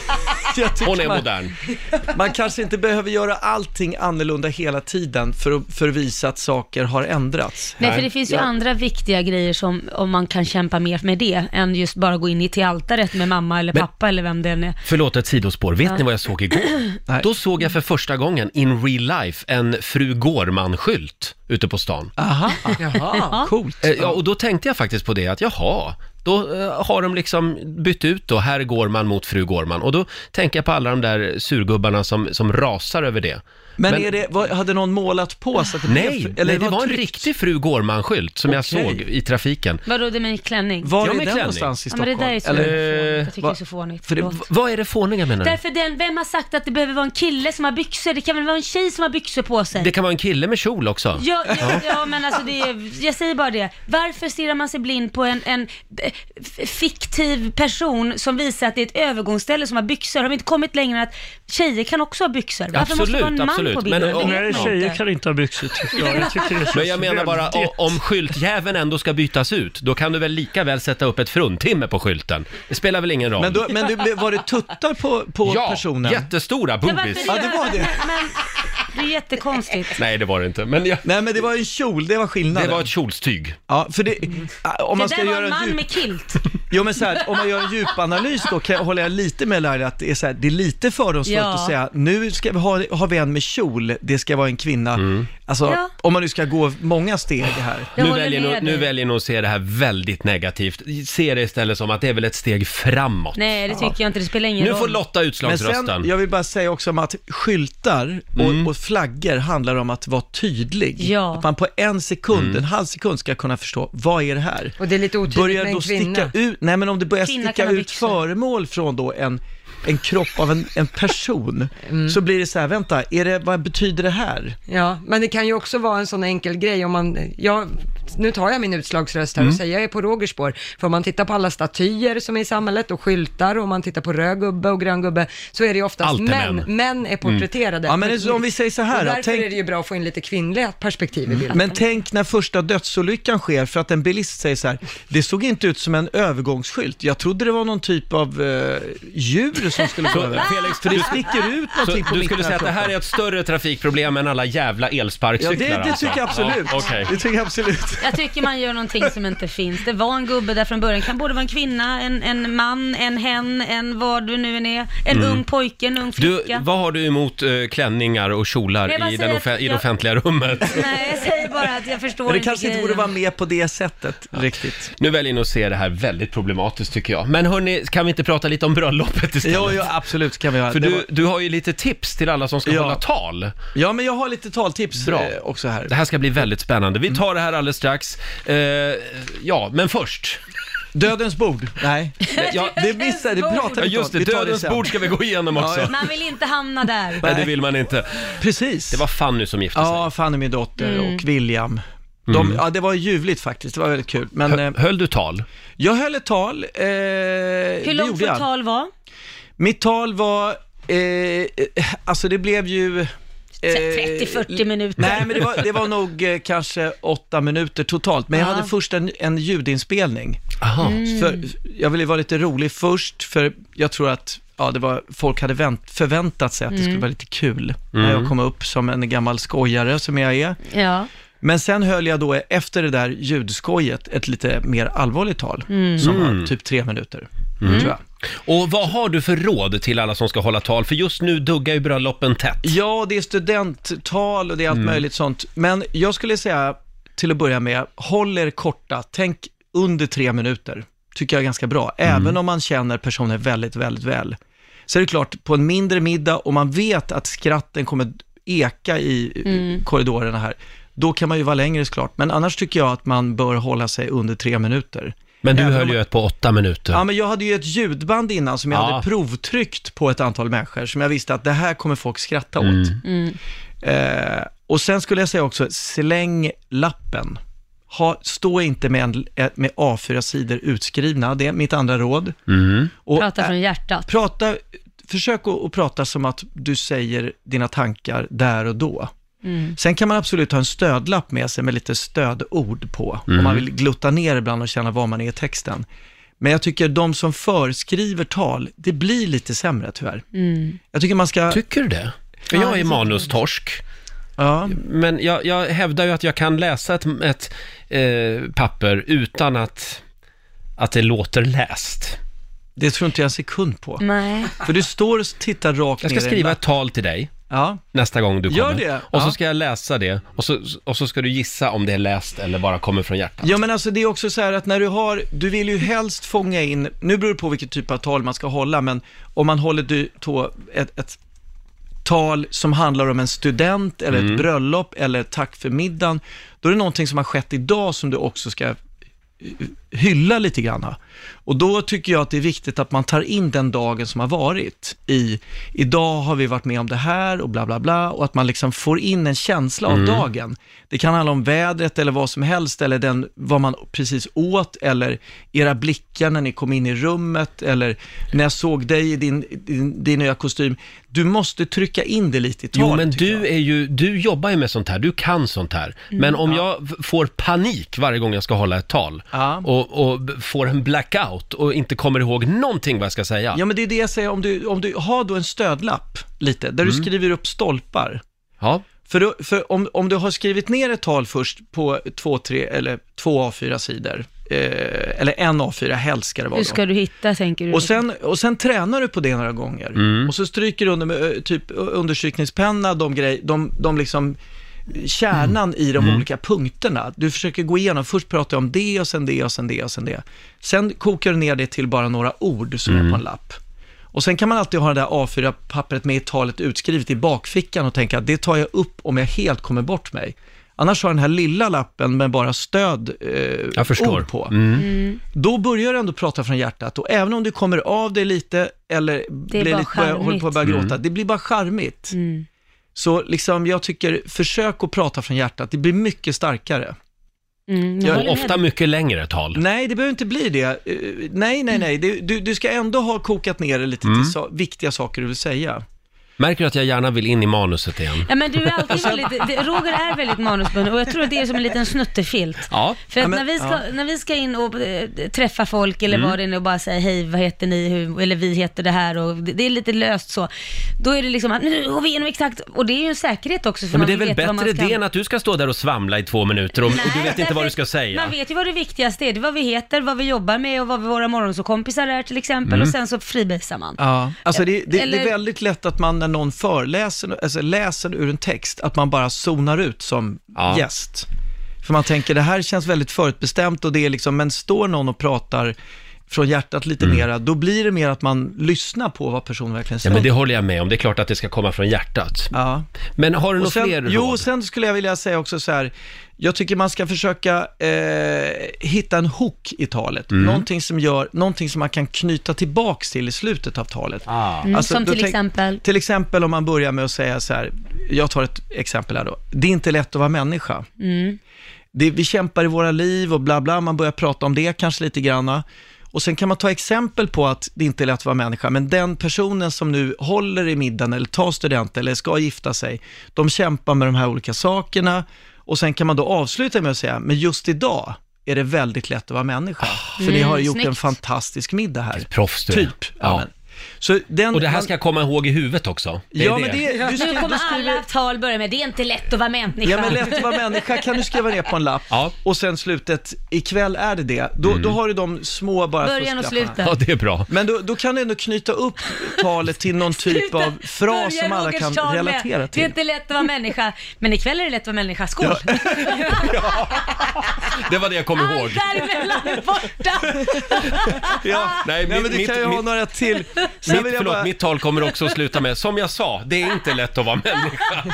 Speaker 1: Hon är modern.
Speaker 7: Man kanske inte behöver göra allting annorlunda hela tiden för att, för att visa att saker har ändrats.
Speaker 2: Nej, för det finns ju
Speaker 7: Ja.
Speaker 2: andra viktiga grejer som om man kan kämpa mer med det, än just bara gå in i till altaret med mamma eller
Speaker 1: Men-
Speaker 2: pappa eller vem det än är.
Speaker 1: Förlåt ett sidospår, vet
Speaker 2: Ja.
Speaker 1: ni vad jag såg igår?
Speaker 2: Nej.
Speaker 1: Då såg jag för första gången in real life en fru Gårman-skylt ute på stan.
Speaker 7: Aha,
Speaker 2: Ja.
Speaker 7: coolt.
Speaker 1: Eh, Ja, och då tänkte jag faktiskt på det att jaha, då eh, har de liksom bytt ut då, herr Gårman mot fru Gårman. Och då tänker jag på alla de där surgubbarna som, som rasar över det.
Speaker 7: Men, är det, vad, hade någon målat på så att det
Speaker 1: nej,
Speaker 7: blev...
Speaker 1: nej, det var en
Speaker 7: tryckt?
Speaker 1: riktig fru Gårman-skylt som jag
Speaker 7: Okej.
Speaker 1: såg i trafiken.
Speaker 2: Vadå, det med en klänning?
Speaker 1: Var Ja, är med den klänning. någonstans i
Speaker 2: Ja, men det där är så
Speaker 1: Stockholm?
Speaker 2: Eller...
Speaker 1: Eller-
Speaker 2: fånigt. Jag tycker det är så fånigt.
Speaker 1: För det,
Speaker 2: Förlåt.
Speaker 1: vad är det fåniga menar du?
Speaker 2: Därför den, vem har sagt att det behöver vara en kille som har byxor? Det kan väl vara en tjej som har byxor på sig?
Speaker 1: Det kan vara en kille med kjol också.
Speaker 2: Ja, ja, ja men alltså det är, jag säger bara det. Varför stirrar man sig blind på en, en eh, f- fiktiv person som visar att det är ett övergångsställe som har byxor? Har vi inte kommit längre än att tjejer kan också ha byxor? Varför måste det vara en man på bilden?
Speaker 1: Men, om,
Speaker 2: Det
Speaker 13: Nej,
Speaker 2: vet man
Speaker 13: tjejer
Speaker 2: inte.
Speaker 13: kan inte ha byxor tycker jag. jag tycker det känns
Speaker 1: men jag menar bara,
Speaker 13: väldigt-
Speaker 1: o- om skyltjäveln ändå ska bytas ut, då kan du väl lika väl sätta upp ett fruntimmer på skylten? Det spelar väl ingen roll?
Speaker 7: Men, då, men du, var det tuttar på, på
Speaker 1: ja,
Speaker 7: personen?
Speaker 1: jättestora
Speaker 2: Ja, varför
Speaker 1: boobies.
Speaker 2: gör- Men, det är jättekonstigt.
Speaker 1: Nej, det var det inte. Men jag...
Speaker 7: Nej, men det var en kjol, det var skillnaden.
Speaker 1: Det var ett kjolstyg.
Speaker 7: Ja, för det... ah, Om man
Speaker 2: det
Speaker 7: ska
Speaker 2: där var
Speaker 7: göra
Speaker 2: en
Speaker 7: en
Speaker 2: man
Speaker 7: djup...
Speaker 2: med kilt.
Speaker 7: Jo, men så här, om man gör en djupanalys då kan jag, håller jag lite med Laila att det är, så här, det är lite fördomsfullt
Speaker 2: Ja.
Speaker 7: att säga nu ska vi ha, har vi en med kjol, det ska vara en kvinna.
Speaker 1: Mm.
Speaker 7: Alltså,
Speaker 2: Ja.
Speaker 7: om man nu ska gå många steg här.
Speaker 1: Nu väljer, nog, nu väljer nog att se det här väldigt negativt. Se det istället som att det är väl ett steg framåt.
Speaker 2: Nej, det tycker jag inte. Det spelar ingen
Speaker 1: Nu
Speaker 2: roll.
Speaker 1: får Lotta
Speaker 7: Men sen,
Speaker 1: utslagsrösten. Mm.
Speaker 7: jag vill bara säga också om att skyltar och, och flaggor handlar om att vara tydlig.
Speaker 2: Ja.
Speaker 7: Att man på en sekund,
Speaker 1: Mm.
Speaker 7: en halv sekund ska kunna förstå, vad är det här?
Speaker 3: Och det är lite otydligt
Speaker 7: Börjar
Speaker 3: med
Speaker 7: då
Speaker 3: en kvinna.
Speaker 7: sticka ut, nej men om det börjar
Speaker 3: Kvinna kan
Speaker 7: sticka
Speaker 3: ha
Speaker 7: ut
Speaker 3: byxor.
Speaker 7: föremål från då en, en kropp av en, en person,
Speaker 3: Mm.
Speaker 7: så blir det så här, vänta, är det, vad betyder det här?
Speaker 3: Ja, men det kan ju också vara en sån enkel grej om man, jag, nu tar jag min utslagsröst här
Speaker 7: Mm.
Speaker 3: och säger jag är på Rogers spår. För om man tittar på alla statyer som är i samhället och skyltar och om man tittar på röd gubbe och grön gubbe så är det ju oftast
Speaker 7: Allt är
Speaker 3: män.
Speaker 7: män.
Speaker 3: män. är porträtterade.
Speaker 7: Mm. Ja, men det- om vi säger så här
Speaker 3: och
Speaker 7: då,
Speaker 3: därför
Speaker 7: tänk- Mm.
Speaker 3: är det ju bra att få in lite kvinnliga perspektiv i bilden.
Speaker 7: Men tänk när första dödsolyckan sker för att en bilist säger så här, det såg inte ut som en övergångsskylt, jag trodde det var någon typ av eh, djur som skulle gå
Speaker 1: Så,
Speaker 7: över.
Speaker 1: Felix,
Speaker 7: för det
Speaker 1: du-
Speaker 7: sticker ut någonting
Speaker 1: Så
Speaker 7: på
Speaker 1: du
Speaker 7: mitten
Speaker 1: skulle säga att det
Speaker 7: av
Speaker 1: här är ett större trafikproblem än alla jävla
Speaker 7: Ja,
Speaker 1: elsparkcyklar
Speaker 7: det, det
Speaker 1: alltså.
Speaker 7: tycker jag absolut.
Speaker 1: Ja, okej.
Speaker 7: Det tycker jag absolut.
Speaker 2: Jag tycker man gör någonting som inte finns. Det var en gubbe där från början. Kan både vara en kvinna, en, en man, en hen, en vad du nu än är. En
Speaker 1: Mm.
Speaker 2: ung pojke, en ung
Speaker 1: Du,
Speaker 2: flicka.
Speaker 1: vad har du emot eh, klänningar och kjolar
Speaker 2: Jag bara
Speaker 1: i, den
Speaker 2: säger att
Speaker 1: offe- i det
Speaker 2: jag-
Speaker 1: offentliga rummet?
Speaker 2: Nej, jag säger bara att jag förstår
Speaker 7: Men det
Speaker 2: inte
Speaker 7: kanske inte
Speaker 2: grejen.
Speaker 7: borde vara med på det sättet riktigt.
Speaker 1: Nu väljer ni att se det här väldigt problematiskt tycker jag. Men hörni, kan vi inte prata lite om bröllopet istället?
Speaker 7: Jo, jo, absolut kan vi göra.
Speaker 1: För
Speaker 7: Det
Speaker 1: du,
Speaker 7: var-
Speaker 1: du har ju lite tips till alla som ska
Speaker 7: Ja.
Speaker 1: hålla tal. Eh,
Speaker 7: Ja, men jag har lite taltips
Speaker 1: Bra.
Speaker 7: eh, också här. Mm.
Speaker 1: Det här ska bli väldigt spännande. Vi tar det här alldeles strax. Eh, ja, men först.
Speaker 7: Dödens bord? Nej.
Speaker 1: Ja,
Speaker 7: det missade, det pratade vi
Speaker 1: Ja, just
Speaker 7: om.
Speaker 1: det.
Speaker 7: Vi tar
Speaker 1: Dödens
Speaker 7: sen.
Speaker 1: bord ska vi gå igenom också.
Speaker 7: Ja,
Speaker 2: Man vill inte hamna där.
Speaker 1: Nej, det vill man inte.
Speaker 7: Precis.
Speaker 1: Det var Fanny som gifte sig.
Speaker 7: Ja, Fanny min dotter
Speaker 2: Mm.
Speaker 7: och William. De,
Speaker 1: Mm.
Speaker 7: Ja, det var ljuvligt faktiskt. Det var väldigt kul. Men, eh,
Speaker 1: Hö- höll du tal?
Speaker 7: Jag höll ett tal. Eh,
Speaker 2: Hur långt får tal vara?
Speaker 7: Mitt tal var, eh, eh, alltså det blev ju... eh,
Speaker 2: 30-40 minuter.
Speaker 7: Nej, men det var, det var nog eh, kanske åtta minuter totalt. Men jag
Speaker 2: Ja.
Speaker 7: hade först en, en ljudinspelning.
Speaker 1: Aha.
Speaker 2: Mm.
Speaker 7: För, jag ville vara lite rolig först, för jag tror att ja, det var, folk hade vänt, förväntat sig att det
Speaker 2: Mm.
Speaker 7: skulle vara lite kul när
Speaker 2: Mm.
Speaker 7: jag kom upp som en gammal skojare som jag är.
Speaker 2: Ja.
Speaker 7: Men sen höll jag då efter det där ljudskojet ett lite mer allvarligt tal,
Speaker 2: Mm.
Speaker 7: som
Speaker 1: Mm.
Speaker 7: var typ tre minuter,
Speaker 1: Mm.
Speaker 7: tror jag.
Speaker 1: Och vad har du för råd till alla som ska hålla tal? För just nu duggar ju bröllopen tätt.
Speaker 7: Ja, det är studenttal och det är allt
Speaker 1: Mm.
Speaker 7: möjligt sånt. Men jag skulle säga, till att börja med, håll er korta. Tänk under tre minuter. Tycker jag är ganska bra.
Speaker 1: Mm.
Speaker 7: Även om man känner personer väldigt, väldigt väl. Så är det klart, på en mindre middag och man vet att skratten kommer eka i eh,
Speaker 6: Mm.
Speaker 7: korridorerna här, då kan man ju vara längre såklart. Men annars tycker jag att man bör hålla sig under tre minuter.
Speaker 1: Men du höll ju ett på åtta minuter.
Speaker 7: Ja, men jag hade ju ett ljudband innan som jag
Speaker 1: Ja.
Speaker 7: hade provtryckt på ett antal människor, som jag visste att det här kommer folk skratta åt.
Speaker 1: Mm.
Speaker 7: Eh, och sen skulle jag säga också, släng lappen. Ha, stå inte med, en, eh, med A4-sidor utskrivna, det är mitt andra råd.
Speaker 1: Mm.
Speaker 7: Och, eh,
Speaker 2: Prata från hjärtat.
Speaker 7: Prata, försök att, att prata som att du säger dina tankar där och då.
Speaker 2: Mm.
Speaker 7: Sen kan man absolut ha en stödlapp med sig med lite stödord på,
Speaker 1: Mm.
Speaker 7: om man vill glutta ner ibland och känna var man är i texten. Men jag tycker de som förskriver tal, det blir lite sämre tyvärr.
Speaker 2: Mm.
Speaker 7: Jag tycker man ska...
Speaker 1: Tycker du det? För jag är manustorsk.
Speaker 7: Ja.
Speaker 1: Men jag, jag hävdar ju att jag kan läsa ett, ett eh, papper utan att, att det låter läst. Mm.
Speaker 7: Det tror inte jag en sekund på.
Speaker 2: Nej.
Speaker 7: För du står och tittar rakt
Speaker 1: Jag
Speaker 7: ner
Speaker 1: ska
Speaker 7: i en
Speaker 1: skriva
Speaker 7: lapp.
Speaker 1: ett tal till dig
Speaker 7: Ja.
Speaker 1: nästa gång du kommer.
Speaker 7: Gör det.
Speaker 1: Och så
Speaker 7: Ja.
Speaker 1: ska jag läsa det och så, och så ska du gissa om det är läst eller bara kommer från hjärtat.
Speaker 7: Ja men alltså det är också så här att när du har, du vill ju helst fånga in, nu beror det på vilket typ av tal man ska hålla, men om man håller du, tå, ett, ett tal som handlar om en student eller
Speaker 1: Mm.
Speaker 7: ett bröllop eller ett tack för middagen, då är det någonting som har skett idag som du också ska eh, hylla lite grann. Och då tycker jag att det är viktigt att man tar in den dagen som har varit i, idag har vi varit med om det här och bla bla bla och att man liksom får in en känsla av
Speaker 1: Mm.
Speaker 7: dagen. Det kan handla om vädret eller vad som helst eller den, vad man precis åt eller era blickar när ni kom in i rummet eller när jag såg dig i din, din, din nya kostym. Du måste trycka in det lite i talet.
Speaker 1: Jo, men du, är ju, du jobbar ju med sånt här, du kan sånt här.
Speaker 7: Mm.
Speaker 1: Men om
Speaker 7: Ja.
Speaker 1: jag v- får panik varje gång jag ska hålla ett tal och, och b- får en blackout och inte kommer ihåg någonting vad jag ska säga.
Speaker 7: Ja, men det är det jag säger, om du, om du har då en stödlapp lite, där
Speaker 1: Mm.
Speaker 7: du skriver upp stolpar.
Speaker 1: Ja.
Speaker 7: För, då, för om, om du har skrivit ner ett tal först på två, tre, eller två A4-sidor, eh, eller en A4, helst ska det vara
Speaker 2: Hur
Speaker 7: då.
Speaker 2: ska du hitta, tänker du?
Speaker 7: Och sen, och sen tränar du på det några gånger. Och så stryker du under med eh, typ understrykningspenna de, grej, de, de liksom kärnan i de olika punkterna. Du försöker gå igenom, först pratar jag om det och sen det och sen det och sen det. Sen kokar du ner det till bara några ord som är på en lapp. Och sen kan man alltid ha det där A4-pappret med i talet utskrivet i bakfickan och tänka att det tar jag upp om jag helt kommer bort mig. Annars har den här lilla lappen med bara stöd eh,
Speaker 1: Jag förstår.
Speaker 7: ord på.
Speaker 1: Mm.
Speaker 7: Då börjar du ändå prata från hjärtat och även om du kommer av dig lite eller
Speaker 2: är
Speaker 7: blir
Speaker 2: bara
Speaker 7: lite, börjar, håller på att börja
Speaker 1: charmigt.
Speaker 7: gråta,
Speaker 1: Mm.
Speaker 7: det blir bara charmigt.
Speaker 2: Mm.
Speaker 7: Så liksom, jag tycker, försök att prata från hjärtat, det blir mycket starkare.
Speaker 2: Mm, jag
Speaker 1: Och
Speaker 2: håller
Speaker 1: ofta
Speaker 2: med.
Speaker 1: mycket längre tal.
Speaker 7: Nej, det behöver inte bli det. Eh, nej, nej, nej, det, du, du ska ändå ha kokat ner det lite
Speaker 1: Mm.
Speaker 7: till sa- viktiga saker du vill säga.
Speaker 1: Märker du att jag gärna vill in i manuset igen?
Speaker 2: Ja, men du är alltid väldigt, det- Roger är väldigt manusbunden och jag tror att det är som en liten snuttefilt.
Speaker 1: Ja.
Speaker 2: För att
Speaker 7: Ja, men-
Speaker 2: när, vi ska,
Speaker 7: ja.
Speaker 2: när vi ska in och eh, träffa folk eller
Speaker 1: Mm.
Speaker 2: vad det är nu och bara säga hej, vad heter ni, hur, eller vi heter det här och det, det är lite löst så. Då är det liksom att nu går vi igenom exakt, och det är ju en säkerhet också för
Speaker 1: Ja, men
Speaker 2: man
Speaker 1: det är väl
Speaker 2: vet vad man
Speaker 1: bättre
Speaker 2: ska-
Speaker 1: det än att du ska stå där och svamla i två minuter och, och du vet inte
Speaker 2: därför
Speaker 1: vad du
Speaker 2: att
Speaker 1: ska säga.
Speaker 2: Man vet ju vad det viktigaste är, det är vad vi heter, vad vi jobbar med och vad vi- våra morgonsåkompisar är till exempel
Speaker 1: Mm.
Speaker 2: och sen så fribasar man.
Speaker 7: Ja. Alltså det, det,
Speaker 2: Eller-
Speaker 7: det är väldigt lätt att man när någon föreläser, alltså läser ur en text, att man bara zonar ut som
Speaker 1: Ja.
Speaker 7: gäst. För man tänker, det här känns väldigt förutbestämt och det är liksom, men står någon och pratar från hjärtat lite mera, då blir det mer att man lyssnar på vad personen verkligen
Speaker 1: Mm. Ja,
Speaker 7: säger.
Speaker 1: men det håller jag med om. Det är klart att det ska komma från hjärtat.
Speaker 7: Ja.
Speaker 1: Men har du
Speaker 7: Och
Speaker 1: några
Speaker 7: sen,
Speaker 1: fler
Speaker 7: jo,
Speaker 1: råd?
Speaker 7: sen skulle jag vilja säga också så här, jag tycker man ska försöka eh, hitta en hook i talet.
Speaker 1: Mm.
Speaker 7: Någonting, som gör, någonting som man kan knyta tillbaks till i slutet av talet.
Speaker 1: Ah.
Speaker 2: Mm,
Speaker 7: Alltså,
Speaker 2: som
Speaker 7: då
Speaker 2: till
Speaker 7: tänk-
Speaker 2: exempel,
Speaker 7: Till exempel om man börjar med att säga så här, jag tar ett exempel här då. Det är inte lätt att vara människa.
Speaker 2: mm,
Speaker 7: Det, vi kämpar i våra liv och bla bla, man börjar prata om det kanske lite granna. Och sen kan man ta exempel på att det inte är lätt att vara människa, men den personen som nu håller i middagen eller tar studenten eller ska gifta sig, de kämpar med de här olika sakerna och sen kan man då avsluta med att säga, men just idag är det väldigt lätt att vara människa. För ni har ju
Speaker 1: Mm,
Speaker 7: gjort en
Speaker 1: snyggt.
Speaker 7: fantastisk middag här.
Speaker 1: Proffs du är.
Speaker 7: Typ.
Speaker 1: Ja.
Speaker 7: Så den,
Speaker 1: Och det här ska jag komma ihåg i huvudet också. är
Speaker 7: Ja, men det är- du
Speaker 2: nu
Speaker 7: skriver-
Speaker 2: kommer
Speaker 7: du skriver-
Speaker 2: alla tal börja med, det är inte lätt att vara människa.
Speaker 7: Ja, men lätt att vara människa kan du skriva ner på en lapp och sen slutet, ikväll är det det. Då, då har du de små bara
Speaker 2: Början och
Speaker 7: fusklapparna.
Speaker 2: slutet. Ja,
Speaker 1: Mm. det är bra.
Speaker 7: Men då, då kan du ändå knyta upp talet till någon typ av fras
Speaker 2: Börja
Speaker 7: som alla
Speaker 2: Rogers
Speaker 7: kan
Speaker 2: tal med,
Speaker 7: relatera
Speaker 2: Det är
Speaker 7: till.
Speaker 2: inte lätt att vara människa, men ikväll är det lätt att vara människa. Skål!
Speaker 1: Det var det jag kom ihåg.
Speaker 2: Däremellan är borta!
Speaker 1: Ja, nej,
Speaker 7: Nej,
Speaker 1: mitt-
Speaker 7: men det
Speaker 1: mitt-
Speaker 7: kan ju ha
Speaker 1: mitt-
Speaker 7: några till. Sen vill
Speaker 1: Mitt,
Speaker 7: jag
Speaker 1: förlåt,
Speaker 7: bara-
Speaker 1: mitt tal kommer också att sluta med, som jag sa, det är inte lätt att vara människa.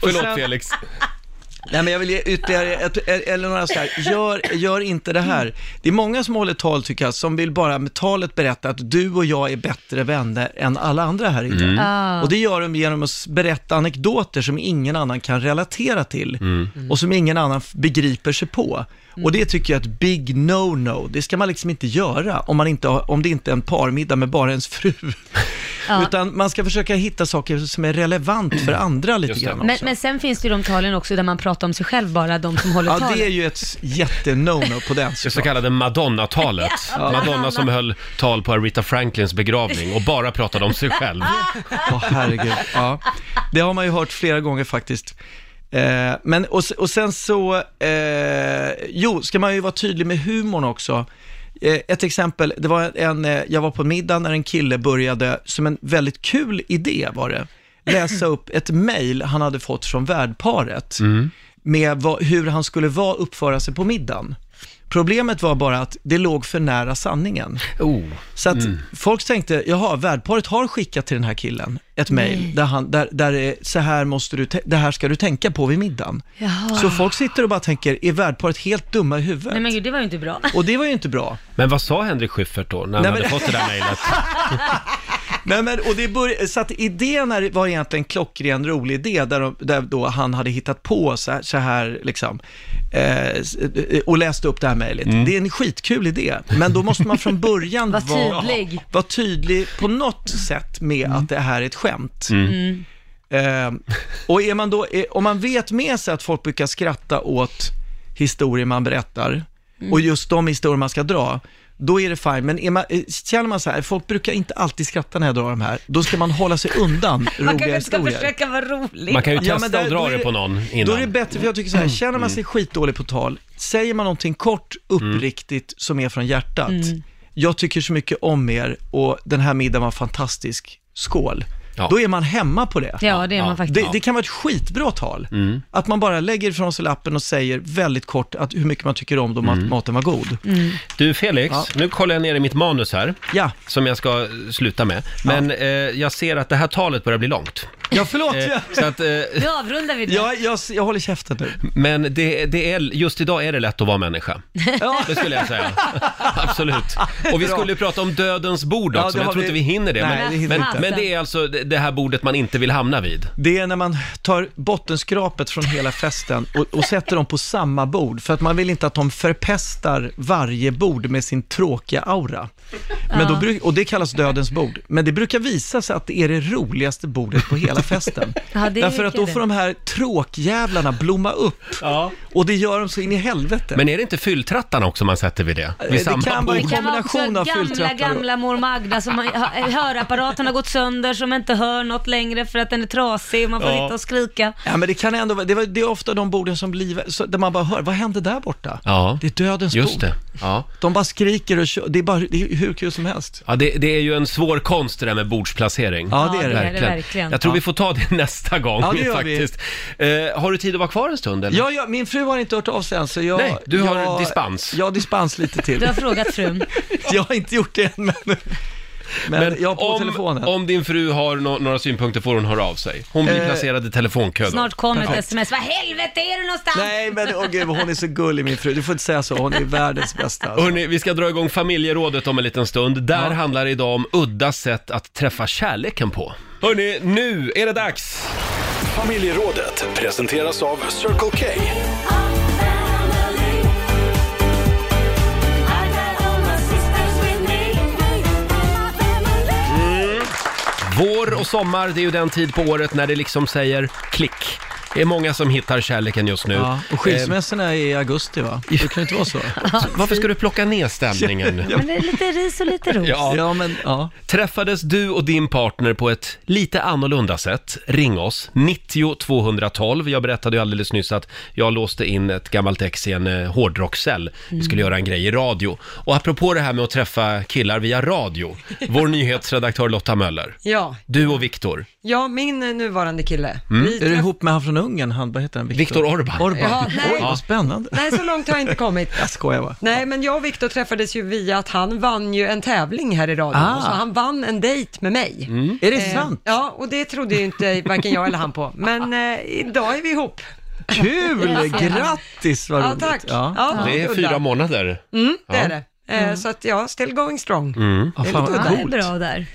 Speaker 1: förlåt
Speaker 7: sen-
Speaker 1: Felix.
Speaker 7: Nej, men jag vill ge ytterligare ett, eller några så här, gör, gör inte det här. Det är många som håller tal tycker jag, som vill bara med talet berätta att du och jag är bättre vänner än alla andra här inne.
Speaker 11: Mm. Ah.
Speaker 7: Och det gör de genom att s- berätta anekdoter som ingen annan kan relatera till och som ingen annan f- begriper sig på. Och det tycker jag är ett big no-no. Det ska man liksom inte göra om, man inte har, om det inte är en parmiddag med bara ens fru. Utan man ska försöka hitta saker som är relevant för andra lite grann
Speaker 2: Men,
Speaker 7: också.
Speaker 2: men sen finns det ju de talen också där man pratar om sig själv bara, de som håller
Speaker 7: Ja,
Speaker 2: tal.
Speaker 7: det är ju ett jätte-no-no på den.
Speaker 1: Det så kallade Madonna-talet.
Speaker 2: Ja, bland
Speaker 1: Madonna som
Speaker 2: annat.
Speaker 1: höll tal på Aretha Franklins begravning och bara pratade om sig själv.
Speaker 7: Ja, herregud. Ja. Det har man ju hört flera gånger faktiskt. Eh, men, och, se- och sen så, eh, jo, ska man ju vara tydlig med humorn också. Eh, ett exempel, det var en, eh, jag var på en middag när en kille började, som en väldigt kul idé var det, läsa upp ett mejl han hade fått från värdparet med vad, hur han skulle vara uppföra sig på middagen. Problemet var bara att det låg för nära sanningen. Så att folk tänkte, jaha, värdparet har skickat till den här killen ett mejl där, han, där, där det är, så här måste du, tä- det här ska du tänka på vid middagen.
Speaker 2: Jaha.
Speaker 7: Så folk sitter och bara tänker, är värdparet helt dumma i huvudet?
Speaker 2: Nej men gud, det var ju inte bra.
Speaker 7: Och det var ju inte bra.
Speaker 1: Men vad sa Henrik Schyffert då, när han
Speaker 7: Nej,
Speaker 1: hade
Speaker 7: men-
Speaker 1: fått det där mejlet?
Speaker 7: Nej, men, och det började, så att idén är- var egentligen en klockren rolig idé, där, de, där då han hade hittat på så här, så här liksom, eh, s- eh, och läste upp det här mejlet.
Speaker 1: Mm.
Speaker 7: Det är en skitkul idé, men då måste man från början
Speaker 2: Var tydlig.
Speaker 7: vara tydlig på något sätt med att det här är ett skämt.
Speaker 2: Mm.
Speaker 7: Ehm, och är man då, är, om man vet med sig att folk brukar skratta åt historier man berättar,
Speaker 11: Mm.
Speaker 7: och just de historier man ska dra, då är det fine. Men är man, eh, känner man så här, folk brukar inte alltid skratta när jag drar de här, då ska man hålla sig undan
Speaker 2: Man kanske
Speaker 7: roliga
Speaker 2: ska
Speaker 7: historier.
Speaker 2: försöka vara rolig.
Speaker 1: Man kan ju
Speaker 7: Ja, men
Speaker 1: testa
Speaker 7: där-
Speaker 1: och dra
Speaker 7: då är
Speaker 1: det
Speaker 7: det-
Speaker 1: på någon innan. Mm,
Speaker 7: Då är det bättre, för jag tycker så här, känner man sig skitdålig på tal, säger man någonting kort,
Speaker 1: Mm.
Speaker 7: uppriktigt, som är från hjärtat,
Speaker 11: Mm.
Speaker 7: jag tycker så mycket om er och den här middagen var fantastisk, skål. Då är man hemma på det.
Speaker 2: Ja, det är man Ja. faktiskt.
Speaker 7: Det, det kan vara ett skitbra tal.
Speaker 1: Mm.
Speaker 7: Att man bara lägger ifrån sig lappen och säger väldigt kort att hur mycket man tycker om dem och
Speaker 1: Mm.
Speaker 7: att maten var god.
Speaker 2: Mm.
Speaker 1: Du Felix,
Speaker 7: Ja.
Speaker 1: nu kollar jag ner i mitt manus här,
Speaker 7: ja.
Speaker 1: som jag ska eh, sluta med. Men eh, jag ser att det här talet börjar bli långt.
Speaker 7: Ja, förlåt.
Speaker 1: Eh, så att, eh,
Speaker 2: Nu avrundar vi det.
Speaker 7: jag, jag, jag håller käften nu.
Speaker 1: men det, det är, just idag är det lätt att vara människa. Det skulle jag säga. Absolut. Och vi
Speaker 7: Bra.
Speaker 1: skulle ju prata om dödens bord
Speaker 7: Ja,
Speaker 1: också,
Speaker 7: det
Speaker 1: men jag
Speaker 7: har
Speaker 1: tror
Speaker 7: vi-
Speaker 1: inte vi hinner det.
Speaker 7: Nej,
Speaker 1: men,
Speaker 7: det hinner vi
Speaker 1: men,
Speaker 7: inte.
Speaker 1: men det är alltså det det här bordet man inte vill hamna vid.
Speaker 7: Det är när man tar bottenskrapet från hela festen och, och sätter dem på samma bord, för att man vill inte att de förpestar varje bord med sin tråkiga aura. Men då
Speaker 11: Ja.
Speaker 7: bruk, och det kallas dödens bord. Men det brukar visa sig att det är det roligaste bordet på hela festen.
Speaker 11: Ja, det är
Speaker 7: Därför att då
Speaker 11: kul.
Speaker 7: får de här tråkjävlarna blomma upp. Och det gör de så in i helvete. Eh,
Speaker 1: Men är det inte fylltrattarna också man sätter vid det? Vid
Speaker 7: Det kan vara en
Speaker 1: bord?
Speaker 2: Det kan vara också
Speaker 7: kombination av
Speaker 2: gamla,
Speaker 7: filtrattar.
Speaker 2: gamla mor Magda som har, hö- hörapparaten har gått sönder, som inte hör något längre för att den är trasig och man får
Speaker 7: Ja.
Speaker 2: sitta och skrika.
Speaker 7: Ja, men det kan ändå vara, det, var, det är ofta de borden som blir, så, där man bara hör, vad hände där borta?
Speaker 1: Ja.
Speaker 7: Det är dödens
Speaker 1: Just
Speaker 7: bord.
Speaker 1: det. Ja.
Speaker 7: De bara skriker och kör, det är, bara, det är hur kul som helst.
Speaker 1: Ja, det, det är ju en svår konst det där med bordsplacering.
Speaker 7: Ja, det är det. Ja, det är det verkligen.
Speaker 1: Jag tror
Speaker 7: Ja.
Speaker 1: vi får ta det nästa gång
Speaker 7: Ja, det gör vi.
Speaker 1: faktiskt. Eh, har du tid att vara kvar en stund eller?
Speaker 7: Ja, ja, min fru har inte hört av sig än, så jag...
Speaker 1: Nej, du har
Speaker 7: jag,
Speaker 1: dispens.
Speaker 7: Jag har dispens lite till.
Speaker 2: Du har frågat frun.
Speaker 7: Jag har inte gjort det än, men... Men, jag har på
Speaker 1: om,
Speaker 7: telefonen.
Speaker 1: Om din fru har no- några synpunkter får hon höra av sig. Hon blir
Speaker 7: Eh,
Speaker 1: placerad i telefonkön.
Speaker 2: Snart kommer ett
Speaker 1: Perfekt.
Speaker 2: sms. Vad helvete är du någonstans?
Speaker 7: Nej, men åh gud, hon är så gullig min fru. Du får inte säga så, hon är världens bästa. alltså.
Speaker 1: Hörrni, vi ska dra igång familjerådet om en liten stund. Där handlar det idag om udda sätt att träffa kärleken på. Hörrni, nu är det dags!
Speaker 5: Familjerådet presenteras av Circle K.
Speaker 1: Vår och sommar, det är ju den tid på året när det liksom säger klick. Det är många som hittar kärleken just nu.
Speaker 7: Ja, och skilsmässorna Eh, är i augusti va? Det kan ju inte vara så.
Speaker 1: Eh, Varför ska du plocka ner stämningen?
Speaker 2: Men det är lite ris och lite ros.
Speaker 1: Ja. Träffades du och din partner på ett lite annorlunda sätt? Ring oss, 90 212. Jag berättade ju alldeles nyss att jag låste in ett gammalt ex i en eh, hårdrockscell. Vi skulle
Speaker 9: Mm.
Speaker 1: göra en grej i radio. Och apropå det här med att träffa killar via radio, vår nyhetsredaktör Lotta Möller.
Speaker 3: Ja,
Speaker 1: Du och Viktor.
Speaker 3: ja min eh, nuvarande kille.
Speaker 1: Mm.
Speaker 3: Vi
Speaker 1: Är du
Speaker 3: träff-
Speaker 7: Ihop med han från Ungern, han, vad heter han?
Speaker 1: Viktor Orban.
Speaker 7: Orban.
Speaker 3: Ja, nej.
Speaker 7: Oj, vad spännande.
Speaker 3: Nej, så långt har jag inte kommit.
Speaker 7: Jag skojar bara.
Speaker 3: Nej, men jag och Viktor träffades ju via att han vann ju en tävling här i radion,
Speaker 7: Ah.
Speaker 3: så han vann en dejt med mig.
Speaker 7: Mm. Är det
Speaker 3: Eh,
Speaker 7: sant?
Speaker 3: Ja, och det trodde ju inte varken jag eller han på, men eh, idag är vi ihop.
Speaker 7: Kul!
Speaker 3: Ja.
Speaker 7: Grattis, vad
Speaker 3: Ja,
Speaker 7: roligt.
Speaker 3: tack. Ja,
Speaker 1: det är
Speaker 3: udda.
Speaker 1: fyra månader.
Speaker 3: Mm, det
Speaker 1: Ja.
Speaker 3: är det. Eh, Så att ja, still going strong.
Speaker 1: Mm.
Speaker 3: Det är lite
Speaker 2: Ja, det är
Speaker 3: udda.
Speaker 2: bra där.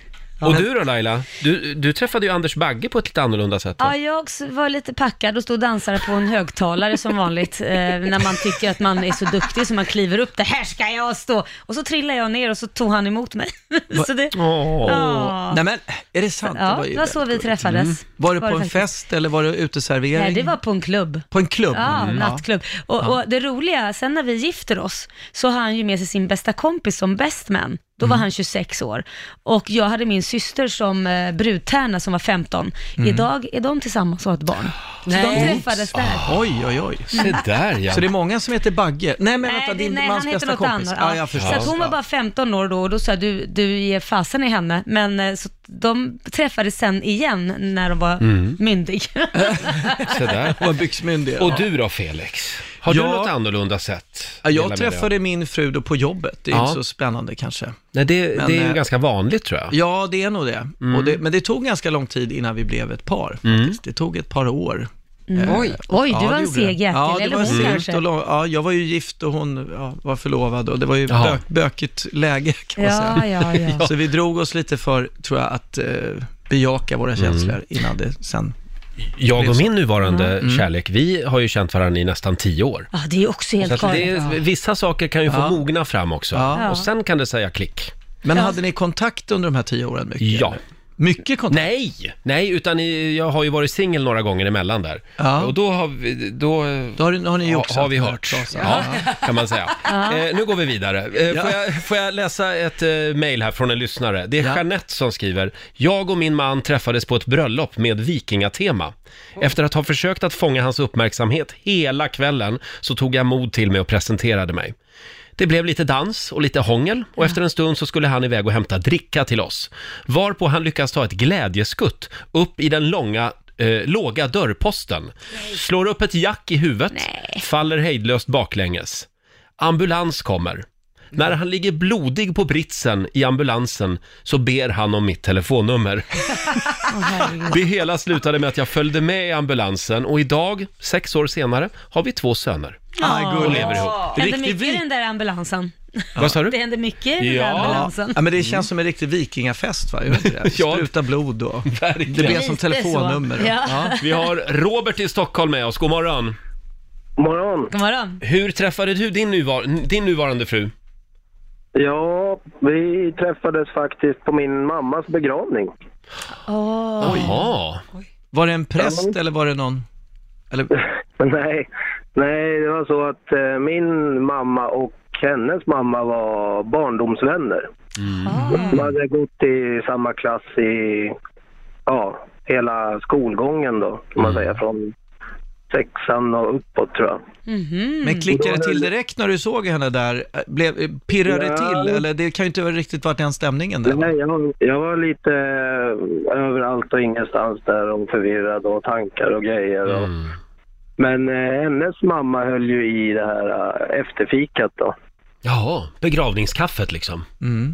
Speaker 1: Och du då Laila? Du, du träffade ju Anders Bagge på ett lite annorlunda sätt. va?
Speaker 2: Ja, jag också var lite packad och stod och dansade på en högtalare som vanligt. Eh, när man tycker att man är så duktig så man kliver upp det här ska jag stå. Och så trillar jag ner och så tog han emot mig. så det, Ja.
Speaker 7: Nej men, är det sant?
Speaker 2: Ja,
Speaker 7: ju
Speaker 2: det var så vi
Speaker 7: väldigt gulligt.
Speaker 2: träffades.
Speaker 1: Mm.
Speaker 7: Var det på
Speaker 2: Var det
Speaker 7: en
Speaker 2: faktiskt.
Speaker 7: fest eller var det uteservering?
Speaker 2: Nej, det var på en klubb.
Speaker 7: På en klubb?
Speaker 2: Ja,
Speaker 7: Mm.
Speaker 2: nattklubb. Och, och det roliga, sen när vi gifter oss så har han ju med sig sin bästa kompis som best man. Då var
Speaker 7: Mm.
Speaker 2: han 26 år. Och jag hade min syster som eh, brudtärna som var 15.
Speaker 7: Mm.
Speaker 2: Idag är de tillsammans och har ett barn. Så de träffades där.
Speaker 7: Oj, oj, oj.
Speaker 2: Se där, ja.
Speaker 7: Så det är många som heter Bagge. Nej, men
Speaker 2: Nej,
Speaker 7: vänta,
Speaker 2: det,
Speaker 7: din
Speaker 2: nej
Speaker 7: mans
Speaker 2: han heter
Speaker 7: bästa
Speaker 2: något
Speaker 7: kompis.
Speaker 2: annat.
Speaker 7: Ja,
Speaker 2: Ja.
Speaker 7: jag
Speaker 2: så
Speaker 7: förstår.
Speaker 2: att hon var bara 15 år då och då sa jag, du, du ger fasen i henne. Men eh, så de träffades sen igen när de var
Speaker 1: Mm.
Speaker 2: myndig.
Speaker 1: Så där.
Speaker 7: Hon var byxmyndig.
Speaker 1: Och du då Felix? Har
Speaker 7: Ja.
Speaker 1: du något annorlunda sätt?
Speaker 7: Ja,
Speaker 1: Dela
Speaker 7: jag
Speaker 1: med dig av?
Speaker 7: träffade min fru då på jobbet. Det är
Speaker 1: Ja.
Speaker 7: inte så spännande kanske.
Speaker 1: Nej, det,
Speaker 7: Men,
Speaker 1: det är ju
Speaker 7: eh,
Speaker 1: ganska vanligt tror jag.
Speaker 7: Ja, det är nog det.
Speaker 1: Mm.
Speaker 7: Och det. Men det tog ganska lång tid innan vi blev ett par. faktiskt. Det tog ett par år.
Speaker 2: Mm. Oj. Oj, du var
Speaker 7: det
Speaker 2: en
Speaker 7: gjorde
Speaker 2: seg
Speaker 7: det.
Speaker 2: jäkel,
Speaker 7: ja, det
Speaker 2: eller
Speaker 7: var
Speaker 2: hon
Speaker 7: segt
Speaker 2: kanske?
Speaker 7: Och lång, ja, jag var ju gift och hon ja, var förlovad och det var ju
Speaker 1: Jaha.
Speaker 7: bök, bökigt läge kan man
Speaker 2: Ja,
Speaker 7: säga.
Speaker 2: ja, ja.
Speaker 7: Så vi drog oss lite för, tror jag, att eh, bejaka våra känslor innan det sen
Speaker 1: Jag
Speaker 7: blev
Speaker 1: och
Speaker 7: så.
Speaker 1: min nuvarande
Speaker 7: Mm.
Speaker 1: kärlek, vi har ju känt varandra i nästan tio år.
Speaker 2: Ja, det är också
Speaker 1: Så
Speaker 2: helt
Speaker 1: att
Speaker 2: galet.
Speaker 1: det är, vissa saker kan ju få
Speaker 7: Ja.
Speaker 1: mogna fram också.
Speaker 7: Ja.
Speaker 1: Och sen kan det säga klick.
Speaker 7: Men hade ni kontakt under de här tio åren mycket?
Speaker 1: Ja.
Speaker 7: Mycket kontakt?
Speaker 1: Nej, nej, utan i- jag har ju varit singel några gånger emellan där. Och då har vi, då,
Speaker 7: då har, har ni ju också
Speaker 1: har vi
Speaker 7: haft
Speaker 1: hört.
Speaker 7: hört av er.
Speaker 1: Ja, kan man säga.
Speaker 7: Ja.
Speaker 1: Eh, nu går vi vidare. Eh,
Speaker 7: Ja.
Speaker 1: får, jag, får jag läsa ett eh, mejl här från en lyssnare? Det är Jeanette som skriver. Jag och min man träffades på ett bröllop med vikingatema. Efter att ha försökt att fånga hans uppmärksamhet hela kvällen så tog jag mod till mig och presenterade mig. Det blev lite dans och lite hångel och efter en stund så skulle han iväg och hämta dricka till oss. Varpå han lyckas ta ett glädjeskutt upp i den långa Eh, låga dörrposten. Slår upp ett jack i huvudet, faller hejdlöst baklänges. Ambulans kommer. När han ligger blodig på britsen i ambulansen så ber han om mitt telefonnummer.
Speaker 2: Åh, herregud.
Speaker 1: Det hela slutade med att jag följde med i ambulansen och idag, sex år senare, har vi två söner.
Speaker 2: Ja.
Speaker 1: och lever ihop.
Speaker 2: Det hände mycket i den där ambulansen.
Speaker 1: Vad sa du?
Speaker 2: Det hände mycket i den där
Speaker 7: Ja.
Speaker 2: ambulansen.
Speaker 7: ja, men det känns som en riktig vikingafest va? Gör det inte det? Spruta blod och det blev som
Speaker 2: Lite så.
Speaker 7: telefonnummer.
Speaker 2: Ja.
Speaker 1: Vi har Robert i Stockholm med oss. God morgon.
Speaker 14: morgon.
Speaker 2: God morgon.
Speaker 1: Hur träffade du din, nuvar- din nuvarande fru?
Speaker 14: Ja, vi träffades faktiskt på min mammas begravning.
Speaker 2: Åh.
Speaker 1: Jaha.
Speaker 7: Var det en präst eller var det någon? Eller...
Speaker 14: nej, nej, det var så att eh, min mamma och hennes mamma var barndomsvänner. De hade gått i samma klass i ja, hela skolgången då, kan man säga, från sexan och uppåt tror jag.
Speaker 2: Mhm.
Speaker 7: Men klickade det till direkt när du såg henne där? Blev, pirrade det
Speaker 14: Ja.
Speaker 7: till? Eller det kan ju inte vara riktigt varit den stämningen där. va?
Speaker 14: Nej, jag, jag var lite eh, överallt och ingenstans där och förvirrad och tankar och grejer. Och, Men eh, hennes mamma höll ju i det här eh, efterfikat då.
Speaker 1: Jaha, begravningskaffet liksom.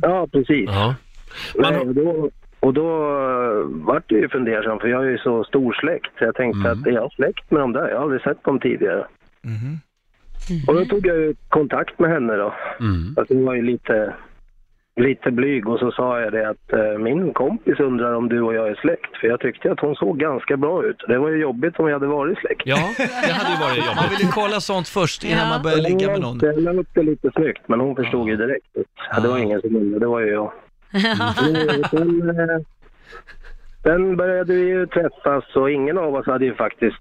Speaker 14: Ja, precis.
Speaker 1: Ja.
Speaker 14: Nej, och då, och då eh, vart jag ju fundersam för jag är ju så stor släkt. Så jag tänkte att är jag släkt med dem där? Jag har aldrig sett dem tidigare. Och då tog jag ju kontakt med henne då.
Speaker 10: Mm.
Speaker 14: Fast hon var ju lite, lite blyg och så sa jag det att eh, min kompis undrar om du och jag är släkt. För jag tyckte att hon såg ganska bra ut. Det var ju jobbigt om jag hade varit släkt.
Speaker 1: Ja, det hade ju varit
Speaker 7: Man
Speaker 1: jobbigt.
Speaker 7: vill ju kolla sånt först innan man börjar ligga med någon.
Speaker 14: Jag la upp det lite snyggt, men hon förstod ju
Speaker 11: Mm,
Speaker 14: direkt. att, Ja, det var ingen som undrade, det var ju jag. Men Sen, eh,
Speaker 11: Sen började vi ju träffas och ingen av oss hade ju faktiskt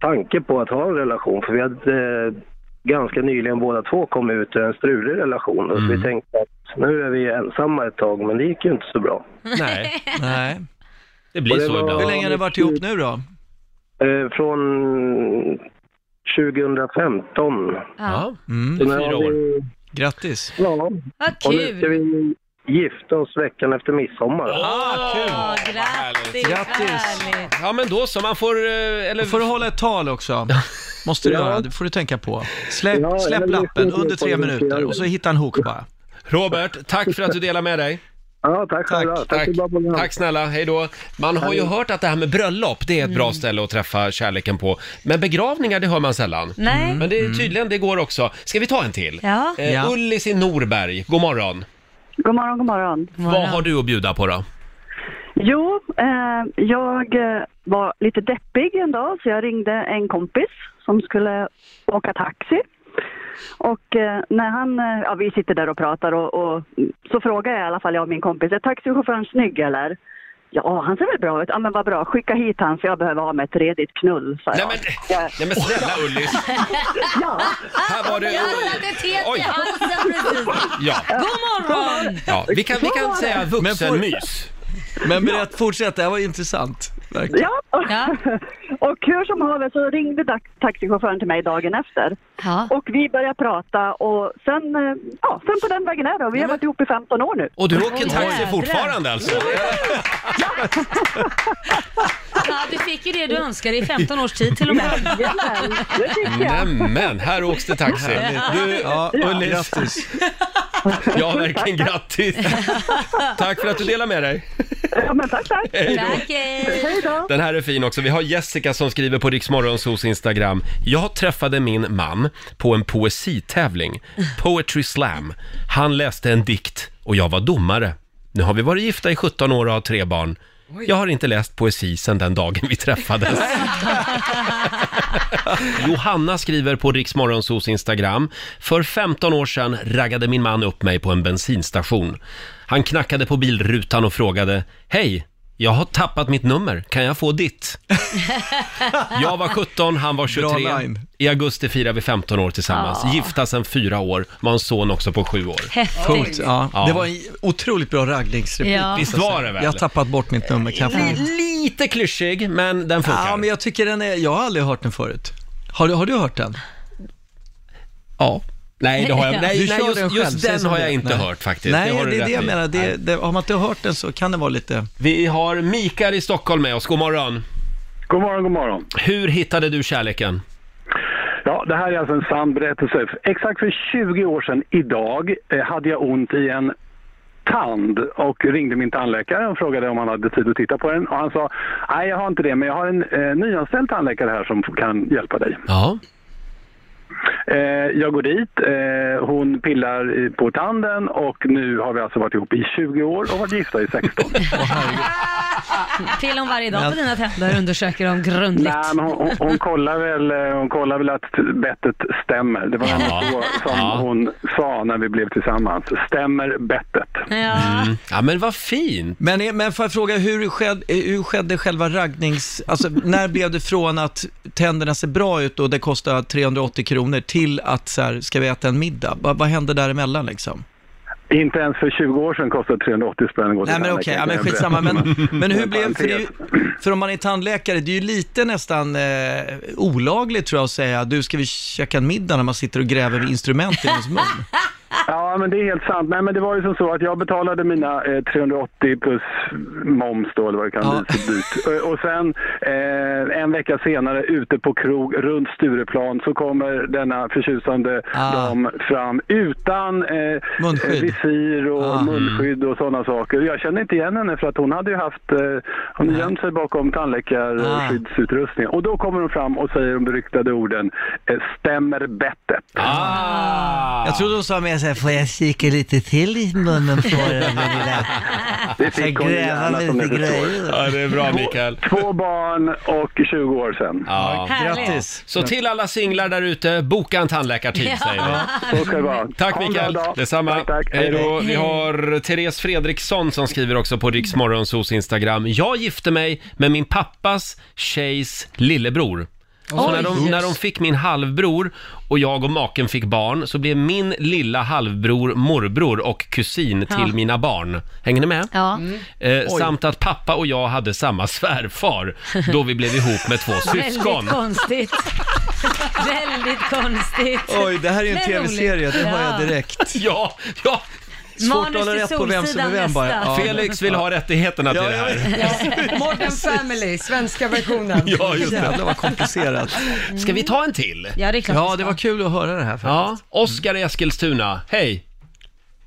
Speaker 11: tanke på att ha en relation. För vi hade eh, ganska nyligen båda två kommit ut ur en strulig relation. Och
Speaker 2: Mm.
Speaker 11: Så vi tänkte att nu är vi ensamma ett tag, men det gick ju inte så bra.
Speaker 7: Nej. Nej.
Speaker 1: Det
Speaker 11: blir så ibland.
Speaker 7: Hur länge har ni varit ihop nu då?
Speaker 11: Eh, från 2015.
Speaker 2: Ah, Ja.
Speaker 7: Mm.
Speaker 11: Så nu har vi-
Speaker 7: Grattis.
Speaker 11: Ja.
Speaker 2: Vad
Speaker 11: Och nu ska
Speaker 2: kul!
Speaker 11: vi gifta oss veckan efter midsommar.
Speaker 1: Ah, kul!
Speaker 2: Ja, grattis!
Speaker 7: Grattis.
Speaker 2: härligt.
Speaker 1: Ja, men då så. Man får... eh, Eller...
Speaker 7: Får du hålla ett tal också? Måste du
Speaker 11: Ja.
Speaker 7: göra, det får du tänka på. Släpp,
Speaker 11: Ja,
Speaker 7: släpp
Speaker 11: jag vet
Speaker 7: lappen
Speaker 11: inte
Speaker 7: under tre
Speaker 11: vad jag ska
Speaker 7: minuter
Speaker 11: göra.
Speaker 7: och så hitta en hook bara.
Speaker 1: Robert, tack för att du delar med dig.
Speaker 11: Ja, tack själva. Tack, för bra program.
Speaker 1: Tack snälla, hej då. Man har ju hört att det här med bröllop, det är ett
Speaker 2: Mm.
Speaker 1: bra ställe att träffa kärleken på. Men begravningar, det hör man sällan. Mm.
Speaker 2: Nej.
Speaker 1: Men det är tydligen, det går också. Ska vi ta en till?
Speaker 2: Ja.
Speaker 1: Eh,
Speaker 7: Mm. Ja.
Speaker 1: Ullis i Norberg, god morgon.
Speaker 10: God morgon, god morgon.
Speaker 1: Vad har du att bjuda på då?
Speaker 10: Jo, eh, jag eh, var lite deppig en dag så jag ringde en kompis som skulle åka taxi. Och eh, när han, eh, ja vi sitter där och pratar och, och så frågar jag i alla fall jag och min kompis, är taxichauffören snygg eller? Ja, han ser väl bra ut. Ja men vad bra, skicka hit han för jag behöver ha mig ett redigt knull, sa
Speaker 1: Nej
Speaker 10: jag.
Speaker 1: men,
Speaker 10: Ja.
Speaker 1: nej, men snälla Ullis.
Speaker 10: Ja,
Speaker 1: Här var det...
Speaker 2: Jag har ett tet
Speaker 1: Oj.
Speaker 2: i halsen precis.
Speaker 1: Ja,
Speaker 2: God morgon!
Speaker 1: ja. Vi, kan, vi kan säga vuxenmys.
Speaker 7: Men berätt, fortsätt, det här var intressant. Verkligen.
Speaker 10: ja. Och,
Speaker 2: Ja.
Speaker 10: och hur som haver så ringde dax- taxichauffören till mig dagen efter.
Speaker 2: Ja.
Speaker 10: Och vi började prata och sen, eh, ja, sen på den vägen är det. Och Vi har varit ihop i 15 år nu.
Speaker 1: Och du åker
Speaker 2: Oj,
Speaker 1: taxi
Speaker 2: jädrar.
Speaker 1: fortfarande alltså?
Speaker 2: Ja, du fick ju det du önskade i 15 års tid till och med.
Speaker 10: Jajamän, det tycker jag.
Speaker 1: Nämen, här åks det taxi. Du,
Speaker 7: Ja,
Speaker 1: Ullis,
Speaker 7: grattis.
Speaker 1: ja verkligen grattis. Tack för att du delar med dig.
Speaker 10: Ja, men tack, tack.
Speaker 2: Tack, hej.
Speaker 10: Hej då.
Speaker 1: Den här är fin också. Vi har Jessica som skriver på Riksmorgonsos Instagram. Jag träffade min man på en poesitävling, Poetry Slam. Han läste en dikt och jag var domare. Nu har vi varit gifta i 17 år och har tre barn. Jag har inte läst poesi sedan den dagen vi träffades. Johanna skriver på Riksmorgonsos Instagram. För 15 år sedan raggade min man upp mig på en bensinstation. Han knackade på bilrutan och frågade Hej, jag har tappat mitt nummer. Kan jag få ditt? jag var 17, han var
Speaker 7: Bra
Speaker 1: 23.
Speaker 7: line.
Speaker 1: I augusti firar vi 15 år tillsammans. Gifta sedan fyra år. Man har en son också på sju år.
Speaker 7: Coolt.
Speaker 2: Häftigt.
Speaker 1: Ja.
Speaker 7: Ja. Det var en otroligt bra raggningsreplik.
Speaker 2: Ja.
Speaker 1: Visst var det väl?
Speaker 7: Jag har tappat bort mitt nummer, kan jag få
Speaker 1: Li- Lite klyschig, men den funkar.
Speaker 7: Ja, men jag tycker den är, jag har aldrig hört den förut. Har du, har du hört den?
Speaker 1: Ja. Nej, det har jag. Nej,
Speaker 7: Du
Speaker 1: nej
Speaker 7: kör
Speaker 1: just,
Speaker 7: den själv,
Speaker 1: just
Speaker 7: säg
Speaker 1: den
Speaker 7: som
Speaker 1: har
Speaker 7: det
Speaker 1: jag
Speaker 7: är.
Speaker 1: inte
Speaker 7: Nej.
Speaker 1: hört faktiskt.
Speaker 7: Nej,
Speaker 1: har
Speaker 7: det,
Speaker 1: du
Speaker 7: är
Speaker 1: rätt
Speaker 7: det jag
Speaker 1: i.
Speaker 7: menar. Det, det, har man inte hört den så kan det vara lite...
Speaker 1: Vi har Mikael i Stockholm med oss. God morgon.
Speaker 11: God morgon, god morgon.
Speaker 1: Hur hittade du kärleken?
Speaker 11: Ja, det här är alltså en sann berättelse. Exakt för 20 år sedan idag eh, hade jag ont i en tand och ringde min tandläkare och frågade om han hade tid att titta på den. Och han sa, nej jag har inte det, men jag har en eh, nyanställd tandläkare här som kan hjälpa dig.
Speaker 1: Ja.
Speaker 11: Eh, jag går dit, eh, hon pillar eh, på tanden och nu har vi alltså varit ihop i 20 år och varit gifta i 16.
Speaker 2: Pillar hon varje dag på dina tänder undersöker dem grundligt.
Speaker 11: Nej, men hon, hon, hon, kollar väl, eh, hon kollar väl att bettet stämmer. Det var ändå
Speaker 1: Ja.
Speaker 11: så som
Speaker 1: Ja.
Speaker 11: hon sa när vi blev tillsammans. Stämmer bettet?
Speaker 2: Ja.
Speaker 1: Ja, men vad fint.
Speaker 7: Men, är- men får jag fråga, hur skedde, hur skedde själva raggnings... Alltså, när blev det från att tänderna ser bra ut och det kostar 380 kronor till att så här, ska vi äta en middag? Vad- vad hände däremellan liksom?
Speaker 11: Inte ens för 20 år sedan kostade 380 spänn att gå till
Speaker 7: Nej men
Speaker 11: tandläkaren,
Speaker 7: okej,
Speaker 11: kan
Speaker 7: ja, men
Speaker 11: jag berätta.
Speaker 7: skitsamma. Men, men hur blev... För, det är ju,
Speaker 11: parentes.
Speaker 7: för om man är tandläkare, det är ju lite nästan eh, olagligt tror jag att säga, du ska vi käka en middag när man sitter och gräver vid instrument i ens mun?
Speaker 11: Ja, men det är helt sant. Nej, men det var ju som så att jag betalade mina eh, 380 plus moms då, eller vad det kan
Speaker 7: Ja.
Speaker 11: bli så dyrt. Och- Och sen eh, en vecka senare ute på krog runt Stureplan så kommer denna förtjusande
Speaker 7: Ah.
Speaker 11: dam fram utan eh,
Speaker 7: Munskydd.
Speaker 11: eh, visir och
Speaker 7: Ah.
Speaker 11: munskydd och sådana saker. Jag kände inte igen henne för att hon hade ju haft, eh, hon hade gömt sig bakom
Speaker 7: Ah.
Speaker 11: tandläkarskyddsutrustningen. Och då kommer hon fram och säger de beryktade orden, eh, stämmer bettet.
Speaker 1: Ah.
Speaker 7: Jag trodde hon sa mer så här,
Speaker 11: eh, får jag kika lite till i munnen på den min lilla...
Speaker 9: Det
Speaker 11: Ska
Speaker 9: fick hon ju
Speaker 11: gräva
Speaker 9: gärna
Speaker 11: med
Speaker 9: som ni
Speaker 11: lite
Speaker 9: förstår.
Speaker 11: grejer.
Speaker 1: Ja, det är bra,
Speaker 9: Två-
Speaker 1: Mikael.
Speaker 9: Två barn och 20 år sedan.
Speaker 1: Ja. Så till alla singlar där ute, boka en tandläkartid
Speaker 9: Ja.
Speaker 1: säger vi.
Speaker 9: Ja, så ska det vara.
Speaker 1: Tack
Speaker 9: Ha en
Speaker 1: Mikael,
Speaker 9: bra dag.
Speaker 1: detsamma.
Speaker 9: Tack, tack.
Speaker 1: Hej då.
Speaker 9: Hej.
Speaker 1: Vi har Therese Fredriksson som skriver också på Riksmorgonsos Instagram. Jag gifte mig med min pappas tjejs lillebror. Så
Speaker 4: Oj.
Speaker 1: när de, när de fick min halvbror och jag och maken fick barn så blev min lilla halvbror morbror och kusin till
Speaker 2: Ja.
Speaker 1: mina barn. Hänger ni med?
Speaker 2: Ja.
Speaker 1: Eh,
Speaker 2: Oj.
Speaker 1: samt att pappa och jag hade samma svärfar då vi blev ihop med två syskon.
Speaker 2: Väldigt konstigt. Väldigt konstigt.
Speaker 7: Oj, det här är ju en
Speaker 2: Men roligt.
Speaker 7: tv-serie, det har jag
Speaker 2: Ja.
Speaker 7: direkt.
Speaker 1: Ja, ja.
Speaker 7: Svårt att
Speaker 2: Manus
Speaker 7: hålla
Speaker 2: till
Speaker 7: rätt på vem som är
Speaker 2: Solsidan
Speaker 7: vem bara.
Speaker 2: nästa.
Speaker 7: Ja.
Speaker 1: Felix vill ha rättigheterna till det här.
Speaker 3: Modern Family, svenska versionen.
Speaker 1: Ja, just det.
Speaker 7: Jävlar vad komplicerat.
Speaker 1: Ska vi ta en till?
Speaker 2: Ja, det är klart
Speaker 7: Ja, det var kul att höra det här.
Speaker 1: Ja, Oskar i Eskilstuna, hej!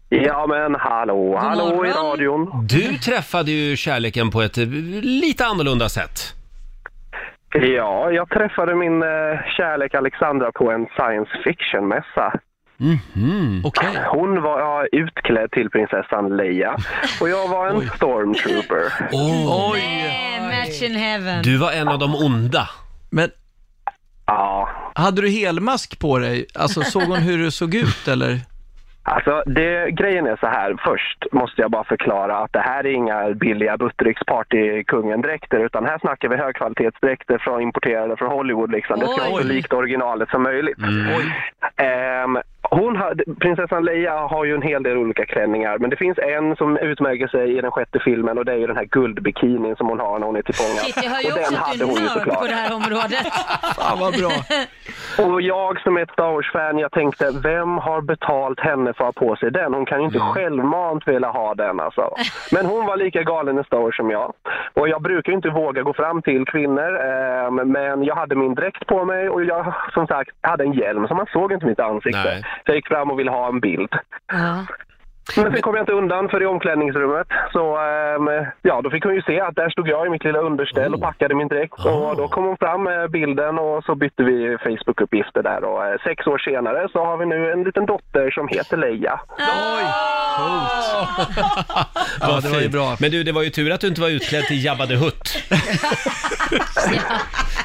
Speaker 9: Ja men hallå, hallå i radion.
Speaker 1: Du träffade ju kärleken på ett eh, lite annorlunda sätt.
Speaker 9: Ja, jag träffade min eh, kärlek Alexandra på en science fiction-mässa.
Speaker 1: Mhm.
Speaker 9: Hon var ja, utklädd till prinsessan Leia och jag var en stormtrooper.
Speaker 2: Nej, match in heaven.
Speaker 1: Du var en av de onda.
Speaker 7: Men...
Speaker 9: Ja.
Speaker 7: Hade du helmask på dig? Alltså, såg hon hur du såg ut eller?
Speaker 9: Alltså, det, grejen är så här. Först måste jag bara förklara att det här är inga billiga Buttericks partykungen-dräkter utan här snackar vi högkvalitetsdräkter från importerade från Hollywood. Liksom. Det ska
Speaker 12: Oj.
Speaker 9: vara så likt originalet som möjligt.
Speaker 15: Mm.
Speaker 9: Ehm, hon har, prinsessan Leia har ju en hel del olika klänningar men det finns en som utmärker sig i den sjätte filmen och det är ju den här guldbikinin som hon har när hon är tillfångad.
Speaker 2: Shit, jag hör ju
Speaker 9: Och den
Speaker 2: också att
Speaker 9: hade
Speaker 2: du
Speaker 9: hon
Speaker 2: är
Speaker 9: ju
Speaker 2: nörd
Speaker 9: såklart.
Speaker 2: på det här området. Alltså,
Speaker 7: Fan vad bra.
Speaker 9: Och jag som är ett Star Wars-fan, jag tänkte vem har betalt henne för att ha på sig den? Hon kan ju
Speaker 7: Mm.
Speaker 9: inte självmant vilja ha den alltså. Men hon var lika galen i Star Wars som jag. Och jag brukar ju inte våga gå fram till kvinnor, eh, men jag hade min dräkt på mig och jag som sagt hade en hjälm så man såg inte mitt ansikte.
Speaker 1: Nej.
Speaker 9: Så jag gick fram och ville ha en bild.
Speaker 2: Ja.
Speaker 9: Men sen kom jag inte undan för i omklädningsrummet. Så ehm, ja, då fick hon ju se att där stod jag i mitt lilla underställ och packade min dräkt. Och då kom hon fram med bilden och så bytte vi Facebook-uppgifter där. Och eh, sex år senare så har vi nu en liten dotter som heter Leia.
Speaker 1: Vad
Speaker 7: det var ju
Speaker 1: fint.
Speaker 7: bra.
Speaker 1: Men du, det var ju tur att du inte var utklädd till Jabba the Hutt.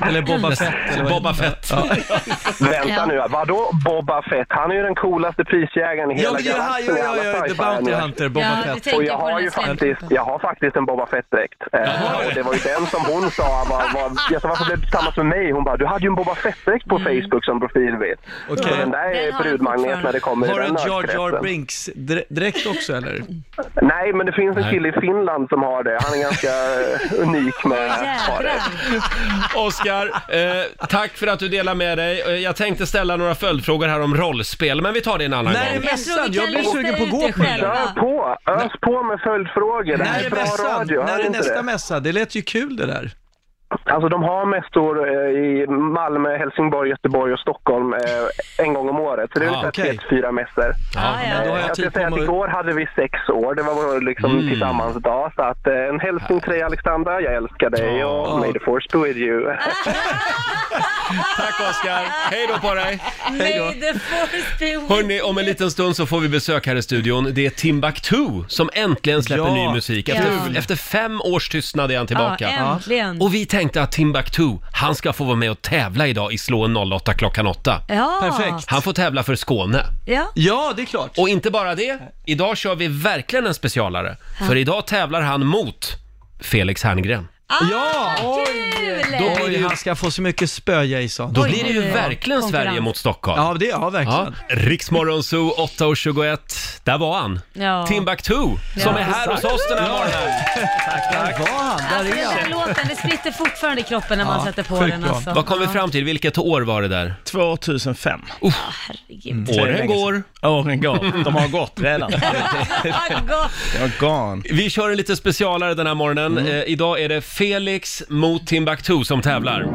Speaker 7: Eller Boba Fett. Eller vad-
Speaker 1: Boba Fett.
Speaker 9: Vänta nu, vadå Boba Fett? Han är ju den coolaste prisjägaren i
Speaker 7: Ja,
Speaker 9: hela
Speaker 7: men det är han,
Speaker 9: galaxen.
Speaker 7: ja,
Speaker 9: i
Speaker 7: ja,
Speaker 9: alla
Speaker 7: ja, The
Speaker 9: sci-fi-anime.
Speaker 7: Bounty Hunter, Boba Ja, Fett. det tänker
Speaker 9: Och
Speaker 7: jag
Speaker 9: jag
Speaker 7: på
Speaker 9: har
Speaker 7: den
Speaker 9: ju
Speaker 7: här släppen.
Speaker 9: faktiskt, jag har faktiskt en Boba Fett-dräkt. Eh, och det var ju den som hon sa, var, var, jag sa varför blev du tillsammans med mig? Hon bara, du hade ju en Boba Fett-dräkt
Speaker 7: Mm.
Speaker 9: på Facebook som profilbild.
Speaker 7: Okej.
Speaker 9: Så den där är brudmagnet när det kommer i
Speaker 7: Har du
Speaker 9: den
Speaker 7: en Jar Jar
Speaker 9: nördkretsen.
Speaker 7: Brinks dr- dräkt också eller?
Speaker 9: Nej, men det finns en
Speaker 7: Nej.
Speaker 9: kille i Finland som har det. Han är ganska eh, unik med paret.
Speaker 1: Oskar, eh, tack för att du delar med dig. Eh, Jag tänkte ställa några följdfrågor här om rollspel, men vi tar det en annan
Speaker 7: När är
Speaker 1: gång.
Speaker 7: mässan? Jag blir
Speaker 2: lista
Speaker 7: sugen på att
Speaker 2: ut
Speaker 7: gå
Speaker 2: det
Speaker 7: på den.
Speaker 2: själva. Kör
Speaker 7: där.
Speaker 9: på! Ös på med följdfrågor. Det
Speaker 7: När
Speaker 9: här
Speaker 7: är
Speaker 9: är bra
Speaker 7: mässan?
Speaker 9: radio.
Speaker 7: När
Speaker 9: Hör
Speaker 7: är
Speaker 9: inte
Speaker 7: nästa
Speaker 9: det?
Speaker 7: mässa? Det lät ju kul det där.
Speaker 9: Alltså de har mässor eh, i Malmö, Helsingborg, Göteborg och Stockholm eh, en gång om året. Så det är
Speaker 7: Ah,
Speaker 9: ungefär
Speaker 7: okej.
Speaker 9: tre till fyra mässor.
Speaker 7: Ja, men då har jag
Speaker 9: jag
Speaker 7: tid
Speaker 9: ska
Speaker 7: på
Speaker 9: säga att
Speaker 7: mig.
Speaker 9: igår hade vi sex år. Det var vår liksom
Speaker 7: Mm.
Speaker 9: tillsammans dag. Så att eh, en hälsning till dig Alexandra. Jag älskar dig och may the force be with you.
Speaker 1: Tack Oskar, hej då på dig!
Speaker 2: May the force be with
Speaker 1: Hörni, om en liten stund så får vi besök här i studion. Det är Timbuktu som äntligen släpper
Speaker 2: Ja,
Speaker 1: ny musik. Efter,
Speaker 2: kul.
Speaker 1: efter fem års tystnad är han tillbaka.
Speaker 2: Ja, äntligen.
Speaker 1: Och vi tänkte att Timbuktu, han ska få vara med och tävla idag i Slå en 08 klockan 8.
Speaker 2: Ja. Perfekt.
Speaker 1: Han får tävla för Skåne.
Speaker 2: Ja.
Speaker 7: Ja, det är klart.
Speaker 1: Och inte bara det, idag kör vi verkligen en specialare.
Speaker 2: Ja.
Speaker 1: För idag tävlar han mot Felix Herngren.
Speaker 3: Ah,
Speaker 7: ja!
Speaker 2: Kul!
Speaker 7: Då blir det ju... Han ska få så mycket spö, Jason.
Speaker 1: Då blir det ju verkligen Sverige mot Stockholm.
Speaker 7: Ja, det, ja verkligen.
Speaker 1: Riksmorgon Zoo 8.21, där var han.
Speaker 2: Ja.
Speaker 1: Timbuktu, som är här hos oss den här morgonen.
Speaker 7: Tack, tack. Där var han,
Speaker 2: Alltså den här låten, det spritter fortfarande i kroppen när man sätter på den alltså.
Speaker 1: Vad kom vi fram till? Vilket år var det där?
Speaker 15: 2005.
Speaker 2: Herregud.
Speaker 15: Det är
Speaker 1: Åren
Speaker 15: länge
Speaker 1: går.
Speaker 15: sedan. Åren går. De har gått redan. Organ.
Speaker 1: Vi kör en lite specialare den här morgonen.
Speaker 15: Mm.
Speaker 1: Eh, idag är det Felix mot Timbuktu som tävlar.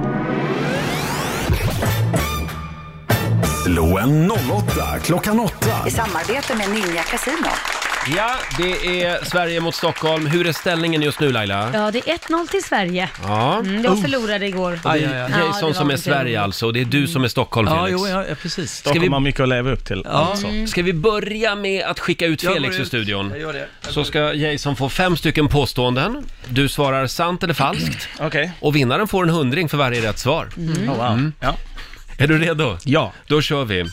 Speaker 5: Slå en 08 klockan 8.
Speaker 14: I samarbete med Ninja Casino.
Speaker 1: Ja, det är Sverige mot Stockholm. Hur är ställningen just nu Laila?
Speaker 2: Ja, det är 1-0 till Sverige.
Speaker 1: Ja.
Speaker 2: Mm, jag
Speaker 1: Oh.
Speaker 2: förlorade igår.
Speaker 1: Och det är
Speaker 2: Ja, det
Speaker 1: Jason
Speaker 2: var
Speaker 1: som är
Speaker 2: inte-
Speaker 1: Sverige alltså, och det är du som är Stockholm
Speaker 15: Ja,
Speaker 1: Felix.
Speaker 15: jo, ja, ja, precis.
Speaker 1: Ska vi,
Speaker 15: Stockholm har mycket att leva upp till.
Speaker 1: ja.
Speaker 15: Alltså.
Speaker 1: ska vi börja med att skicka ut
Speaker 15: Jag går
Speaker 1: Felix ur
Speaker 15: ut.
Speaker 1: studion?
Speaker 15: Jag gör det.
Speaker 1: Så ska Jason få fem stycken påståenden. Du svarar sant eller falskt.
Speaker 15: Okej.
Speaker 1: Och vinnaren får en hundring för varje rätt svar.
Speaker 15: Mm. Oh, wow. Ja.
Speaker 1: Är du redo? Ja. Då kör vi.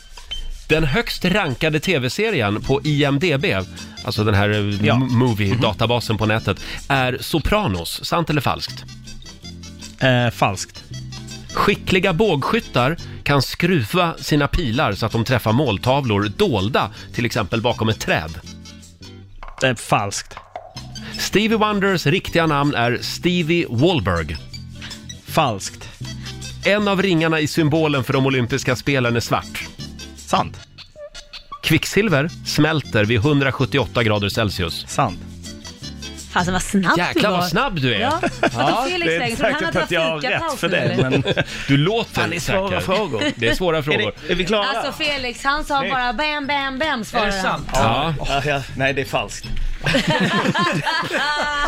Speaker 1: Den högst rankade tv-serien på IMDB, alltså den här eh, m- movie-databasen på nätet, är Sopranos. Sant eller falskt? Eh, falskt. Skickliga bågskyttar kan skruva sina pilar så att de träffar måltavlor dolda, till exempel bakom ett träd. Det är falskt. Stevie Wonders riktiga namn är Stevie Wahlberg. Falskt. En av ringarna i symbolen för de olympiska spelen är svart. Sant. Kvicksilver smälter vid 178 grader Celsius. Sant.
Speaker 2: Fasen vad snabb du
Speaker 1: Jäklar
Speaker 2: var.
Speaker 1: vad snabb du är!
Speaker 2: Ja, ja Felix det är säkert han har
Speaker 1: du låter
Speaker 15: Fan, det är svåra
Speaker 1: säker.
Speaker 15: frågor.
Speaker 1: Det är svåra frågor.
Speaker 15: Är det- är vi klara?
Speaker 2: Alltså Felix, han sa
Speaker 15: Nej.
Speaker 2: bara bam, bam, bam
Speaker 15: Är
Speaker 2: svarade
Speaker 15: det sant?
Speaker 1: Ja.
Speaker 15: Ja, ja. Nej, det är falskt.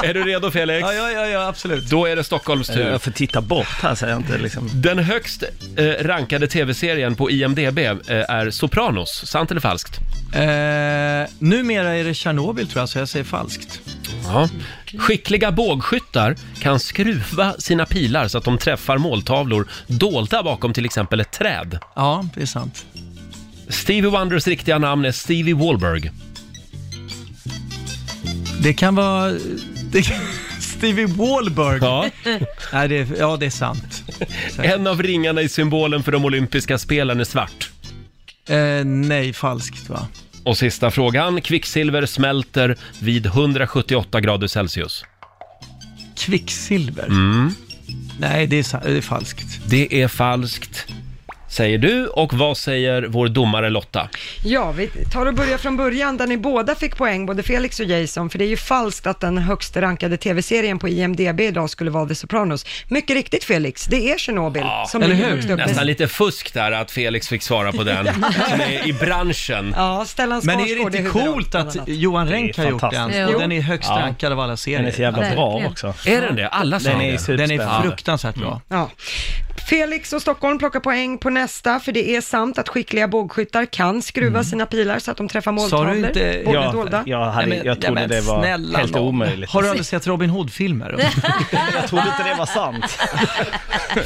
Speaker 1: Är du redo Felix?
Speaker 15: Ja, ja, ja, ja absolut.
Speaker 1: Då är det Stockholms tur.
Speaker 15: Jag får titta bort här så jag inte liksom...
Speaker 1: Den högst eh, rankade tv-serien på IMDB eh, är Sopranos. Sant eller falskt?
Speaker 7: Eh, numera är det Tjernobyl tror jag, så jag säger falskt.
Speaker 1: Ja. Skickliga bågskyttar kan skruva sina pilar så att de träffar måltavlor dolda bakom till exempel ett träd.
Speaker 7: Ja, det är sant.
Speaker 1: Stevie Wonders riktiga namn är Stevie Wahlberg.
Speaker 7: Det kan vara... eh, Det kan... Stevie Wahlberg.
Speaker 1: Ja.
Speaker 7: Nej, det är, ja, det är sant.
Speaker 1: En av ringarna i symbolen för de olympiska spelen är svart.
Speaker 7: Eh, nej, falskt va?
Speaker 1: Och sista frågan. Kvicksilver smälter vid 178 grader Celsius.
Speaker 7: Kvicksilver.
Speaker 1: Mm.
Speaker 7: Nej, det är, sa- det är falskt.
Speaker 1: Det är falskt, säger du. Och vad säger vår domare Lotta?
Speaker 3: Ja, vi tar och börjar från början där ni båda fick poäng, både Felix och Jason, för det är ju falskt att den högst rankade tv-serien på IMDB idag skulle vara The Sopranos. Mycket riktigt Felix, det är Tjernobyl som ligger högst upp.
Speaker 1: Nästan lite fusk där att Felix fick svara på den, som är i branschen.
Speaker 3: Ja, Stellan
Speaker 7: Men är det
Speaker 3: Skarsgård
Speaker 7: inte
Speaker 3: huvudrollen,
Speaker 7: coolt
Speaker 3: bland
Speaker 7: att
Speaker 3: annat.
Speaker 7: Johan Renck
Speaker 15: Det är
Speaker 7: har gjort den?
Speaker 15: fantastiskt.
Speaker 7: Och
Speaker 15: Jo.
Speaker 7: den är högst
Speaker 15: Ja.
Speaker 7: rankad av alla serier.
Speaker 15: Den är så jävla bra Verkligen. också.
Speaker 1: Är den det? Alla sa
Speaker 7: den
Speaker 1: det.
Speaker 7: är, den är
Speaker 1: superspännande.
Speaker 7: fruktansvärt bra.
Speaker 3: Ja. Felix och Stockholm plockar poäng på nästa, för det är sant att skickliga bågskyttar kan skruva sina pilar så att de träffar måltavlor.
Speaker 7: Mm. Sa du inte...
Speaker 3: både dolda.
Speaker 15: hade- jag trodde det var helt
Speaker 7: nån.
Speaker 15: omöjligt.
Speaker 7: Har du aldrig sett Robin Hood-filmer?
Speaker 15: Jag trodde inte det var sant.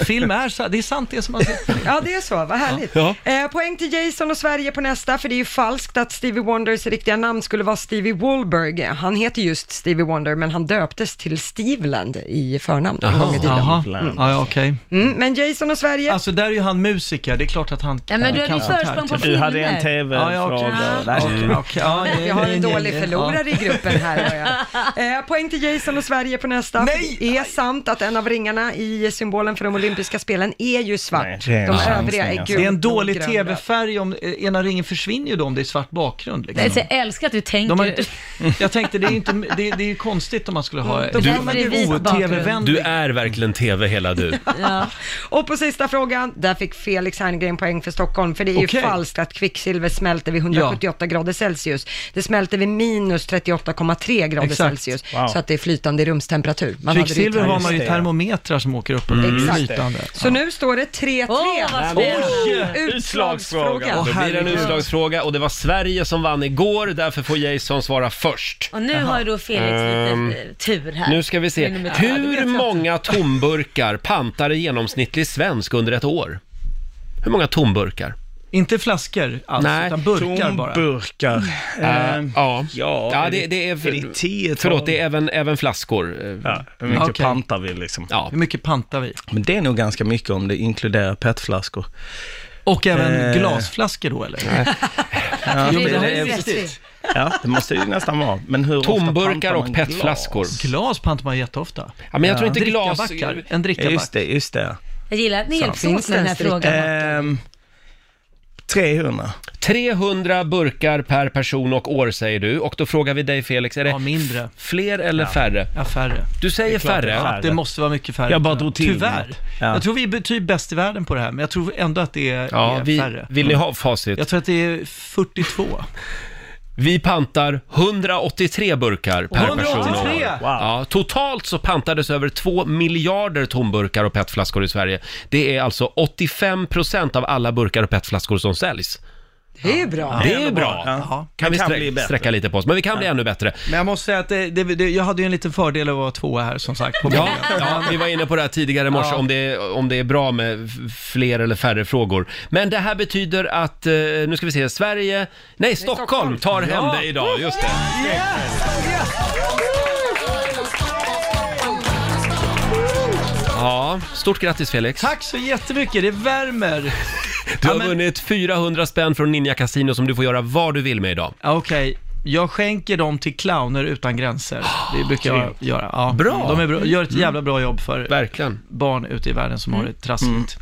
Speaker 7: Film är så, det är sant det som man ser.
Speaker 3: Ja, det är så. Vad härligt.
Speaker 7: Ja.
Speaker 3: Eh, poäng till Jason och Sverige på nästa, för det är ju falskt att Stevie Wonders riktiga namn skulle vara Stevie Wahlberg. Han heter just Stevie Wonder, men han döptes till Steveland i förnamn en gång i tiden.
Speaker 7: Jaha. Ja, ja, okej.
Speaker 3: Mm, men Jason och Sverige...
Speaker 7: Alltså där är ju han musiker, det är klart att han
Speaker 3: Ja, men du hade
Speaker 7: han kan
Speaker 3: ju
Speaker 7: sånt här,
Speaker 3: försprång på
Speaker 7: typ.
Speaker 3: Du hade en filmer. TV-fråga.
Speaker 7: Ja, ja,
Speaker 3: Ja.
Speaker 7: okej. Nej. Okej, okej. Ja, nej,
Speaker 3: Vi har
Speaker 7: nej,
Speaker 3: en
Speaker 7: nej,
Speaker 3: dålig
Speaker 7: nej.
Speaker 3: förlorare
Speaker 7: Ja.
Speaker 3: i gruppen här. hör jag. Eh, poäng till Jason och Sverige på nästa. Nej! Det är sant att en av ringarna i symbolen för de olympiska spelen är ju svart.
Speaker 7: det är en
Speaker 3: de
Speaker 7: chansning,
Speaker 3: övriga är
Speaker 7: alltså.
Speaker 3: gult
Speaker 7: Det är en
Speaker 3: och
Speaker 7: dålig
Speaker 3: grönt.
Speaker 7: tv-färg, om, eh, ena ringen försvinner ju då om det är svart bakgrund. Liksom.
Speaker 2: Jag älskar att du tänker.
Speaker 7: De har inte, jag tänkte, det är ju inte, det, det är ju konstigt om man skulle ha...
Speaker 3: då får man Mm. ju vit bakgrund.
Speaker 1: Du är verkligen tv hela du.
Speaker 3: Och på sista frågan, där fick Felix Herngren poäng för Stockholm, för det är ju
Speaker 1: Okej.
Speaker 3: falskt att kvicksilver smälter vid 178 grader Celsius. Det smälter vid minus 38,3 grader
Speaker 7: Exakt.
Speaker 3: Celsius,
Speaker 7: Wow.
Speaker 3: så att det är flytande rumstemperatur. Man hade det i
Speaker 7: Kvicksilver har man ju
Speaker 3: termos.
Speaker 7: termometrar som åker upp och
Speaker 3: Mm.
Speaker 7: ner.
Speaker 3: Exakt.
Speaker 7: Flytande.
Speaker 3: Så nu står det 3-3.
Speaker 2: vad spännande.
Speaker 3: Oj! Utslagsfråga.
Speaker 1: Då blir det en utslagsfråga och det var Sverige som vann igår, därför får Jason svara först.
Speaker 2: Och nu har ju då Felix
Speaker 1: Ehm,
Speaker 2: lite eh, tur här.
Speaker 1: Nu ska vi se.
Speaker 2: Det är nummer två.
Speaker 1: Hur många tomburkar pantar en genomsnittlig svensk under ett år? Hur många tomburkar?
Speaker 7: Inte flaskor alls, utan burkar bara. Mm.
Speaker 15: Tomburkar.
Speaker 1: Eh,
Speaker 15: Ehm,
Speaker 1: ja.
Speaker 15: ja,
Speaker 1: ja,
Speaker 15: är
Speaker 1: det,
Speaker 15: det-
Speaker 1: det är...
Speaker 15: är det tiotal?
Speaker 1: Förlåt, det är även, även flaskor.
Speaker 15: Ja, hur mycket
Speaker 1: Okej.
Speaker 15: pantar vi liksom?
Speaker 1: Ja.
Speaker 7: Hur mycket pantar vi?
Speaker 15: Men det är nog ganska mycket om det inkluderar petflaskor.
Speaker 7: Och även
Speaker 15: Eh,
Speaker 7: glasflaskor då eller?
Speaker 15: Nej. Ja,
Speaker 7: Jo,
Speaker 15: det,
Speaker 7: men
Speaker 15: det,
Speaker 7: är viktigt.
Speaker 15: ja, det måste ju nästan vara. Men hur ofta pantar
Speaker 1: Tomburkar
Speaker 15: man
Speaker 1: och petflaskor.
Speaker 15: glas?
Speaker 7: Glas pantar man jätteofta.
Speaker 1: Ja, men jag tror inte glas...
Speaker 7: Drickabackar. En
Speaker 15: Ja,
Speaker 7: drickaback.
Speaker 15: Just det, just det.
Speaker 2: Jag gillar att ni hjälps åt med den här frågan.
Speaker 15: Ehm, 300.
Speaker 1: 300 burkar per person och år säger du och då frågar vi dig Felix, är det f- fler eller färre?
Speaker 7: Ja, färre.
Speaker 1: Du
Speaker 7: Det
Speaker 1: säger
Speaker 7: är klart
Speaker 1: färre.
Speaker 7: det är färre. Det måste vara mycket färre.
Speaker 15: Jag bara drog till
Speaker 7: Tyvärr.
Speaker 15: något. Ja.
Speaker 7: Jag tror vi är betydligt bäst i världen på det här, men jag tror ändå att det är,
Speaker 1: Ja,
Speaker 7: är
Speaker 1: vi,
Speaker 7: färre.
Speaker 1: vill ni ha facit?
Speaker 7: Jag tror att det är 42.
Speaker 1: Vi pantar 183 burkar per
Speaker 7: 183?
Speaker 1: person och år. Ja, totalt så pantades över 2 miljarder tomburkar och petflaskor i Sverige. Det är alltså 85% av alla burkar och petflaskor som säljs.
Speaker 3: Det är bra.
Speaker 1: Det är bra. Kan
Speaker 7: Det
Speaker 1: vi
Speaker 7: kan
Speaker 1: strä-
Speaker 7: bli bättre.
Speaker 1: sträcka lite på oss, men vi kan bli ännu bättre.
Speaker 7: Men jag måste säga att det, det, det, jag hade ju en liten fördel av att vara tvåa här som sagt. På
Speaker 1: Ja,
Speaker 7: början.
Speaker 1: ja, vi var inne på det här tidigare i morse,
Speaker 7: Ja.
Speaker 1: om, det är, om det är bra med f- fler eller färre frågor. Men det här betyder att, eh, nu ska vi se, Sverige, nej Stockholm tar hem
Speaker 5: Ja.
Speaker 1: det idag, just det. Ja, stort grattis Felix.
Speaker 7: Tack så jättemycket, det värmer.
Speaker 1: Du har vunnit 400 spänn från Ninja Casino som du får göra vad du vill med idag.
Speaker 7: Ja, Okej, jag skänker dem till clowner utan gränser. Det brukar jag
Speaker 1: Grymt.
Speaker 7: göra. Ja.
Speaker 1: Bra.
Speaker 7: De är bra. gör ett
Speaker 1: Mm.
Speaker 7: jävla bra jobb för barn ute i världen som
Speaker 15: Mm.
Speaker 7: har det trassligt.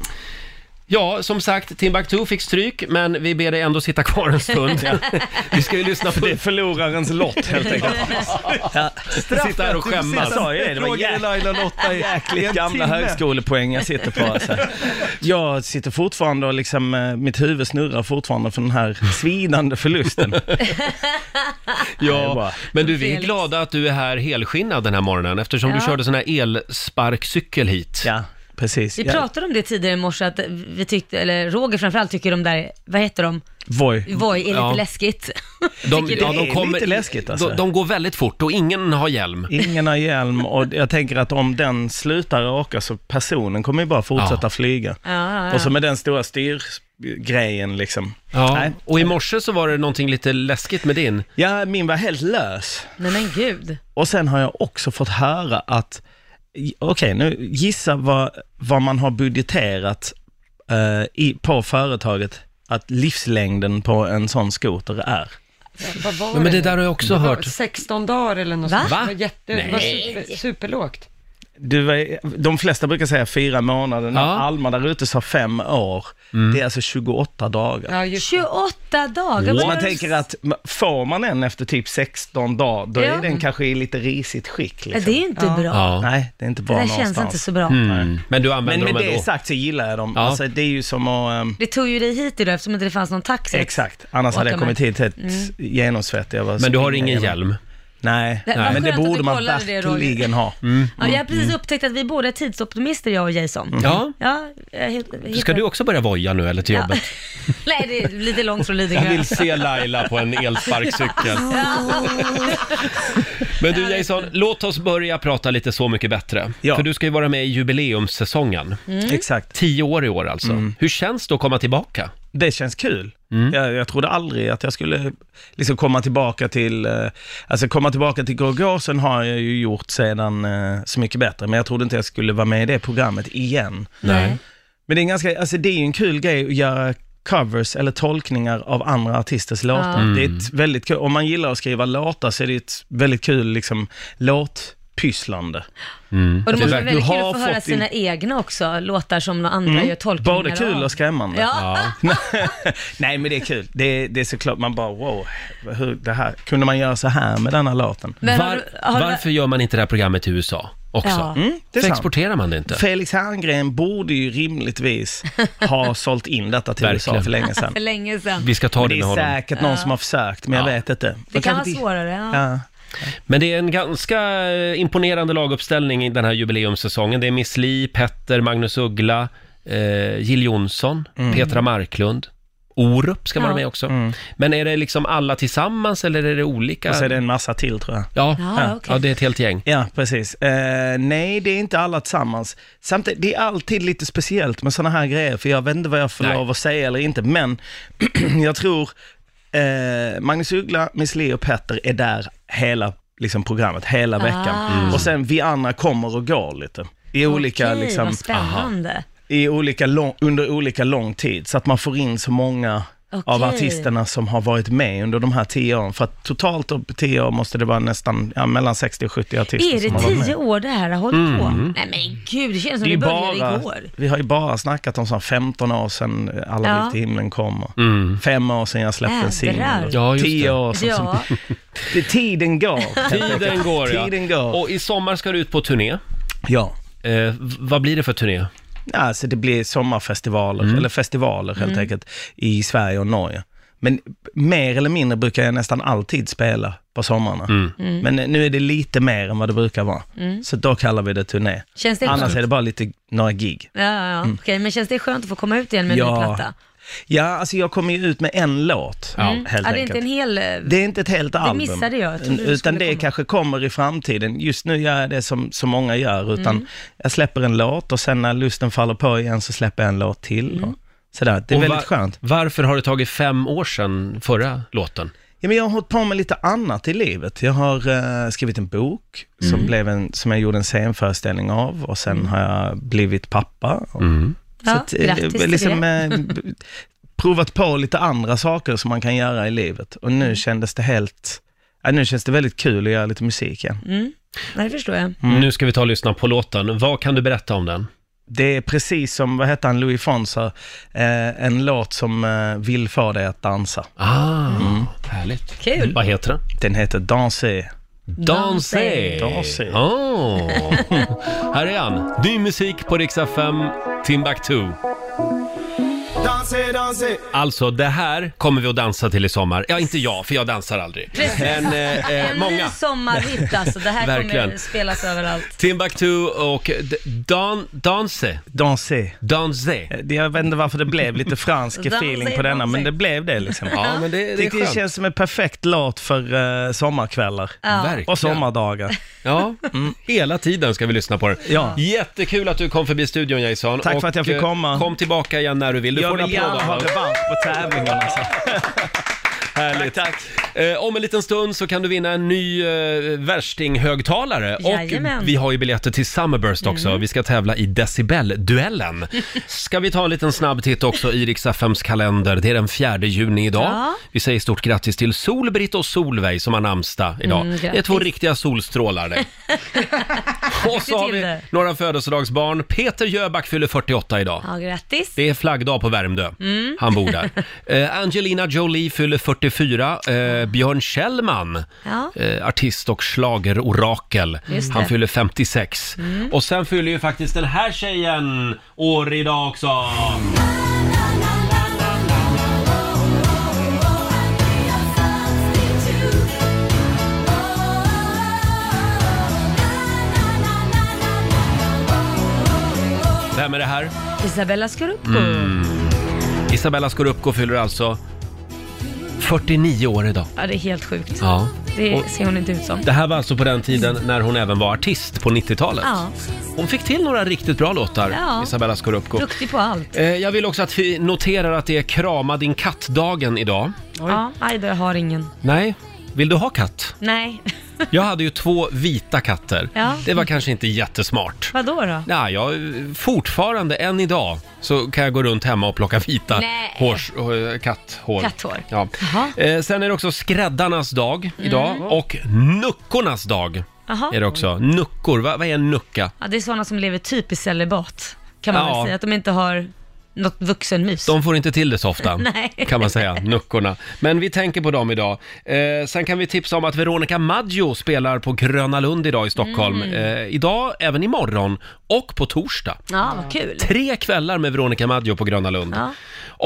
Speaker 1: Ja, som sagt, Timbuktu fick stryk, men vi ber dig ändå sitta kvar en stund. Vi ska ju lyssna på... Det är förlorarens lott,
Speaker 15: helt enkelt.
Speaker 1: Sitta här och skämmas.
Speaker 15: Jag sa ju det, det var
Speaker 7: Frågade Laila och Lotta i-
Speaker 15: jäk-
Speaker 7: i en
Speaker 15: jäkligt gamla
Speaker 7: timme.
Speaker 15: högskolepoäng jag sitter på. Alltså. Jag sitter fortfarande och liksom, eh, mitt huvud snurrar fortfarande för den här svidande förlusten.
Speaker 1: Ja, men du, vi är
Speaker 15: Felix.
Speaker 1: glada att du är här helskinnad den här morgonen eftersom du
Speaker 2: Ja.
Speaker 1: körde sån här elsparkcykel hit.
Speaker 15: eh, Ja, precis.
Speaker 2: Vi pratade om det tidigare i morse, att vi tyckte, eller Roger framförallt tycker de där, vad heter de?
Speaker 15: Voi.
Speaker 2: Voi är lite
Speaker 1: Ja.
Speaker 2: läskigt.
Speaker 1: De,
Speaker 2: Tycker
Speaker 1: ja,
Speaker 2: du?
Speaker 1: de kommer, de, de går väldigt fort och ingen har hjälm.
Speaker 15: alltså. Ingen har hjälm och jag tänker att om den slutar åka så personen kommer ju bara fortsätta flyga.
Speaker 2: Ja, ja, ja.
Speaker 15: Och så med den stora styrgrejen liksom.
Speaker 1: Ja, och i morse så var det någonting lite läskigt med din.
Speaker 15: Ja, min var helt lös.
Speaker 2: Nej men gud.
Speaker 15: Och sen har jag också fått höra att, i- okej nu gissa vad, vad man har budgeterat eh, i, på företaget att livslängden på en sån skoter är.
Speaker 3: Vad var
Speaker 15: Ja, men det där har jag också
Speaker 3: Det var
Speaker 15: hört.
Speaker 3: 16 dagar eller något
Speaker 15: Va?
Speaker 3: sånt. Det var,
Speaker 15: Va?
Speaker 3: jätte, det var
Speaker 15: Nej.
Speaker 3: super, superlågt.
Speaker 15: Du, var- de flesta brukar säga fyra månader, när Alma där ute sa fem år. Det är alltså 28 dagar.
Speaker 2: 28 dagar.
Speaker 15: Så
Speaker 2: Vad
Speaker 15: man
Speaker 2: var det-
Speaker 15: tänker att ma- får man en efter typ 16 dagar, då
Speaker 2: Ja.
Speaker 15: är den kanske i lite risigt skick. Liksom.
Speaker 2: Ja, det är inte Ja. bra. Ja.
Speaker 15: Nej, det är inte
Speaker 2: Det
Speaker 15: bra
Speaker 2: där känns
Speaker 15: någonstans.
Speaker 2: inte så bra.
Speaker 1: Mm. Men du
Speaker 15: Men
Speaker 1: använder
Speaker 15: med
Speaker 1: dem
Speaker 15: det
Speaker 1: ändå.
Speaker 15: sagt så gillar jag dem.
Speaker 1: Ja.
Speaker 15: Alltså, det är ju som att... ehm,
Speaker 2: Det tog ju dig hit idag eftersom inte det fanns någon taxi.
Speaker 15: Exakt, annars hade jag kommit hit helt
Speaker 2: Mm.
Speaker 15: genomsvettig. Jag var
Speaker 1: Men du har
Speaker 15: springa
Speaker 1: ingen
Speaker 15: igenom.
Speaker 1: hjälm?
Speaker 15: Nej,
Speaker 2: Det- vad
Speaker 15: men
Speaker 2: skönt
Speaker 15: det
Speaker 2: att du
Speaker 15: borde man
Speaker 2: kollade det, Roger.
Speaker 15: verkligen ha.
Speaker 2: Ja, jag har precis
Speaker 15: Mm.
Speaker 2: upptäckt att vi båda är tidsoptimister, jag och Jason.
Speaker 1: Mm. Ja.
Speaker 2: ja jag hitt-
Speaker 1: Ska du också börja voja nu eller till
Speaker 2: Ja.
Speaker 1: jobbet?
Speaker 2: Nej, det är lite långt från Lidingö.
Speaker 1: Jag vill se Laila på en elsparkcykel. Men du Jason, låt oss börja prata lite Så mycket bättre. För du ska ju vara med i jubileumssäsongen.
Speaker 15: Mm. Exakt.
Speaker 1: Tio år i år alltså.
Speaker 15: Mm.
Speaker 1: Hur känns det att komma tillbaka?
Speaker 15: Det känns kul.
Speaker 1: Mm.
Speaker 15: Jag, jag trodde aldrig att jag skulle liksom komma tillbaka till, eh, alltså komma tillbaka till Gorgosen har jag ju gjort sedan eh, Så mycket bättre, men jag trodde inte jag skulle vara med i det programmet igen.
Speaker 1: Nej.
Speaker 15: Men det är, en ganska, alltså det är ju en kul grej att göra covers eller tolkningar av andra artisters låtar.
Speaker 1: Mm.
Speaker 15: Det är ett väldigt kul, om man gillar att skriva låtar så är det ett väldigt kul liksom, låtpysslande.
Speaker 1: Mm.
Speaker 2: Och det
Speaker 15: Du
Speaker 2: måste vara
Speaker 15: verkar-
Speaker 2: väldigt
Speaker 15: du
Speaker 2: kul
Speaker 15: har
Speaker 2: att få höra
Speaker 15: fått din-
Speaker 2: sina egna också, låtar som några andra
Speaker 15: Mm.
Speaker 2: gör tolkningar
Speaker 15: Både kul
Speaker 2: av.
Speaker 15: och skrämmande.
Speaker 2: Ja.
Speaker 15: Nej men det är kul. Det, det är såklart, man bara wow, hur, det här, kunde man göra så här med denna låten?
Speaker 2: Men har du- har du-
Speaker 1: Varför gör man inte det här programmet i USA också?
Speaker 2: Ja.
Speaker 15: Mm, det
Speaker 1: För
Speaker 15: är sant.
Speaker 1: exporterar man det inte?
Speaker 15: Felix Herngren borde ju rimligtvis ha sålt in detta till USA
Speaker 1: Verkligen.
Speaker 15: för länge sedan.
Speaker 2: För länge sedan.
Speaker 1: Vi ska ta
Speaker 15: Men
Speaker 1: det
Speaker 15: det
Speaker 1: med
Speaker 15: är
Speaker 1: honom.
Speaker 15: säkert någon
Speaker 2: Ja.
Speaker 15: som har försökt, men jag vet inte.
Speaker 2: Det
Speaker 15: Men
Speaker 2: kan
Speaker 15: kanske
Speaker 2: vara svårare.
Speaker 15: inte-
Speaker 2: Ja.
Speaker 15: Ja.
Speaker 1: Men det är en ganska eh, imponerande laguppställning i den här jubileumssäsongen. Det är Miss Li, Petter, Magnus Uggla, eh, Jill Johnson,
Speaker 15: Mm.
Speaker 1: Petra Marklund. Orup ska vara
Speaker 15: Ja.
Speaker 1: med också. Men är det liksom alla tillsammans eller är det olika?
Speaker 15: Mm. Och så är det en massa till tror jag.
Speaker 1: Ja,
Speaker 15: Ja,
Speaker 1: ja.
Speaker 15: okej.
Speaker 1: ja det är ett helt gäng.
Speaker 15: Ja, precis. Eh, nej, det är inte alla tillsammans. Samtidigt, det är alltid lite speciellt med sådana här grejer, för jag vet inte vad jag får lov att säga eller inte, men jag tror eh, Magnus Uggla, Miss Li och Petter är där hela liksom, programmet, hela veckan.
Speaker 2: Ah. Mm.
Speaker 15: Och sen vi andra kommer och går lite. I olika,
Speaker 2: Okej,
Speaker 15: liksom,
Speaker 2: vad spännande.
Speaker 15: i olika lång, under olika lång tid, så att man får in så många av
Speaker 2: Okej.
Speaker 15: artisterna som har varit med under de här tio åren. För att totalt på tio år måste det vara nästan ja, mellan 60 och 70 artister
Speaker 2: Är
Speaker 15: som har varit
Speaker 2: det
Speaker 15: med.
Speaker 2: tio år det här har hållit på?
Speaker 15: Mm.
Speaker 2: Nej men gud, det känns som
Speaker 15: Det är
Speaker 2: det
Speaker 15: ju
Speaker 2: började
Speaker 15: bara,
Speaker 2: igår.
Speaker 15: vi har ju bara snackat om så här 15 år sedan Alla
Speaker 2: Ja.
Speaker 15: vill till himlen kommer. Fem år sedan jag släppte en
Speaker 2: Jädrar.
Speaker 15: singel. och
Speaker 1: Mm. Ja, just det.
Speaker 15: Tio år sedan.
Speaker 2: Ja.
Speaker 15: Det, tiden går. helt
Speaker 1: Tiden
Speaker 15: enkelt.
Speaker 1: går ja.
Speaker 15: Tiden går.
Speaker 1: Och i sommar ska du ut på turné.
Speaker 15: Ja.
Speaker 1: Eh, v- vad blir det för turné?
Speaker 15: Alltså det blir sommarfestivaler, eller festivaler helt
Speaker 1: Mm.
Speaker 15: enkelt, i Sverige och Norge. Men mer eller mindre brukar jag nästan alltid spela på somrarna.
Speaker 2: Mm.
Speaker 15: Men eh, nu är det lite mer än vad det brukar vara.
Speaker 2: Mm.
Speaker 15: Så då kallar vi det turné.
Speaker 2: Känns det
Speaker 15: Annars
Speaker 2: skönt?
Speaker 15: är det bara lite, några gig.
Speaker 2: Ja, ja, ja.
Speaker 15: Mm.
Speaker 2: Okej, men känns det skönt att få komma ut igen med en ny platta?
Speaker 15: Ja, alltså jag kommer ju ut med en låt,
Speaker 2: Mm.
Speaker 15: helt
Speaker 2: ja, det är
Speaker 15: enkelt.
Speaker 2: inte en hel... eh,
Speaker 15: Det är inte ett helt album. Mm,
Speaker 2: missade jag. Jag trodde det
Speaker 15: utan
Speaker 2: skulle
Speaker 15: det kanske kommer i framtiden. Just nu gör jag det som så många gör, utan
Speaker 2: Mm.
Speaker 15: jag släpper en låt och sen när lusten faller på igen så släpper jag en låt till.
Speaker 2: Mm.
Speaker 15: Och sådär. Det är
Speaker 1: Och
Speaker 15: väldigt
Speaker 1: va-
Speaker 15: skönt.
Speaker 1: Varför har det tagit fem år sedan förra låten?
Speaker 15: Ja, men jag har hållit på med lite annat i livet. Jag har eh, skrivit en bok som,
Speaker 1: Mm.
Speaker 15: blev en, som jag gjorde en scenföreställning av och sen har jag blivit pappa. Och,
Speaker 2: Ja,
Speaker 15: eh,
Speaker 2: grattis till
Speaker 15: liksom,
Speaker 2: det.
Speaker 15: eh, b- provat på lite andra saker som man kan göra i livet och
Speaker 2: Mm.
Speaker 15: nu kändes det helt, ja, nu känns det väldigt kul att göra lite musik igen.
Speaker 2: Mm. Nej, det förstår jag.
Speaker 15: Mm.
Speaker 1: Nu ska vi ta och lyssna på låten. Vad kan du berätta om den?
Speaker 15: Det är precis som, vad heter han, Louis Fons sa, eh, en låt som eh, vill få dig att dansa. Mm.
Speaker 1: Ah, härligt.
Speaker 2: Kul.
Speaker 1: Vad heter den?
Speaker 15: Den heter Danser.
Speaker 1: Danse!
Speaker 15: Danse.
Speaker 1: Åh. Ah. Här är han. Ny musik på Rix FM, Timbuktu.
Speaker 12: Danse, danse.
Speaker 1: Alltså, det här kommer vi att dansa till i sommar. Ja, inte jag, för jag dansar aldrig.
Speaker 2: Precis.
Speaker 1: Men eh, eh,
Speaker 2: en
Speaker 1: många.
Speaker 2: ny sommarhit alltså. Det här kommer
Speaker 1: Verkligen.
Speaker 2: spelas överallt.
Speaker 1: Timbuktu och d- dan, Danse.
Speaker 15: Danse.
Speaker 1: Danse.
Speaker 15: Jag vet inte varför Eh, det blev lite fransk
Speaker 1: Danse,
Speaker 15: feeling på denna,
Speaker 1: danse.
Speaker 15: men det blev det liksom.
Speaker 1: Ja, men det- det är
Speaker 15: Tyckte
Speaker 1: skönt.
Speaker 15: känns som en perfekt låt för eh, sommarkvällar.
Speaker 1: Ja. Verkligen.
Speaker 15: Och sommardagar. Mm.
Speaker 1: Ja, hela tiden ska vi lyssna på det.
Speaker 15: Ja.
Speaker 1: Jättekul att du kom förbi studion Jason.
Speaker 15: Tack för
Speaker 1: Och,
Speaker 15: att jag fick
Speaker 1: eh,
Speaker 15: komma.
Speaker 1: Kom tillbaka igen när du vill. Du
Speaker 15: Jag
Speaker 1: får en
Speaker 15: vill
Speaker 1: applåd
Speaker 15: gärna
Speaker 1: av
Speaker 15: ha
Speaker 1: oss.
Speaker 15: revansch på tävlingarna. Alltså.
Speaker 1: Härligt. Tack, Eh, om en liten stund så kan du vinna en ny eh, värstinghögtalare.
Speaker 2: Jajamän. Mm.
Speaker 1: Och vi har ju biljetter till Summerburst också. Vi ska tävla i decibelduellen. Ska vi ta en liten snabb titt också i Rix FMs kalender. Det är den 4 juni idag.
Speaker 2: Ja.
Speaker 1: Vi säger stort grattis till Solbritt och Solveig som har namnsdag idag.
Speaker 2: Mm,
Speaker 1: det är två
Speaker 2: grattis.
Speaker 1: riktiga solstrålar det. och så har
Speaker 2: till
Speaker 1: vi
Speaker 2: det.
Speaker 1: några födelsedagsbarn. Peter Jöback fyller 48 idag.
Speaker 2: Ja, grattis.
Speaker 1: Det är flaggdag på Värmdö.
Speaker 2: Mm.
Speaker 1: Han bor där. Eh, Angelina Jolie fyller 44. Eh, Björn Kjellman,
Speaker 2: Ja.
Speaker 1: eh, artist och schlagerorakel.
Speaker 2: Just
Speaker 1: Han
Speaker 2: det.
Speaker 1: fyller 56.
Speaker 2: Mm.
Speaker 1: Och sen fyller ju faktiskt den här tjejen år idag också. Vem är det här?
Speaker 2: Isabella Scorupco.
Speaker 1: Mm. Isabella Scorupco fyller alltså 49 år idag.
Speaker 2: Ja, det är helt sjukt.
Speaker 1: Ja.
Speaker 2: Det
Speaker 1: Och-
Speaker 2: ser hon inte ut som.
Speaker 1: Det här var alltså på den tiden när hon även var artist på 90-talet.
Speaker 2: Ja.
Speaker 1: Hon fick till några riktigt bra låtar,
Speaker 2: Ja.
Speaker 1: Isabella Scorupco.
Speaker 2: Duktig på allt.
Speaker 1: Eh, Jag vill också att vi noterar att det är krama din katt-dagen idag.
Speaker 2: Ja, nej, jag har ingen.
Speaker 1: Nej, vill du ha katt?
Speaker 2: Nej.
Speaker 1: Jag hade ju två vita katter.
Speaker 2: Ja.
Speaker 1: Det var kanske inte jättesmart.
Speaker 2: Vadå då?
Speaker 1: Nej, jag, fortfarande, än idag, så kan jag gå runt hemma och plocka vita
Speaker 2: Nej.
Speaker 1: hårs, eh, katthår.
Speaker 2: Katthår.
Speaker 1: Ja.
Speaker 2: Jaha.
Speaker 1: Eh, sen är det också skräddarnas dag idag
Speaker 2: Mm.
Speaker 1: och nuckornas dag.
Speaker 2: Jaha.
Speaker 1: Är det också. Nuckor, vad, vad är en nucka?
Speaker 2: Ja, det är sådana som lever typ i celibat, kan man
Speaker 1: Ja.
Speaker 2: väl säga. Att de inte har något vuxenmys.
Speaker 1: De får inte till det så ofta,
Speaker 2: Nej.
Speaker 1: kan man säga, nuckorna. Men vi tänker på dem idag. Eh, sen kan vi tipsa om att Veronica Maggio spelar på Gröna Lund idag i Stockholm.
Speaker 2: Mm.
Speaker 1: Eh, idag, även imorgon och på torsdag.
Speaker 2: Ja, vad kul.
Speaker 1: Tre kvällar med Veronica Maggio på Gröna Lund.
Speaker 2: Ja.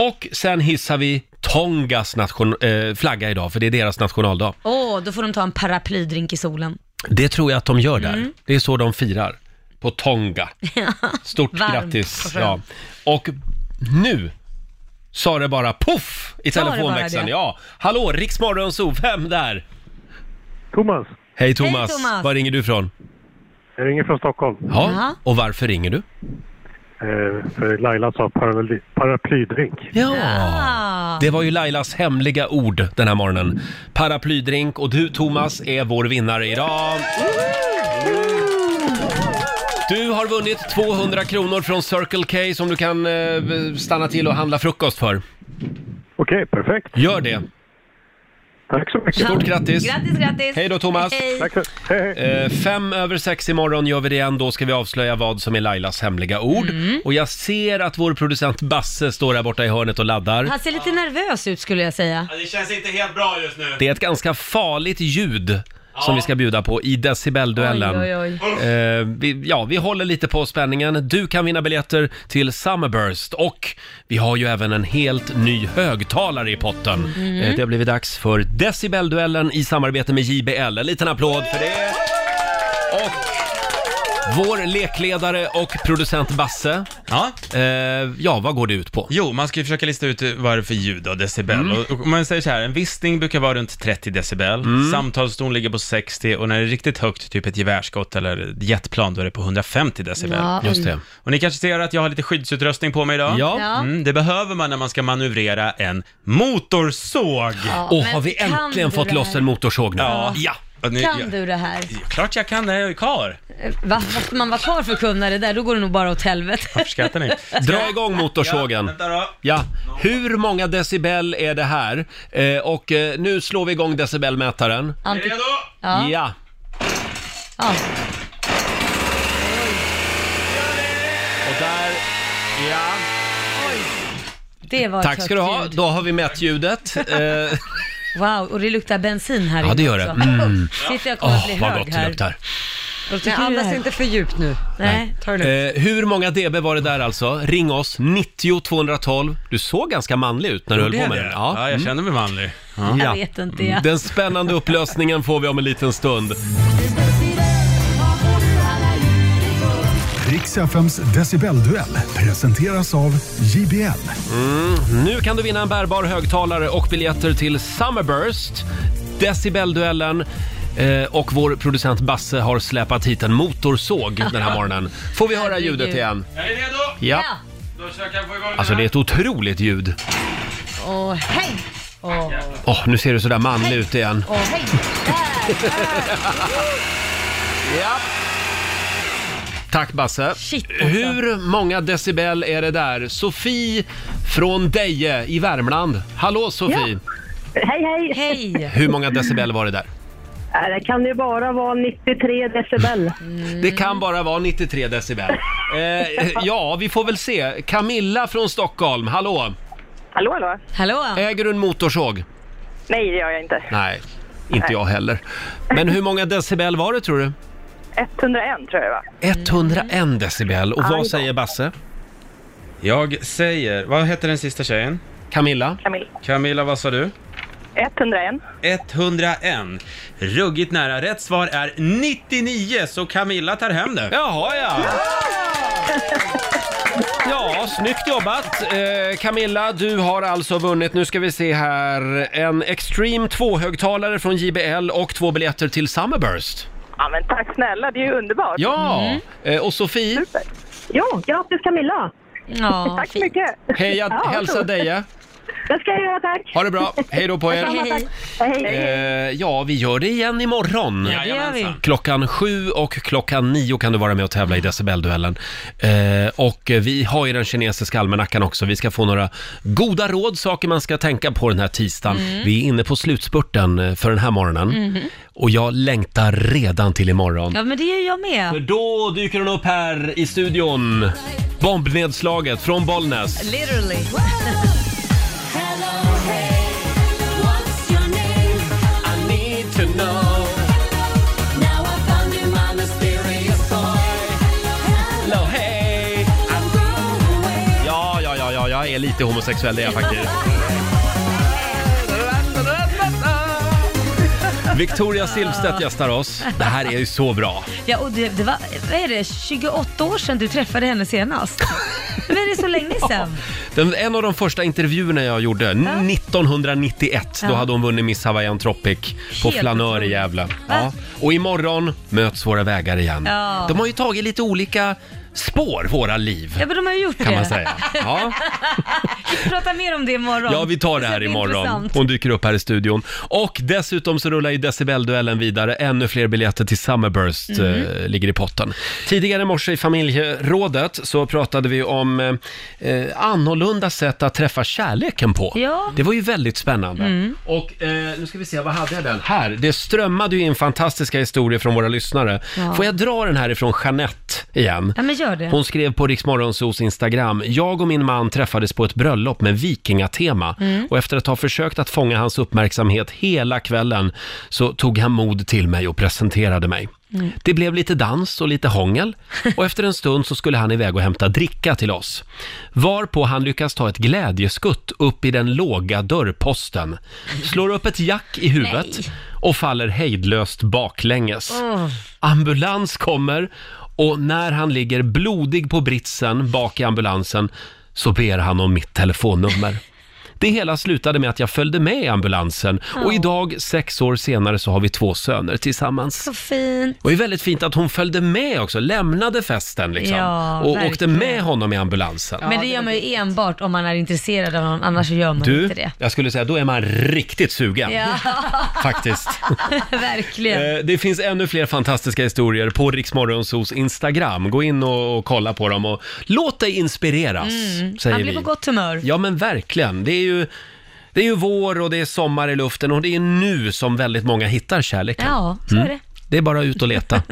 Speaker 1: Och sen hissar vi Tongas nation, eh, flagga idag, för det är deras nationaldag.
Speaker 2: Åh, då får de ta en paraplydrink i solen.
Speaker 1: Det tror jag att de gör där.
Speaker 2: Mm.
Speaker 1: Det är så de firar. På Tonga. Stort
Speaker 2: Varmt och
Speaker 1: grattis.
Speaker 2: skönt.
Speaker 1: Ja. Och nu sa det bara poff i
Speaker 2: Sa det
Speaker 1: telefonväxeln.
Speaker 2: bara det?
Speaker 1: Ja. Hallå, Riks Morgonzoo, vem där?
Speaker 14: Thomas.
Speaker 1: Hej Thomas.
Speaker 14: Hej, Thomas.
Speaker 1: Var ringer du ifrån?
Speaker 14: Jag ringer från Stockholm.
Speaker 1: Ja. Och varför ringer du?
Speaker 14: Eh, för Laila sa paraply, paraplydrink.
Speaker 1: Ja.
Speaker 2: Ah.
Speaker 1: Det var ju Lailas hemliga ord den här morgonen. Paraplydrink och du Thomas är vår vinnare idag. Du har vunnit 200 kronor från Circle K som du kan eh, stanna till och handla frukost för.
Speaker 14: Okej, perfekt.
Speaker 1: Gör det.
Speaker 14: Tack så mycket.
Speaker 1: Stort grattis.
Speaker 2: Grattis, grattis.
Speaker 1: Hej då Thomas.
Speaker 2: Hej.
Speaker 1: Eh, fem över sex imorgon gör vi det igen. Då ska vi avslöja vad som är Lailas hemliga ord.
Speaker 2: Mm.
Speaker 1: Och jag ser att vår producent Basse står där borta i hörnet och laddar.
Speaker 2: Han ser lite nervös ut skulle jag säga.
Speaker 4: Det känns inte helt bra just nu.
Speaker 1: Det är ett ganska farligt ljud som vi ska bjuda på i decibelduellen.
Speaker 2: Oj, oj, oj.
Speaker 1: Eh, vi, ja, vi håller lite på spänningen. Du kan vinna biljetter till Summerburst och vi har ju även en helt ny högtalare i potten.
Speaker 16: Mm.
Speaker 1: Eh, det har blivit dags för decibelduellen i samarbete med JBL. En liten applåd för det. Vår lekledare och producent Basse. Eh,
Speaker 4: Ja.
Speaker 1: ja, vad går det ut på?
Speaker 4: Jo, man ska ju försöka lista ut eh, vad det är för ljud och decibel.
Speaker 1: Mm.
Speaker 4: Och, och man säger så här, en vissning brukar vara runt 30 decibel,
Speaker 1: Mm.
Speaker 4: samtalston ligger på 60 och när det är riktigt högt, typ ett gevärsskott eller ett jetplan, då är det på 150 decibel.
Speaker 1: Ja, Just det. oj.
Speaker 4: Och ni kanske ser att jag har lite skyddsutrustning på mig idag?
Speaker 1: Ja. Ja.
Speaker 4: Mm, det behöver man när man ska manövrera en motorsåg.
Speaker 2: Ja, Och men har vi kan äntligen du fått det loss här? en
Speaker 1: motorsåg
Speaker 4: nu? Ja. Och nu-
Speaker 2: Kan
Speaker 4: jag-
Speaker 2: du det här?
Speaker 4: Klart jag kan det, jag är ju karl.
Speaker 2: Eh, Va? Måste man vara kvar för att kunna det där, då går det nog bara åt helvete.
Speaker 4: Varför skrattar ni?
Speaker 1: Dra igång motorsågen. Ja, hur många decibel är det här? Eh, och eh, nu slår vi igång decibelmätaren.
Speaker 2: Ante- Redo?
Speaker 1: Ja.
Speaker 2: Ja. Ja.
Speaker 1: Och där... Ja.
Speaker 2: Det var ett
Speaker 1: Tack ska du
Speaker 2: högt
Speaker 1: ha.
Speaker 2: ljud.
Speaker 1: Då har vi mätt ljudet. Eh,
Speaker 2: Wow, och det luktar bensin här
Speaker 1: ja,
Speaker 2: inne
Speaker 1: det gör det.
Speaker 2: också.
Speaker 1: Mm.
Speaker 2: Shit, jag kommer att bli
Speaker 1: Åh, vad
Speaker 2: hög
Speaker 1: gott
Speaker 2: här.
Speaker 1: det luktar.
Speaker 2: Nej,
Speaker 3: andas inte för djupt nu.
Speaker 2: Nej.
Speaker 3: Ta det lugnt.
Speaker 1: Eh, hur många dB var det där alltså? Ring oss, 90 212. Du såg ganska manlig ut när du
Speaker 4: Gjorde
Speaker 1: höll på
Speaker 4: jag
Speaker 1: med
Speaker 4: det?
Speaker 1: den.
Speaker 4: Ja, jag kände mig manlig.
Speaker 1: Ja. Mm,
Speaker 2: Jag vet inte, ja.
Speaker 1: Den spännande upplösningen får vi om en liten stund.
Speaker 5: Riks FMs decibelduell presenteras av JBL.
Speaker 1: Mm. Nu kan du vinna en bärbar högtalare och biljetter till Summerburst, Decibelduellen eh, och vår producent Basse har släpat hit en motorsåg den här morgonen. Får vi höra
Speaker 4: Herregud.
Speaker 1: ljudet igen?
Speaker 4: Är ni redo?
Speaker 1: Ja.
Speaker 4: Då försöker jag få igång
Speaker 1: Alltså det är ett otroligt ljud.
Speaker 2: Åh, hej! Åh,
Speaker 1: Åh, nu ser du sådär manlig ut igen.
Speaker 2: åh, hej!
Speaker 1: ja. Tack Basse.
Speaker 2: alltså.
Speaker 1: Hur många decibel är det där? Sofie från Deje i Värmland. Hallå Sofie!
Speaker 17: Hej, hej!
Speaker 2: Hej!
Speaker 1: Hur många decibel var det där?
Speaker 17: Äh, Det kan ju bara vara 93 decibel.
Speaker 18: Mm.
Speaker 1: Det kan bara vara 93 decibel. Eh, ja, vi får väl se. Camilla från Stockholm, hallå!
Speaker 18: Hallå, hallå.
Speaker 2: Hallå!
Speaker 1: Äger du en motorsåg?
Speaker 18: Nej, det gör jag inte.
Speaker 1: Nej, inte jag heller. Men hur många decibel var det tror du?
Speaker 18: 101 tror jag va?
Speaker 1: 101 decibel. Och
Speaker 18: Aj
Speaker 1: vad
Speaker 18: då.
Speaker 1: säger Basse?
Speaker 4: Jag säger, vad heter den sista tjejen?
Speaker 1: Camilla.
Speaker 18: Camilla.
Speaker 4: Camilla, vad sa du?
Speaker 18: 101.
Speaker 4: 101. Ruggigt nära. Rätt svar är 99, så Camilla tar hem det.
Speaker 1: Jaha, ja. Ja, snyggt jobbat! Eh, Camilla, du har alltså vunnit, nu ska vi se här, en Extreme 2-högtalare från JBL och två biljetter till Summerburst.
Speaker 18: Ja, men tack snälla, det är ju underbart.
Speaker 1: Ja! Eh, och Sofie?
Speaker 17: Jo, grattis Camilla!
Speaker 2: Ja,
Speaker 17: tack så mycket!
Speaker 1: Heja, hälsa Deje.
Speaker 17: Det ska jag göra, tack!
Speaker 1: Ha det bra. Hej då på er.
Speaker 17: Detsamma, tack.
Speaker 1: Eh, ja, vi gör det igen imorgon.
Speaker 17: Ja, det gör vi.
Speaker 1: Klockan sju och klockan nio kan du vara med och tävla i decibelduellen. Eh, och vi har ju den kinesiska almanackan också. Vi ska få några goda råd, saker man ska tänka på den här tisdagen.
Speaker 16: Mm.
Speaker 1: Vi är inne på slutspurten eh, för den här morgonen. Och jag längtar redan till imorgon.
Speaker 2: Mhm. Ja, men det är jag
Speaker 1: För
Speaker 2: med.
Speaker 1: då dyker hon upp här i studion. Bombnedslaget från Bollnäs.
Speaker 2: Literally.
Speaker 1: Ja, ja, ja, ja, jag är lite homosexuell det är jag faktiskt. Victoria Silvstedt gästar oss. Det här är ju så bra.
Speaker 2: Ja, och det, det var, vad är det, 28 år sedan du träffade henne senast? Men är det så länge sedan?
Speaker 1: Den, en av de första intervjuerna jag gjorde, 1991, då
Speaker 2: Ja.
Speaker 1: hade hon vunnit Miss Hawaiian Tropic på
Speaker 2: Helt
Speaker 1: Flanör i Gävle. Ja. Och imorgon möts våra vägar igen.
Speaker 2: Ja.
Speaker 1: De har ju tagit lite olika spår, våra liv.
Speaker 2: Ja, men de har ju gjort det.
Speaker 1: Kan man säga. Ja.
Speaker 2: Vi får prata mer om det imorgon.
Speaker 1: Ja, vi tar det här
Speaker 2: ska bli
Speaker 1: imorgon.
Speaker 2: intressant.
Speaker 1: Hon dyker upp här i studion. Och dessutom så rullar ju decibelduellen vidare. Ännu fler biljetter till Summerburst eh,
Speaker 16: Mm.
Speaker 1: ligger i potten. Tidigare i morse i familjerådet så pratade vi om eh, eh, annorlunda sätt att träffa kärleken på.
Speaker 16: Ja.
Speaker 1: Det var ju väldigt spännande.
Speaker 16: Mm.
Speaker 1: Och eh, nu ska vi se, vad hade jag den? Här, det strömmade ju in fantastiska historier från våra lyssnare.
Speaker 16: Ja.
Speaker 1: Får jag dra den här ifrån Jeanette rätt igen.
Speaker 2: Ja, men gör det.
Speaker 1: Hon skrev på Riksmorgonsos Instagram, jag och min man träffades på ett bröllop med vikingatema
Speaker 2: Mm.
Speaker 1: och efter att ha försökt att fånga hans uppmärksamhet hela kvällen så tog han mod till mig och presenterade mig.
Speaker 2: Mm.
Speaker 1: Det blev lite dans och lite hångel och efter en stund så skulle han iväg och hämta dricka till oss. Varpå han lyckas ta ett glädjeskutt upp i den låga dörrposten, slår upp ett jack i huvudet
Speaker 2: Nej.
Speaker 1: och faller hejdlöst baklänges.
Speaker 2: Åh.
Speaker 1: Ambulans kommer och när han ligger blodig på britsen bak i ambulansen så ber han om mitt telefonnummer. Det hela slutade med att jag följde med i ambulansen och
Speaker 2: Ja.
Speaker 1: idag, sex år senare, så har vi två söner tillsammans.
Speaker 2: Så fint.
Speaker 1: Och det är väldigt fint att hon följde med också, lämnade festen liksom.
Speaker 2: Ja,
Speaker 1: och
Speaker 2: verkligen.
Speaker 1: åkte med honom i ambulansen.
Speaker 2: men det gör man ju enbart om man är intresserad av någon, annars så gör man
Speaker 1: du,
Speaker 2: inte det.
Speaker 1: jag skulle säga då är man riktigt sugen. Faktiskt.
Speaker 2: Verkligen.
Speaker 1: Eh, Det finns ännu fler fantastiska historier på Riksmorgonsos Instagram. Gå in och, och kolla på dem och låt dig inspireras,
Speaker 2: Mm.
Speaker 1: säger
Speaker 2: Han blir
Speaker 1: vi.
Speaker 2: på gott humör.
Speaker 1: Ja, men verkligen. Det är ju... Det är ju vår och det är sommar i luften och det är nu som väldigt många hittar kärleken.
Speaker 2: Ja, så är
Speaker 1: Mm.
Speaker 2: det.
Speaker 1: Det är bara ut och leta.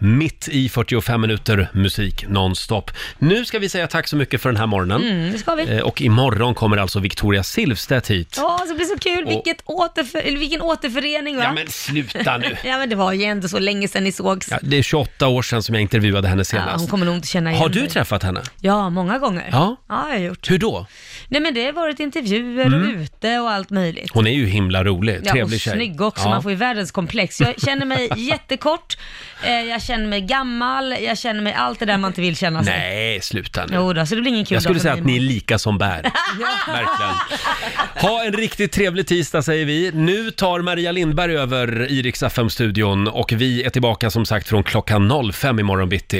Speaker 1: Mitt i 45 minuter musik nonstop. Nu ska vi säga tack så mycket för den här morgonen.
Speaker 2: Mm, det ska vi.
Speaker 1: Eh, Och imorgon kommer alltså Victoria Silvstedt hit.
Speaker 2: Ja, så det blir så kul.
Speaker 1: Och-
Speaker 2: Vilket återför, eller vilken återförening va?
Speaker 1: Ja, men sluta nu.
Speaker 2: ja, men det var ju ändå så länge sedan ni sågs.
Speaker 1: Ja, det är 28 år sedan som jag intervjuade henne
Speaker 2: Ja, hon
Speaker 1: senast.
Speaker 2: kommer nog inte känna igen
Speaker 1: Har du
Speaker 2: mig.
Speaker 1: träffat henne?
Speaker 2: Ja, många gånger.
Speaker 1: Ja.
Speaker 2: ja jag har gjort.
Speaker 1: Hur då?
Speaker 2: Nej, men det har varit intervjuer och
Speaker 1: Mm.
Speaker 2: ute och allt möjligt.
Speaker 1: Hon är ju himla rolig,
Speaker 2: Ja,
Speaker 1: trevlig
Speaker 2: och
Speaker 1: tjej.
Speaker 2: snygg också, man får ju världens komplex. Jag känner mig jättekort, eh, jag känner mig gammal, jag känner mig allt det där man inte vill känna sig.
Speaker 1: Nej, sluta nu.
Speaker 2: Jo då, så det blir ingen kul
Speaker 1: jag
Speaker 2: dag
Speaker 1: skulle
Speaker 2: för
Speaker 1: säga
Speaker 2: mig
Speaker 1: att ni är lika som bär. Verkligen. Ha en riktigt trevlig tisdag säger vi. Nu tar Maria Lindberg över i Rix FM-studion och vi är tillbaka som sagt från klockan 05 imorgon bitti.